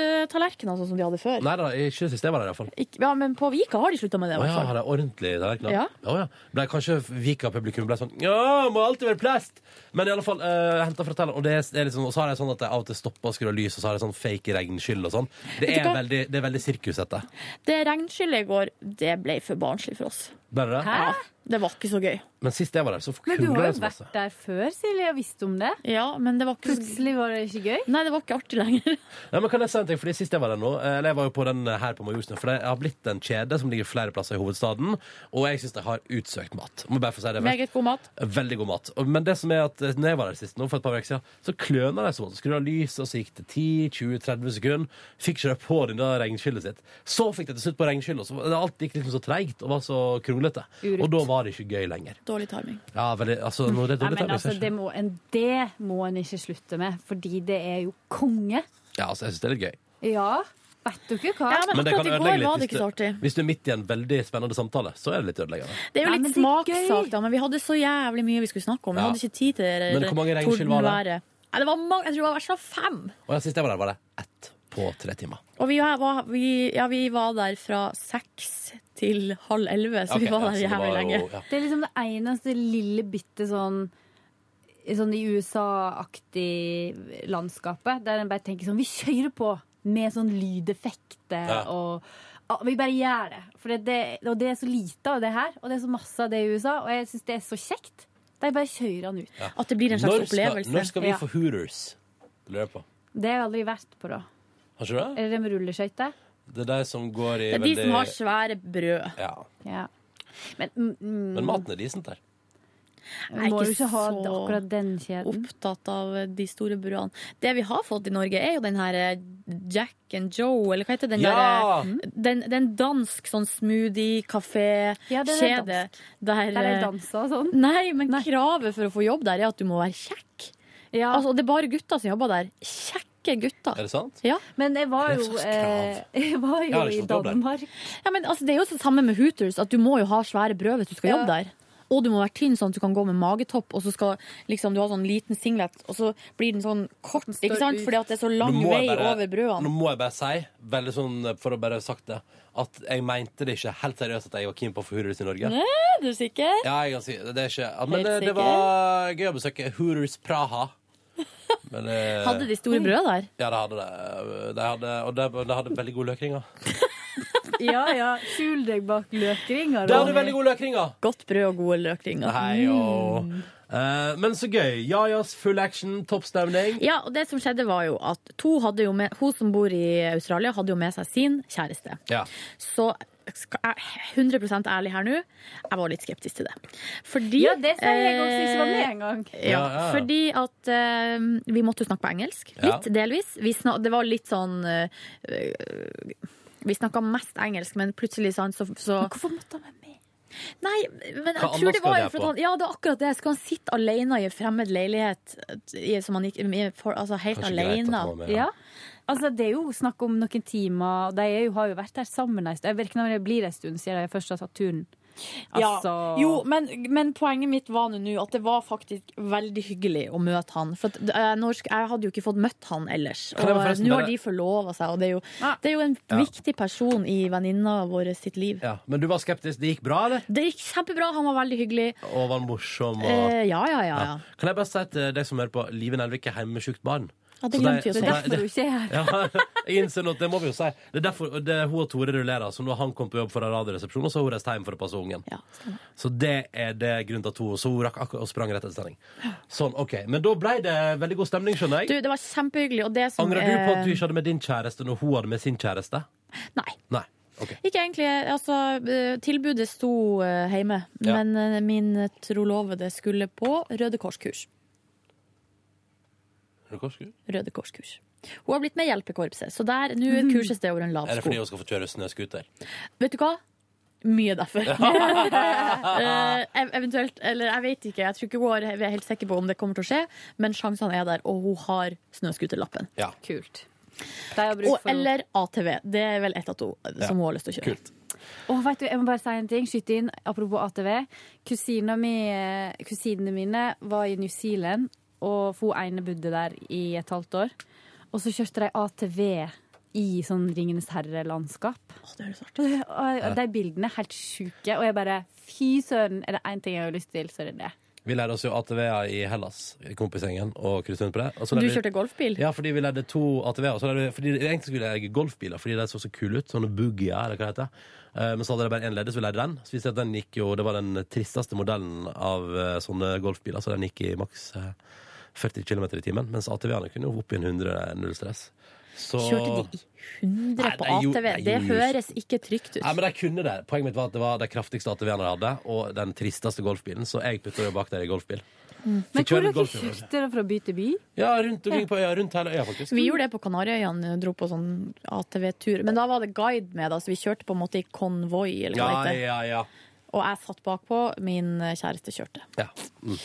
Speaker 3: plasttallerkener, sånn som de hadde før.
Speaker 2: Nei da, ikke det siste jeg var der, iallfall.
Speaker 3: Ikke, ja, men på Vika har de slutta med det, i
Speaker 2: Å
Speaker 3: hvert
Speaker 2: ja,
Speaker 3: fall.
Speaker 2: har de ordentlig tallerkener?
Speaker 3: Ja.
Speaker 2: Å ja. Ble kanskje Vika-publikum ble sånn Ja, må alltid være plast! Men i alle fall, uh, henta fra Thailand. Og, det er litt sånn, og så har de sånn at de av og til stopper og skrur av lys, og så har de sånn fake regnskyll og sånn. Det
Speaker 3: Vet
Speaker 2: er
Speaker 3: du hva?
Speaker 2: veldig, det er veldig sirkus, dette.
Speaker 3: Det regnskyllet i går, det ble for barnslig for oss.
Speaker 2: Bare det?
Speaker 3: Ja, det var ikke så gøy.
Speaker 2: Men sist jeg var der, så
Speaker 11: Men du
Speaker 2: krangla
Speaker 11: har
Speaker 2: det
Speaker 11: jo
Speaker 2: så masse.
Speaker 11: vært der før, Silje, og visst om det.
Speaker 3: Ja, men det var ikke
Speaker 11: Plutselig var det ikke gøy?
Speaker 3: Nei, det var ikke artig lenger.
Speaker 2: Ja, men kan jeg si en ting, fordi Sist jeg var der nå, eh, eller jeg var jo på den her på Majorstuen, for det har blitt en kjede som ligger flere plasser i hovedstaden, og jeg syns de har utsøkt mat. Må bare få si det.
Speaker 3: Meget god mat.
Speaker 2: Veldig god mat. Og- Men det som er at eh, når jeg var der sist nå, for et par uker siden, så kløna de sånn. Skrudde av lyset, og så gikk det 10-20-30 sekunder. Fikk ikke de på det der regnskyllet sitt. Så fikk de til slutt på regnskyllet, og så var det- alt gikk liksom så treigt og var så kronglete.
Speaker 11: Urett.
Speaker 2: Og da var det ikke gøy lenger.
Speaker 3: Dårlig timing.
Speaker 2: Ja, veldig, altså, nå er det
Speaker 11: Nei,
Speaker 2: dårlig
Speaker 11: men
Speaker 2: timing.
Speaker 11: altså,
Speaker 2: ser jeg
Speaker 11: det
Speaker 2: ikke.
Speaker 11: må, en, det må en ikke slutte med, fordi det er jo konge.
Speaker 2: Ja, altså, jeg syns det er litt gøy.
Speaker 11: Ja, vet du ikke hva?
Speaker 2: Men det kan ødelegge litt hvis du- Hvis du er midt i en veldig spennende samtale, så er det litt ødeleggende.
Speaker 3: Det er jo
Speaker 11: Nei, men
Speaker 3: litt
Speaker 11: det er
Speaker 3: smakssak, da, men vi hadde så jævlig mye vi skulle snakke om. Vi
Speaker 2: Ja.
Speaker 3: hadde ikke tid til det.
Speaker 2: Men hvor mange regnskyll var det?
Speaker 3: tordenværet. Nei, det var mange, jeg tror det var i hvert fall fem.
Speaker 2: Og jeg sist jeg var der, var det ett på tre timer.
Speaker 3: Og vi her var, vi, ja, vi var der fra seks til halv elleve, så
Speaker 2: Ok,
Speaker 3: vi var
Speaker 2: ja,
Speaker 3: der
Speaker 2: så det
Speaker 3: jævlig
Speaker 2: var jo-
Speaker 3: lenge.
Speaker 2: ja.
Speaker 11: Det er liksom det eneste lille bitte sånn Sånn i USA-aktig landskapet, der en bare tenker sånn Vi kjører på med sånn lydeffekter
Speaker 14: Ja.
Speaker 11: og ja, Vi bare gjør det. For det, det. Og det er så lite av det her, og det er så masse av det i USA, og jeg syns det er så kjekt. De bare kjører han ut.
Speaker 2: Ja.
Speaker 3: At det blir en slags
Speaker 2: når skal,
Speaker 3: opplevelse.
Speaker 2: Når skal vi
Speaker 11: Ja.
Speaker 2: få Hooters? Det Lurer jeg på.
Speaker 11: Det har jeg aldri vært på, da.
Speaker 2: Har ikke du det?
Speaker 11: Er det det med rulleskøyter?
Speaker 2: Det er de som går i
Speaker 3: Det er de som
Speaker 2: veldig-
Speaker 3: har svære brød.
Speaker 2: ja.
Speaker 11: Ja. Men, mm, mm,
Speaker 2: Men maten er decent der.
Speaker 3: Jeg er
Speaker 11: Må du
Speaker 3: ikke
Speaker 11: ikke ha
Speaker 3: så
Speaker 11: akkurat den kjeden?
Speaker 3: Opptatt av de store brødene. Det vi har fått i Norge, er jo den her eh, Jack and Joe, eller hva heter den
Speaker 14: Ja!
Speaker 3: der eh, den, den dansk sånn
Speaker 11: Ja, den er
Speaker 3: smoothie-kafé-kjede. eh,
Speaker 11: dansk. Der er danser og sånn.
Speaker 3: Nei, men kravet for å få jobb der er at du må være kjekk. Altså, og det er bare gutter som jobber der. Kjekke gutter.
Speaker 2: Er det sant?
Speaker 3: Ja.
Speaker 11: Men jeg var
Speaker 3: Det er
Speaker 11: jo,
Speaker 3: slags
Speaker 11: eh, jeg var
Speaker 3: Jeg
Speaker 11: jo
Speaker 3: har liksom ikke
Speaker 11: i
Speaker 3: fått jobb der.
Speaker 11: Danmark.
Speaker 3: Ja, men altså, det er jo det samme med Hooters, at du må jo ha svære brød hvis du skal
Speaker 11: Ja.
Speaker 3: jobbe der. Og du må være tynn sånn at du kan gå med magetopp, og så skal liksom, du ha sånn liten singlet, og så blir den sånn kort, ikke sant?
Speaker 11: ut.
Speaker 3: Fordi at det er så lang
Speaker 2: Nå må
Speaker 3: vei
Speaker 2: jeg bare-
Speaker 3: over brødene.
Speaker 2: Nå må jeg bare si, veldig sånn for å bare ha sagt det, at jeg mente det ikke helt seriøst at jeg var keen på å få Hooters i Norge.
Speaker 3: Nei, er du sikker?
Speaker 2: Ja, jeg kan si det. Det er ikke ja, Men
Speaker 3: Helt
Speaker 2: det, det
Speaker 3: sikker?
Speaker 2: var gøy å besøke Hooters Praha. Men, eh,
Speaker 3: Hadde de store brød der?
Speaker 2: Ja, det hadde det. De hadde, og de, de hadde veldig gode løkringer.
Speaker 11: Ja, ja. Skjul deg bak løkringer.
Speaker 2: Det hadde veldig gode løkringer.
Speaker 3: Godt brød og gode løkringer.
Speaker 2: Nei, og,
Speaker 3: Mm.
Speaker 2: Eh, men så gøy. Jajas full action, toppstemning.
Speaker 3: Ja, og det som skjedde var jo at to hadde jo med, hun som bor i Australia, hadde jo med seg sin kjæreste.
Speaker 2: Ja.
Speaker 3: Så skal jeg 100 ærlig her nå, jeg var litt skeptisk til det. Fordi
Speaker 11: Ja, det sier jeg også, ikke var med engang.
Speaker 3: Ja,
Speaker 11: Ja, ja.
Speaker 3: Fordi at eh, vi måtte jo snakke på engelsk.
Speaker 11: Ja.
Speaker 3: Litt, delvis. Vi snak, det var litt sånn eh, eh, Vi snakka mest engelsk, men plutselig sånn, så, så Hvorfor måtte han være med? Nei, men jeg
Speaker 11: Hva
Speaker 3: tror
Speaker 11: annet
Speaker 3: det
Speaker 11: skal
Speaker 3: var
Speaker 11: det
Speaker 3: jo
Speaker 11: her på?
Speaker 3: for at han, Ja, det er akkurat det. Skal han sitte alene i en fremmed leilighet i- som han ikke i- for, Altså helt
Speaker 11: Kanskje greit
Speaker 3: alene?
Speaker 11: at han var med, ja. Altså, det er jo snakk om noen timer, og de er jo, har jo vært der sammen en stund. Jeg virker når det blir en stund siden jeg først har tatt turen.
Speaker 3: Ja. Jo, men, men poenget mitt var nå nå at det var faktisk veldig hyggelig å møte han. For at, eh, når, sk- jeg hadde jo ikke fått møtt han ellers.
Speaker 11: Kan
Speaker 3: Og
Speaker 11: jeg
Speaker 3: eh,
Speaker 11: forresten
Speaker 3: nå
Speaker 2: bare-
Speaker 3: har de forlova seg, og det er jo, det er jo en
Speaker 2: Ja.
Speaker 3: viktig person i venninna vår sitt liv.
Speaker 2: Ja, men du var skeptisk. Det gikk bra, eller?
Speaker 3: Det gikk kjempebra, han var veldig hyggelig.
Speaker 2: Og var morsom og
Speaker 3: Eh, ja, ja, ja. ja.
Speaker 2: Kan jeg bare si til deg som hører på, Live Nelvik er hjemme med sjukt barn.
Speaker 3: Ja, det
Speaker 2: Så
Speaker 3: glemte vi å si. Det er derfor
Speaker 2: det-
Speaker 3: hun ikke er her.
Speaker 2: Ja, jeg innser nå at det må vi jo si. Det er derfor og det er hun og Tore rullerer. Så nå har han kom på jobb fra Radioresepsjonen, og så har hun reist hjem for å passe ungen. så det er det grunnen til at hun Så hun rakk akkurat og sprang rett etter sending. Sånn, OK. Men da ble det veldig god stemning, skjønner jeg.
Speaker 3: Du, det var kjempehyggelig. Og det som
Speaker 2: Angrer du på at du
Speaker 3: eh,
Speaker 2: ikke hadde med din kjæreste når hun hadde med sin kjæreste?
Speaker 3: Nei.
Speaker 2: Nei. OK.
Speaker 3: Ikke egentlig. Altså, eh, tilbudet sto eh, hjemme,
Speaker 2: Ja.
Speaker 3: men eh, min trolovede skulle på Røde Kors-kurs. Røde Kors-kurs. Hun har blitt med i hjelpekorpset, så der nå kurses det over en lav
Speaker 2: Er det
Speaker 3: sko.
Speaker 2: fordi hun skal få kjøre snøscooter?
Speaker 3: Vet du hva? Mye derfor. Eh, ev- eventuelt, eller jeg vet ikke, jeg tror ikke hun er jeg er helt sikker på om det kommer til å skje, men sjansene er der, og hun har snøskuterlappen.
Speaker 2: Ja.
Speaker 3: Kult.
Speaker 11: bruk
Speaker 3: Og,
Speaker 11: for henne.
Speaker 3: eller ATV. Det er vel et av to eh, som hun har lyst til å kjøre.
Speaker 11: Og vet du, jeg må bare si en ting, skyte inn, apropos ATV. Kusina mi, eh, kusinene mine var i New Zealand, og for hun ene bodde der i et halvt år. Og så kjørte de ATV i sånn Ringenes herre-landskap.
Speaker 3: Det er svart.
Speaker 11: Og, Eh, og, og de bildene er helt sjuke, og jeg bare Fy søren, er det én ting jeg har lyst til, så er det det.
Speaker 2: Vi lærte oss jo ATV-er i Hellas, i kompisgjengen, og krysset rundt på det. Og så
Speaker 3: Du
Speaker 2: lærte vi-
Speaker 3: kjørte golfbil?
Speaker 2: Ja, fordi vi lærte to ATV-er. og så lærte vi- Fordi egentlig skulle jeg lage golfbiler, fordi de så så kule ut. Sånne boogier, eller hva det heter. Eh, Men så hadde de bare én leder, så vi lærte den. Så vi ser at den gikk jo, det var den tristeste modellen av eh, sånne golfbiler, så den gikk i maks eh, 40 km i timen. Mens ATV-ene kunne jo opp i en 100 null stress. Så
Speaker 3: Kjørte de i 100 på
Speaker 2: Nei, de gjorde-
Speaker 3: ATV?
Speaker 2: de
Speaker 3: Det
Speaker 2: gjorde jo
Speaker 3: høres ikke trygt ut.
Speaker 2: Nei, men de kunne det. Poenget mitt var at det var de kraftigste ATV-ene de hadde, og den tristeste golfbilen, så jeg putta jo bak der i golfbil.
Speaker 11: Men
Speaker 2: Fikk
Speaker 11: hvor
Speaker 2: kjøre
Speaker 11: dere
Speaker 2: golf i år.
Speaker 11: kjørte dere fra by til by?
Speaker 2: Ja, rundt omkring på øya, rundt hele øya, faktisk.
Speaker 3: Vi gjorde det på Kanariøyene, dro på sånn ATV-tur. Men da var det guide med, da, så vi kjørte på en måte i konvoi, eller hva
Speaker 2: Ja,
Speaker 3: det heter.
Speaker 2: ja, ja.
Speaker 3: Og jeg satt bakpå, min eh, kjæreste kjørte.
Speaker 2: ja. Mm.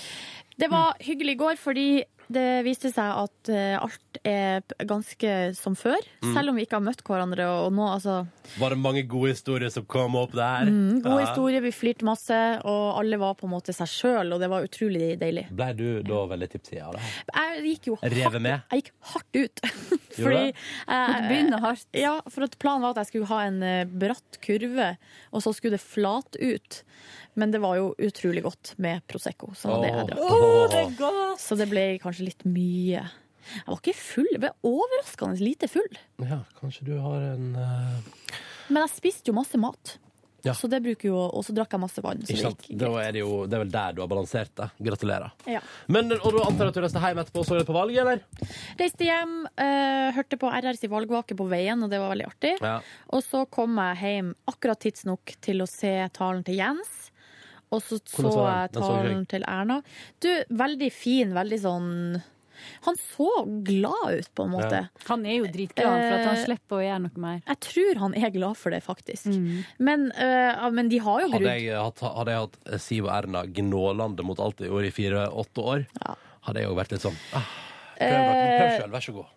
Speaker 3: Det var hyggelig i går, fordi det viste seg at eh, alt er p- ganske som før.
Speaker 2: Mm.
Speaker 3: Selv om vi ikke har møtt hverandre. Og nå, altså,
Speaker 2: Var det mange gode historier som kom opp der?
Speaker 3: mm, god
Speaker 2: Ja.
Speaker 3: historie, vi flirte masse, og alle var på en måte seg sjøl, og det var utrolig deilig.
Speaker 2: Ble du da veldig tipsy av det?
Speaker 3: Jeg gikk jo hardt,
Speaker 2: Revet med?
Speaker 3: jeg gikk hardt ut. Fordi,
Speaker 2: Gjorde du det?
Speaker 3: eh, Ja, for at planen var at jeg skulle ha en eh, bratt kurve, og så skulle det flat ut. Men det var jo utrolig godt med Prosecco, så det jeg drakk.
Speaker 2: Åh. Åh, det er
Speaker 3: så det ble kanskje litt mye. Jeg var ikke full, jeg ble overraskende lite full.
Speaker 2: Ja, kanskje du har en eh,
Speaker 3: Men jeg spiste jo masse mat.
Speaker 2: Ja.
Speaker 3: Så det bruker jo, Og så drakk jeg masse vann. Så
Speaker 2: Ikke
Speaker 3: det
Speaker 2: sant?
Speaker 3: gikk.
Speaker 2: Da er det, jo, det er vel der du har balansert det. Gratulerer.
Speaker 3: Ja.
Speaker 2: Men, og da antar jeg at du reiste hjem etterpå og så det på valget, eller?
Speaker 3: Reiste hjem, eh, hørte på RRs valgvake på veien, og det var veldig artig.
Speaker 2: Ja.
Speaker 3: Og så kom jeg hjem akkurat tidsnok til å se talen til Jens. Og så så
Speaker 11: Hvordan var
Speaker 3: jeg
Speaker 11: den? Den så ikke jeg.
Speaker 3: talen til Erna. Du, veldig fin, veldig sånn Han så glad ut, på en måte.
Speaker 11: Han er jo dritglad for at han
Speaker 3: Eh,
Speaker 11: slipper å gjøre noe mer.
Speaker 3: Jeg tror han er glad for det, faktisk. Men, eh, ja, men de har jo
Speaker 2: Hadde
Speaker 3: grudd.
Speaker 2: jeg hatt, hadde jeg hatt Siv og Erna gnålande mot alt de gjorde i fire-åtte år, hadde jeg òg vært litt sånn ah, Prøv, dere, prøv
Speaker 3: Eh,
Speaker 2: sjøl, vær så god.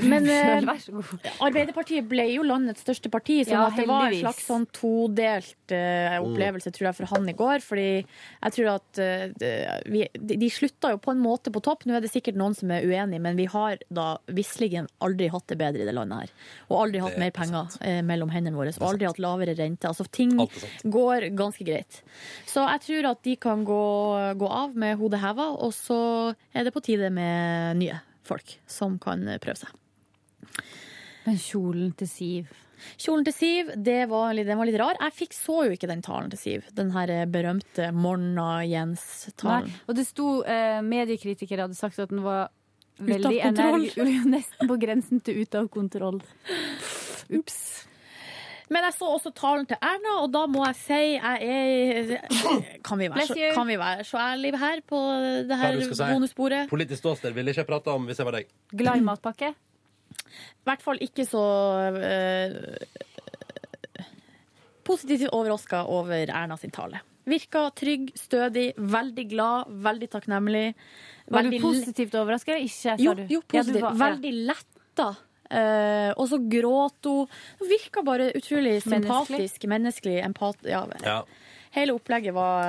Speaker 3: Men eh,
Speaker 11: Vær så god.
Speaker 3: Arbeiderpartiet ble jo landets største parti, så
Speaker 11: Ja,
Speaker 3: at det var en
Speaker 11: heldigvis.
Speaker 3: slags sånn todelt eh,
Speaker 11: Mm.
Speaker 3: opplevelse tror jeg, for han i går. Fordi jeg tror at eh, det- vi, de, de slutta jo på en måte på topp. Nå er det sikkert noen som er uenig, men vi har da visseligen aldri hatt det bedre i det landet her. Og aldri hatt
Speaker 11: Det er
Speaker 3: mer penger eh, mellom hendene våre. Og aldri hatt lavere rente. Altså ting
Speaker 11: Alt er sant.
Speaker 3: går ganske greit. Så jeg tror at de kan gå, gå av med hodet heva, og så er det på tide med nye folk som kan prøve seg.
Speaker 11: Men kjolen til Siv
Speaker 3: Kjolen til Siv, det var litt, den var litt rar. Jeg fikk så jo ikke den talen til Siv. Den her eh, berømte Morna Jens-talen.
Speaker 11: Nei. Og det sto eh, Mediekritikere hadde sagt at den var
Speaker 3: Ut av
Speaker 11: veldig
Speaker 3: kontroll.
Speaker 11: energi- Nesten på grensen til ut av kontroll. Ups.
Speaker 3: Men jeg så også talen til Erna, og da må jeg si jeg er Kan vi være,
Speaker 11: Bless you.
Speaker 3: så, kan vi være så ærlige her på det
Speaker 2: Hva er
Speaker 3: her
Speaker 2: det du skal si?
Speaker 3: bonusbordet?
Speaker 2: Politisk ståsted ville ikke jeg prate om hvis jeg var deg.
Speaker 11: Glad i matpakke?
Speaker 3: I hvert fall ikke så eh, positivt overraska over Erna sin tale. Virka trygg, stødig, veldig glad, veldig takknemlig.
Speaker 11: Var du
Speaker 3: veldig-
Speaker 11: positivt overraska eller ikke? sa
Speaker 3: Jo,
Speaker 11: du?
Speaker 3: jo
Speaker 11: Ja, du
Speaker 3: positivt.
Speaker 11: var- ja.
Speaker 3: Veldig letta. Eh, og så gråt hun. Hun virka bare utrolig
Speaker 11: Menneskelig.
Speaker 3: sympatisk, menneskelig, empat... Ja,
Speaker 7: Ja.
Speaker 3: hele opplegget var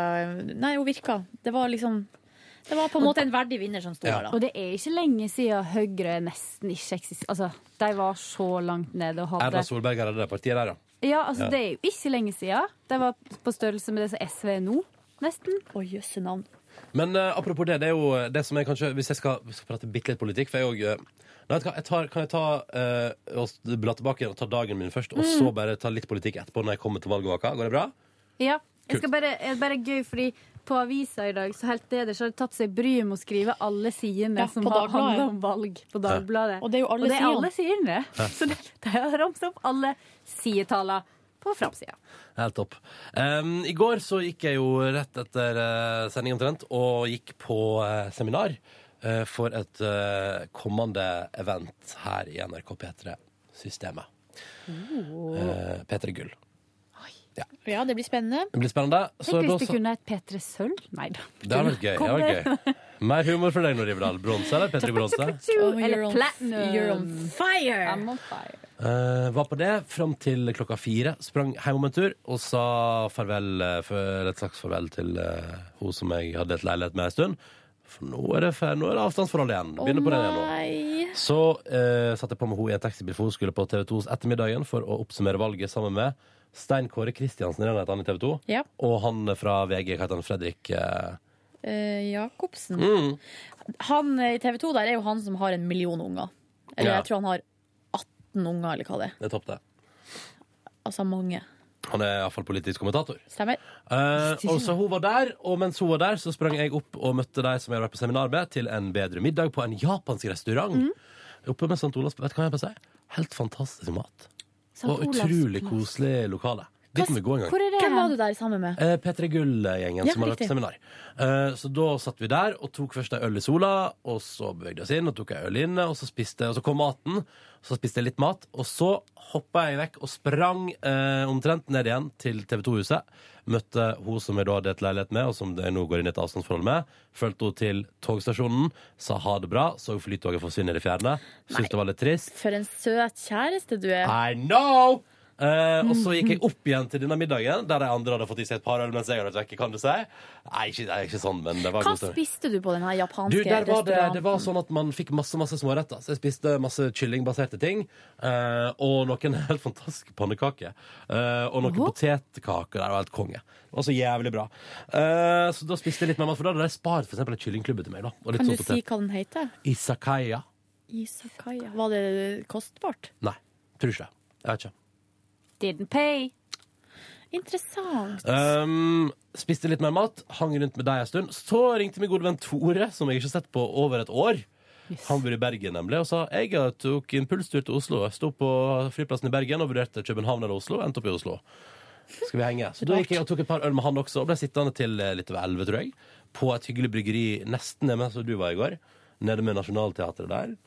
Speaker 3: Nei, hun virka. Det var liksom Det var på en måte en verdig vinner som sto der, da.
Speaker 11: Og det er ikke lenge siden Høyre nesten ikke eksisterte. Altså, de var så langt nede og hadde
Speaker 2: Erna Solberg er det der partiet der, ja.
Speaker 11: Ja, altså,
Speaker 2: Ja.
Speaker 11: det er jo ikke lenge siden. De var på størrelse med det som SV er nå, nesten.
Speaker 3: Å, jøsse navn.
Speaker 2: Men eh, apropos det, det er jo det som jeg kanskje Hvis jeg skal, hvis jeg skal prate bitte litt politikk, for jeg òg Nei, vet du hva, jeg tar, kan jeg ta eh, og s- bla tilbake og ta dagen min først, og så
Speaker 11: Mm.
Speaker 2: bare ta litt politikk etterpå når jeg kommer til valgvaka? Går det bra?
Speaker 11: Ja. Jeg
Speaker 2: Kult.
Speaker 11: skal bare, jeg er bare gøy, fordi på avisa i dag så helt nederst har de tatt seg bryet med å skrive alle sidene
Speaker 3: Ja,
Speaker 11: som
Speaker 3: på
Speaker 11: har
Speaker 3: Dagbladet.
Speaker 11: handla om valg på Dagbladet.
Speaker 3: Og det er jo alle sidene.
Speaker 11: alle sidene.
Speaker 2: Ja.
Speaker 11: Så det, de har ramset opp alle sidetallene på framsida.
Speaker 2: Helt topp. Em, Ehm, I går så gikk jeg jo rett etter eh, sending omtrent og gikk på eh, seminar eh, for et eh, kommende event her i NRK P3-systemet. Eh, P3 Gull.
Speaker 3: Ja, det blir spennende.
Speaker 2: Det blir spennende. Så
Speaker 11: Tenk
Speaker 2: da
Speaker 11: hvis det
Speaker 2: så-
Speaker 11: kunne et P3 Sølv? Nei da.
Speaker 2: Det hadde vært gøy. Det hadde vært gøy. Mer humor for deg, Nord Rivedal. Bronse eller P3 Bronse?
Speaker 3: Oh,
Speaker 11: Eller
Speaker 3: you're on-
Speaker 11: platinum.
Speaker 3: You're on fire!
Speaker 11: I'm on fire.
Speaker 2: Eh, var på det fram til klokka fire. Sprang hjem om en tur og sa farvel, eh, for, et slags farvel til eh, hun som jeg hadde et leilighet med en stund. For nå er det, fer- nå er det avstandsforhold igjen. Begynner på det igjen nå.
Speaker 3: nei.
Speaker 2: Så eh, satte jeg på med henne i en taxibil, for hun skulle på TV 2s Ettermiddagen for å oppsummere valget sammen med Stein Kåre Kristiansen, er det han heter, han i TV 2,
Speaker 3: Ja.
Speaker 2: og han fra VG, hva heter han, Fredrik eh,
Speaker 3: Eh, Jacobsen.
Speaker 2: Mm.
Speaker 3: Han eh, i TV 2 der er jo han som har en million unger. Eller
Speaker 2: Ja.
Speaker 3: jeg tror han har 18 unger, eller hva det er.
Speaker 2: Det er topp, det.
Speaker 3: Altså mange.
Speaker 2: Han er iallfall politisk kommentator.
Speaker 3: Stemmer.
Speaker 2: Eh, og så hun var der, og mens hun var der, så sprang jeg opp og møtte de som jeg hadde vært på seminar med, til en bedre middag på en japansk restaurant.
Speaker 3: Mm.
Speaker 2: Oppe med St. Olavs Vet du hva jeg bare sier? Helt fantastisk mat.
Speaker 3: St.
Speaker 2: Og
Speaker 3: Olavs
Speaker 2: utrolig
Speaker 3: plass.
Speaker 2: koselig lokale. Dit må vi gå en gang.
Speaker 3: Hvem var du der sammen med?
Speaker 2: Eh, P3 Gull-gjengen
Speaker 3: Ja,
Speaker 2: som har vært
Speaker 3: riktig.
Speaker 2: på seminar. Eh, så da satt vi der og tok først ei øl i sola, og så bevegde vi oss inn og tok ei øl inne, og så, spiste, og så kom maten. Så spiste jeg litt mat, og så hoppa jeg vekk og sprang eh, omtrent ned igjen til TV 2-huset. Møtte hun som jeg da hadde et leilighet med, og som jeg nå går inn i et avstandsforhold med. Fulgte henne til togstasjonen, sa ha det bra, så flytoget forsvinne i det fjerne. Syntes det var litt trist.
Speaker 3: For en søt kjæreste du er.
Speaker 2: I know! Eh, og så gikk jeg opp igjen til denne middagen, der de andre hadde fått i seg et par øl mens jeg hadde vært vekke, kan du si. Nei, ikke, nei, ikke sånn, men det var
Speaker 3: Hva
Speaker 2: god stemning.
Speaker 3: spiste du på den her
Speaker 2: Du,
Speaker 3: japanske
Speaker 2: der var det,
Speaker 3: restauranten?
Speaker 2: det var sånn at man fikk masse masse småretter. Så jeg spiste masse kyllingbaserte ting. eh, og noen helt fantastiske pannekaker. eh, og noen potetkaker. Det var helt konge. Det var så jævlig bra. Eh, så da spiste jeg litt mer mat, for da hadde de spart for eksempel en kyllingklubbe til meg. da. Og litt
Speaker 3: Kan du
Speaker 2: sånn
Speaker 3: si
Speaker 2: potet.
Speaker 3: hva den heter?
Speaker 2: Isakaya.
Speaker 3: Isakaya. Var det kostbart?
Speaker 2: Nei, tror ikke det. Jeg vet ikke.
Speaker 11: Didn't pay.
Speaker 3: Interessant.
Speaker 2: Um, spiste litt mer mat, hang rundt med deg en stund. Så ringte min gode venn Tore, som jeg ikke har sett på over et år. Han bor i Bergen, nemlig, og sa jeg tok impulstur til Oslo. Jeg sto på flyplassen i Bergen og vurderte København eller Oslo. Endte opp i Oslo. Skal vi henge? Så da gikk jeg og tok et par øl med han også, og ble sittende til eh, litt over elleve, tror jeg. På et hyggelig bryggeri nesten nede med som du var i går. Nede med Nationaltheatret der.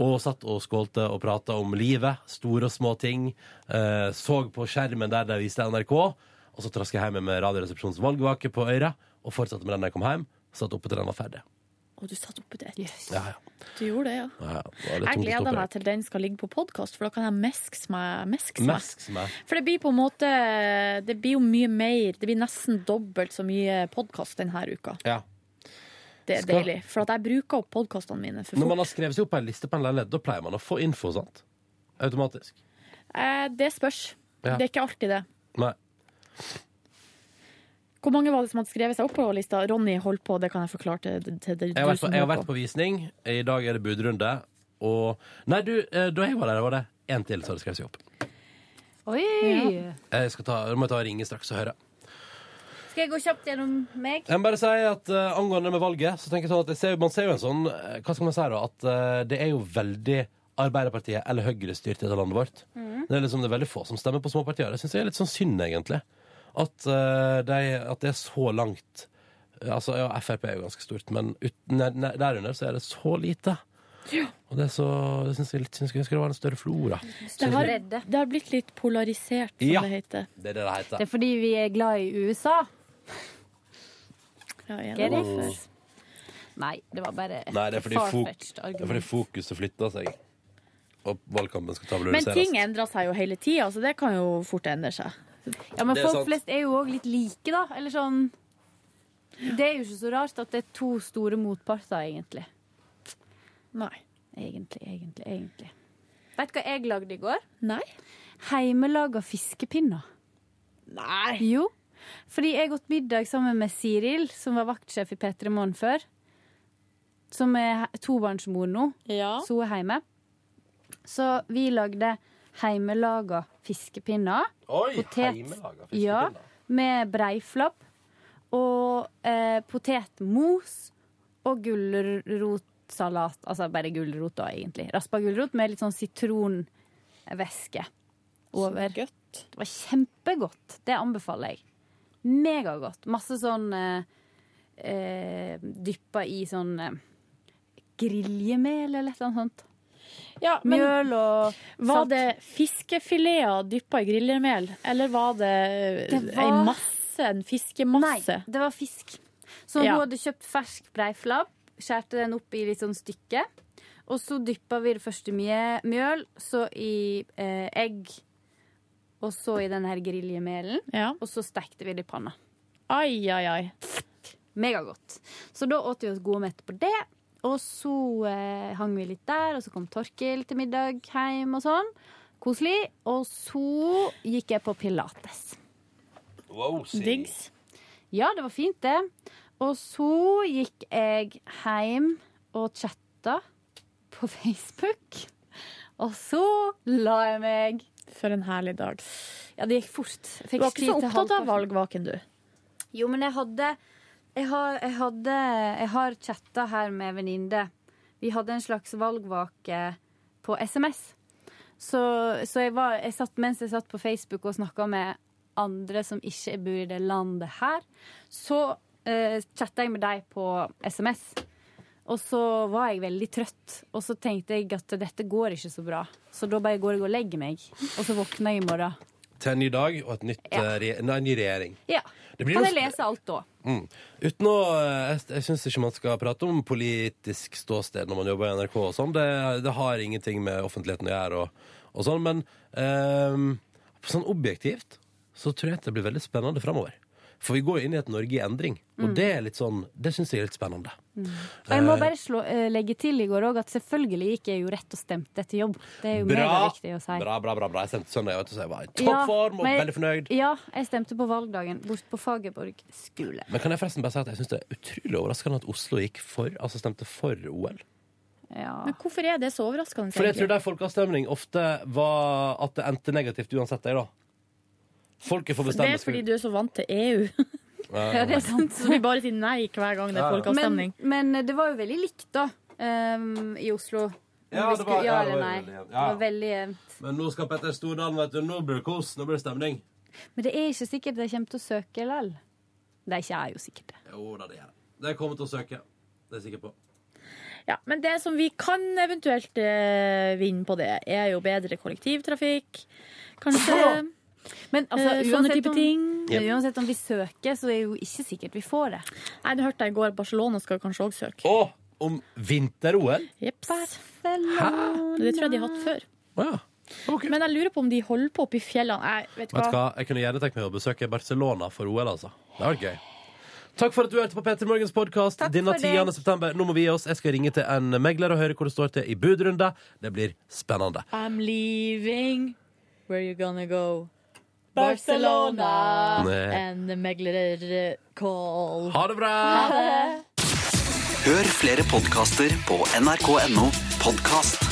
Speaker 2: Og satt og skålte og prata om livet. Store og små ting. Eh, så på skjermen der de viste NRK. Og så traska jeg hjem med Radioresepsjonens valgvake på øret og fortsatte med den da jeg kom hjem. Satt oppe til den var ferdig.
Speaker 3: Og du satt oppe til ett.
Speaker 2: Ja, ja.
Speaker 3: Du gjorde det, ja.
Speaker 2: ja, ja. Det var litt
Speaker 3: Jeg
Speaker 2: tungt å stå
Speaker 3: gleder
Speaker 2: oppe
Speaker 3: meg
Speaker 2: der.
Speaker 3: til den skal ligge på podkast, for da kan jeg meskse meg. Meskse meg.
Speaker 2: Mesks meg.
Speaker 3: For det blir på en måte Det blir jo mye mer. Det blir nesten dobbelt så mye podkast denne uka.
Speaker 2: Ja.
Speaker 3: Det er
Speaker 2: Skal-
Speaker 3: deilig. For at jeg bruker opp podkastene mine for
Speaker 2: Når
Speaker 3: fort.
Speaker 2: man har skrevet seg opp på en liste på en leilighet, da pleier man å få info, sant? Automatisk.
Speaker 3: Eh, det spørs.
Speaker 2: Ja.
Speaker 3: Det er ikke alltid det.
Speaker 2: Nei.
Speaker 3: Hvor mange var det som hadde skrevet seg opp på lista? Ronny, hold på, det kan jeg forklare til, til deg.
Speaker 2: Jeg har, vært på, jeg har vært på visning. I dag er det budrunde. Og Nei, du, eh, da jeg var der, var det én til som hadde skrevet seg opp.
Speaker 11: Oi!
Speaker 2: Ja. Jeg skal ta, nå må jeg ta og ringe straks og høre.
Speaker 11: Skal jeg gå kjapt gjennom meg?
Speaker 2: Jeg må bare si at eh, Angående med valget så tenker jeg sånn at jeg ser, Man ser jo en sånn eh, Hva skal man si da? At eh, det er jo veldig Arbeiderpartiet eller Høyre styrt i dette landet vårt.
Speaker 7: Mhm.
Speaker 2: Det er liksom det er veldig få som stemmer på små partier. Det syns jeg er litt sånn synd, egentlig. At, eh, de, at det er så eh, langt Altså, ja, Frp er jo ganske stort, men ut, ne- ne- derunder så er det så lite.
Speaker 7: Og det, er så, det syns jeg litt syns jeg skulle være en større flora.
Speaker 3: Det har, det har blitt litt polarisert, som
Speaker 7: Ja.
Speaker 3: det heter.
Speaker 7: Det er det det heter.
Speaker 11: Det er fordi vi er glad i USA.
Speaker 3: Ja, jeg
Speaker 11: Get
Speaker 3: er
Speaker 11: it?
Speaker 3: for.
Speaker 11: Nei, det var bare et
Speaker 2: Nei, det er fordi, fok
Speaker 11: farfetched
Speaker 2: det er fordi
Speaker 11: argument.
Speaker 2: fokuset flytter seg. Og valgkampen skal
Speaker 3: Men
Speaker 2: tabulariseres.
Speaker 3: ting endrer seg jo hele tida, så det kan jo fort endre seg.
Speaker 11: Ja, men
Speaker 2: Det er
Speaker 11: folk
Speaker 2: sant.
Speaker 11: flest er jo òg litt like, da. Eller sånn Det er jo ikke så rart at det er to store motparter, egentlig.
Speaker 3: Nei.
Speaker 11: Egentlig, egentlig, egentlig. Vet du hva jeg lagde i går?
Speaker 3: Nei.
Speaker 11: Heimelaga fiskepinner.
Speaker 3: Nei!
Speaker 11: Jo. Fordi jeg åt middag sammen med Siril, som var vaktsjef i P3 Morgen før. Som er he- tobarnsmor nå,
Speaker 3: Ja.
Speaker 11: så hun er hjemme. Så vi lagde heimelaga fiskepinner.
Speaker 7: Oi,
Speaker 11: Potet-
Speaker 7: heimelaga fiskepinner.
Speaker 11: Ja, med breiflabb. Og eh, potetmos og gulrotsalat. Altså bare gulrot, da, egentlig. Raspa gulrot med litt sånn sitronvæske over. Det var kjempegodt. Det anbefaler jeg. Megagodt. Masse sånn eh, eh, dyppa i sånn eh, griljemel eller et eller annet sånt.
Speaker 3: Ja, men-
Speaker 11: Mjøl og
Speaker 3: Var det fiskefileter dyppa i grillermel, eller var det,
Speaker 11: Det var-
Speaker 3: ei masse, en fiskemasse?
Speaker 11: Nei, det var fisk. Så
Speaker 3: Ja.
Speaker 11: hun hadde kjøpt fersk breiflabb, skjærte den opp i litt sånn stykke. Og så dyppa vi det først i mje- mjøl, så i eh, egg, og så i den her griljemelen. Og så stekte vi det i panna.
Speaker 3: Ai, ai, ai.
Speaker 11: Megagodt. Så da åt vi oss gode og mette på det. Og så eh, hang vi litt der, og så kom Torkil til middag hjem og sånn. Koselig. Og så gikk jeg på pilates.
Speaker 2: Wow, si.
Speaker 11: Diggs. Ja, det var fint, det. Og så gikk jeg hjem og chatta på Facebook. Og så la jeg meg.
Speaker 3: For en herlig dag.
Speaker 11: Ja, det gikk fort. Jeg fikk
Speaker 3: Du var ikke
Speaker 11: tid
Speaker 3: så
Speaker 11: til
Speaker 3: opptatt av
Speaker 11: halvparten.
Speaker 3: valgvaken, du.
Speaker 11: Jo, men jeg hadde Jeg har, jeg hadde, jeg har chatta her med venninne. Vi hadde en slags valgvake på SMS. Så, så jeg var, jeg satt, mens jeg satt på Facebook og snakka med andre som ikke bor i det landet her, så eh, chatta jeg med deg på SMS. Og så var jeg veldig trøtt, og så tenkte jeg at dette går ikke så bra. Så da bare går jeg og legger meg, og så våkner jeg i morgen.
Speaker 2: Til en ny dag og et nytt, eh, re nei, en ny regjering.
Speaker 11: Ja.
Speaker 2: Det blir
Speaker 11: Kan
Speaker 2: noe
Speaker 11: jeg lese alt da?
Speaker 2: Mm. Uten å, eh, jeg jeg syns ikke man skal prate om politisk ståsted når man jobber i NRK og sånn. Det, det har ingenting med offentligheten å gjøre og, og sånn. Men ehm, sånn objektivt så tror jeg at det blir veldig spennende framover. For vi går inn i et Norge i endring, og
Speaker 11: Mm.
Speaker 2: det er litt sånn, det syns jeg er litt spennende.
Speaker 11: Og jeg må
Speaker 2: Eh,
Speaker 11: bare slå, eh, legge til i går òg at selvfølgelig gikk jeg jo rett og stemte til jobb. Det er jo
Speaker 2: Bra,
Speaker 11: megaviktig å si.
Speaker 2: bra, bra, bra, bra. Jeg sendte søndag, vet du, så jeg var i
Speaker 11: Ja,
Speaker 2: toppform og
Speaker 11: men-
Speaker 2: veldig fornøyd.
Speaker 11: Ja, jeg stemte på valgdagen bort på Fagerborg skole.
Speaker 2: Men kan jeg forresten bare si at jeg syns det er utrolig overraskende at Oslo gikk for, altså stemte for OL.
Speaker 3: Men hvorfor er det så overraskende?
Speaker 2: For jeg tror
Speaker 3: egentlig?
Speaker 2: der folkeavstemning ofte var at det endte negativt uansett, jeg, da. Folket får
Speaker 3: det
Speaker 2: bestemme.
Speaker 3: er fordi du er så vant til E EU.
Speaker 2: Ja,
Speaker 11: sånn
Speaker 3: Så vi bare sier nei hver gang det er folkeavstemning.
Speaker 11: Men, men det var jo veldig likt, da, ehm, i Oslo. Om
Speaker 2: Ja,
Speaker 11: vi
Speaker 2: det
Speaker 11: skulle-
Speaker 2: var-
Speaker 11: ja,
Speaker 2: ja, det
Speaker 11: eller
Speaker 2: var
Speaker 11: nei.
Speaker 2: veldig jevnt.
Speaker 11: Det
Speaker 2: Ja.
Speaker 11: var veldig jevnt.
Speaker 2: Men nå skal Petter Stordalen, vet du. Nå blir det kos, nå blir det stemning.
Speaker 11: Men det er ikke sikkert de kommer til å søke likevel. De ikke er jo sikkert det.
Speaker 2: Jo da, det gjør det. De kommer til å søke. Det er jeg sikker på.
Speaker 3: Ja, men det som vi kan eventuelt eh, vinne på det, er jo bedre kollektivtrafikk, kanskje.
Speaker 11: Men altså,
Speaker 3: Eh, sånne
Speaker 11: uansett
Speaker 3: type
Speaker 11: om-
Speaker 3: ting.
Speaker 11: Men uansett om vi søker, så er jo ikke sikkert vi får det.
Speaker 3: Nei, det hørte jeg i går. Barcelona skal kanskje òg søke.
Speaker 2: Og om vinter-OL?
Speaker 3: Jeps. Det tror jeg de har hatt før. Men jeg lurer på om de holder på oppe i fjellene. Jeg vet
Speaker 2: Vet du
Speaker 3: hva.
Speaker 2: hva, jeg kunne gjerne tenkt meg å besøke Barcelona for OL, altså. Det hadde vært gøy. Takk for at du hørte på Peter Morgens podkast denne
Speaker 15: for det.
Speaker 2: 10. september. Nå må vi gi oss. Jeg skal ringe til en megler og høre hvor det står til i budrunde. Det blir spennende.
Speaker 3: I'm leaving. Where you gonna go? Barcelona.
Speaker 2: Barcelona. Nei.
Speaker 3: And the megler eh, call.
Speaker 2: Ha det bra!
Speaker 3: Ha det.
Speaker 16: Hør flere podkaster på nrk.no podkast.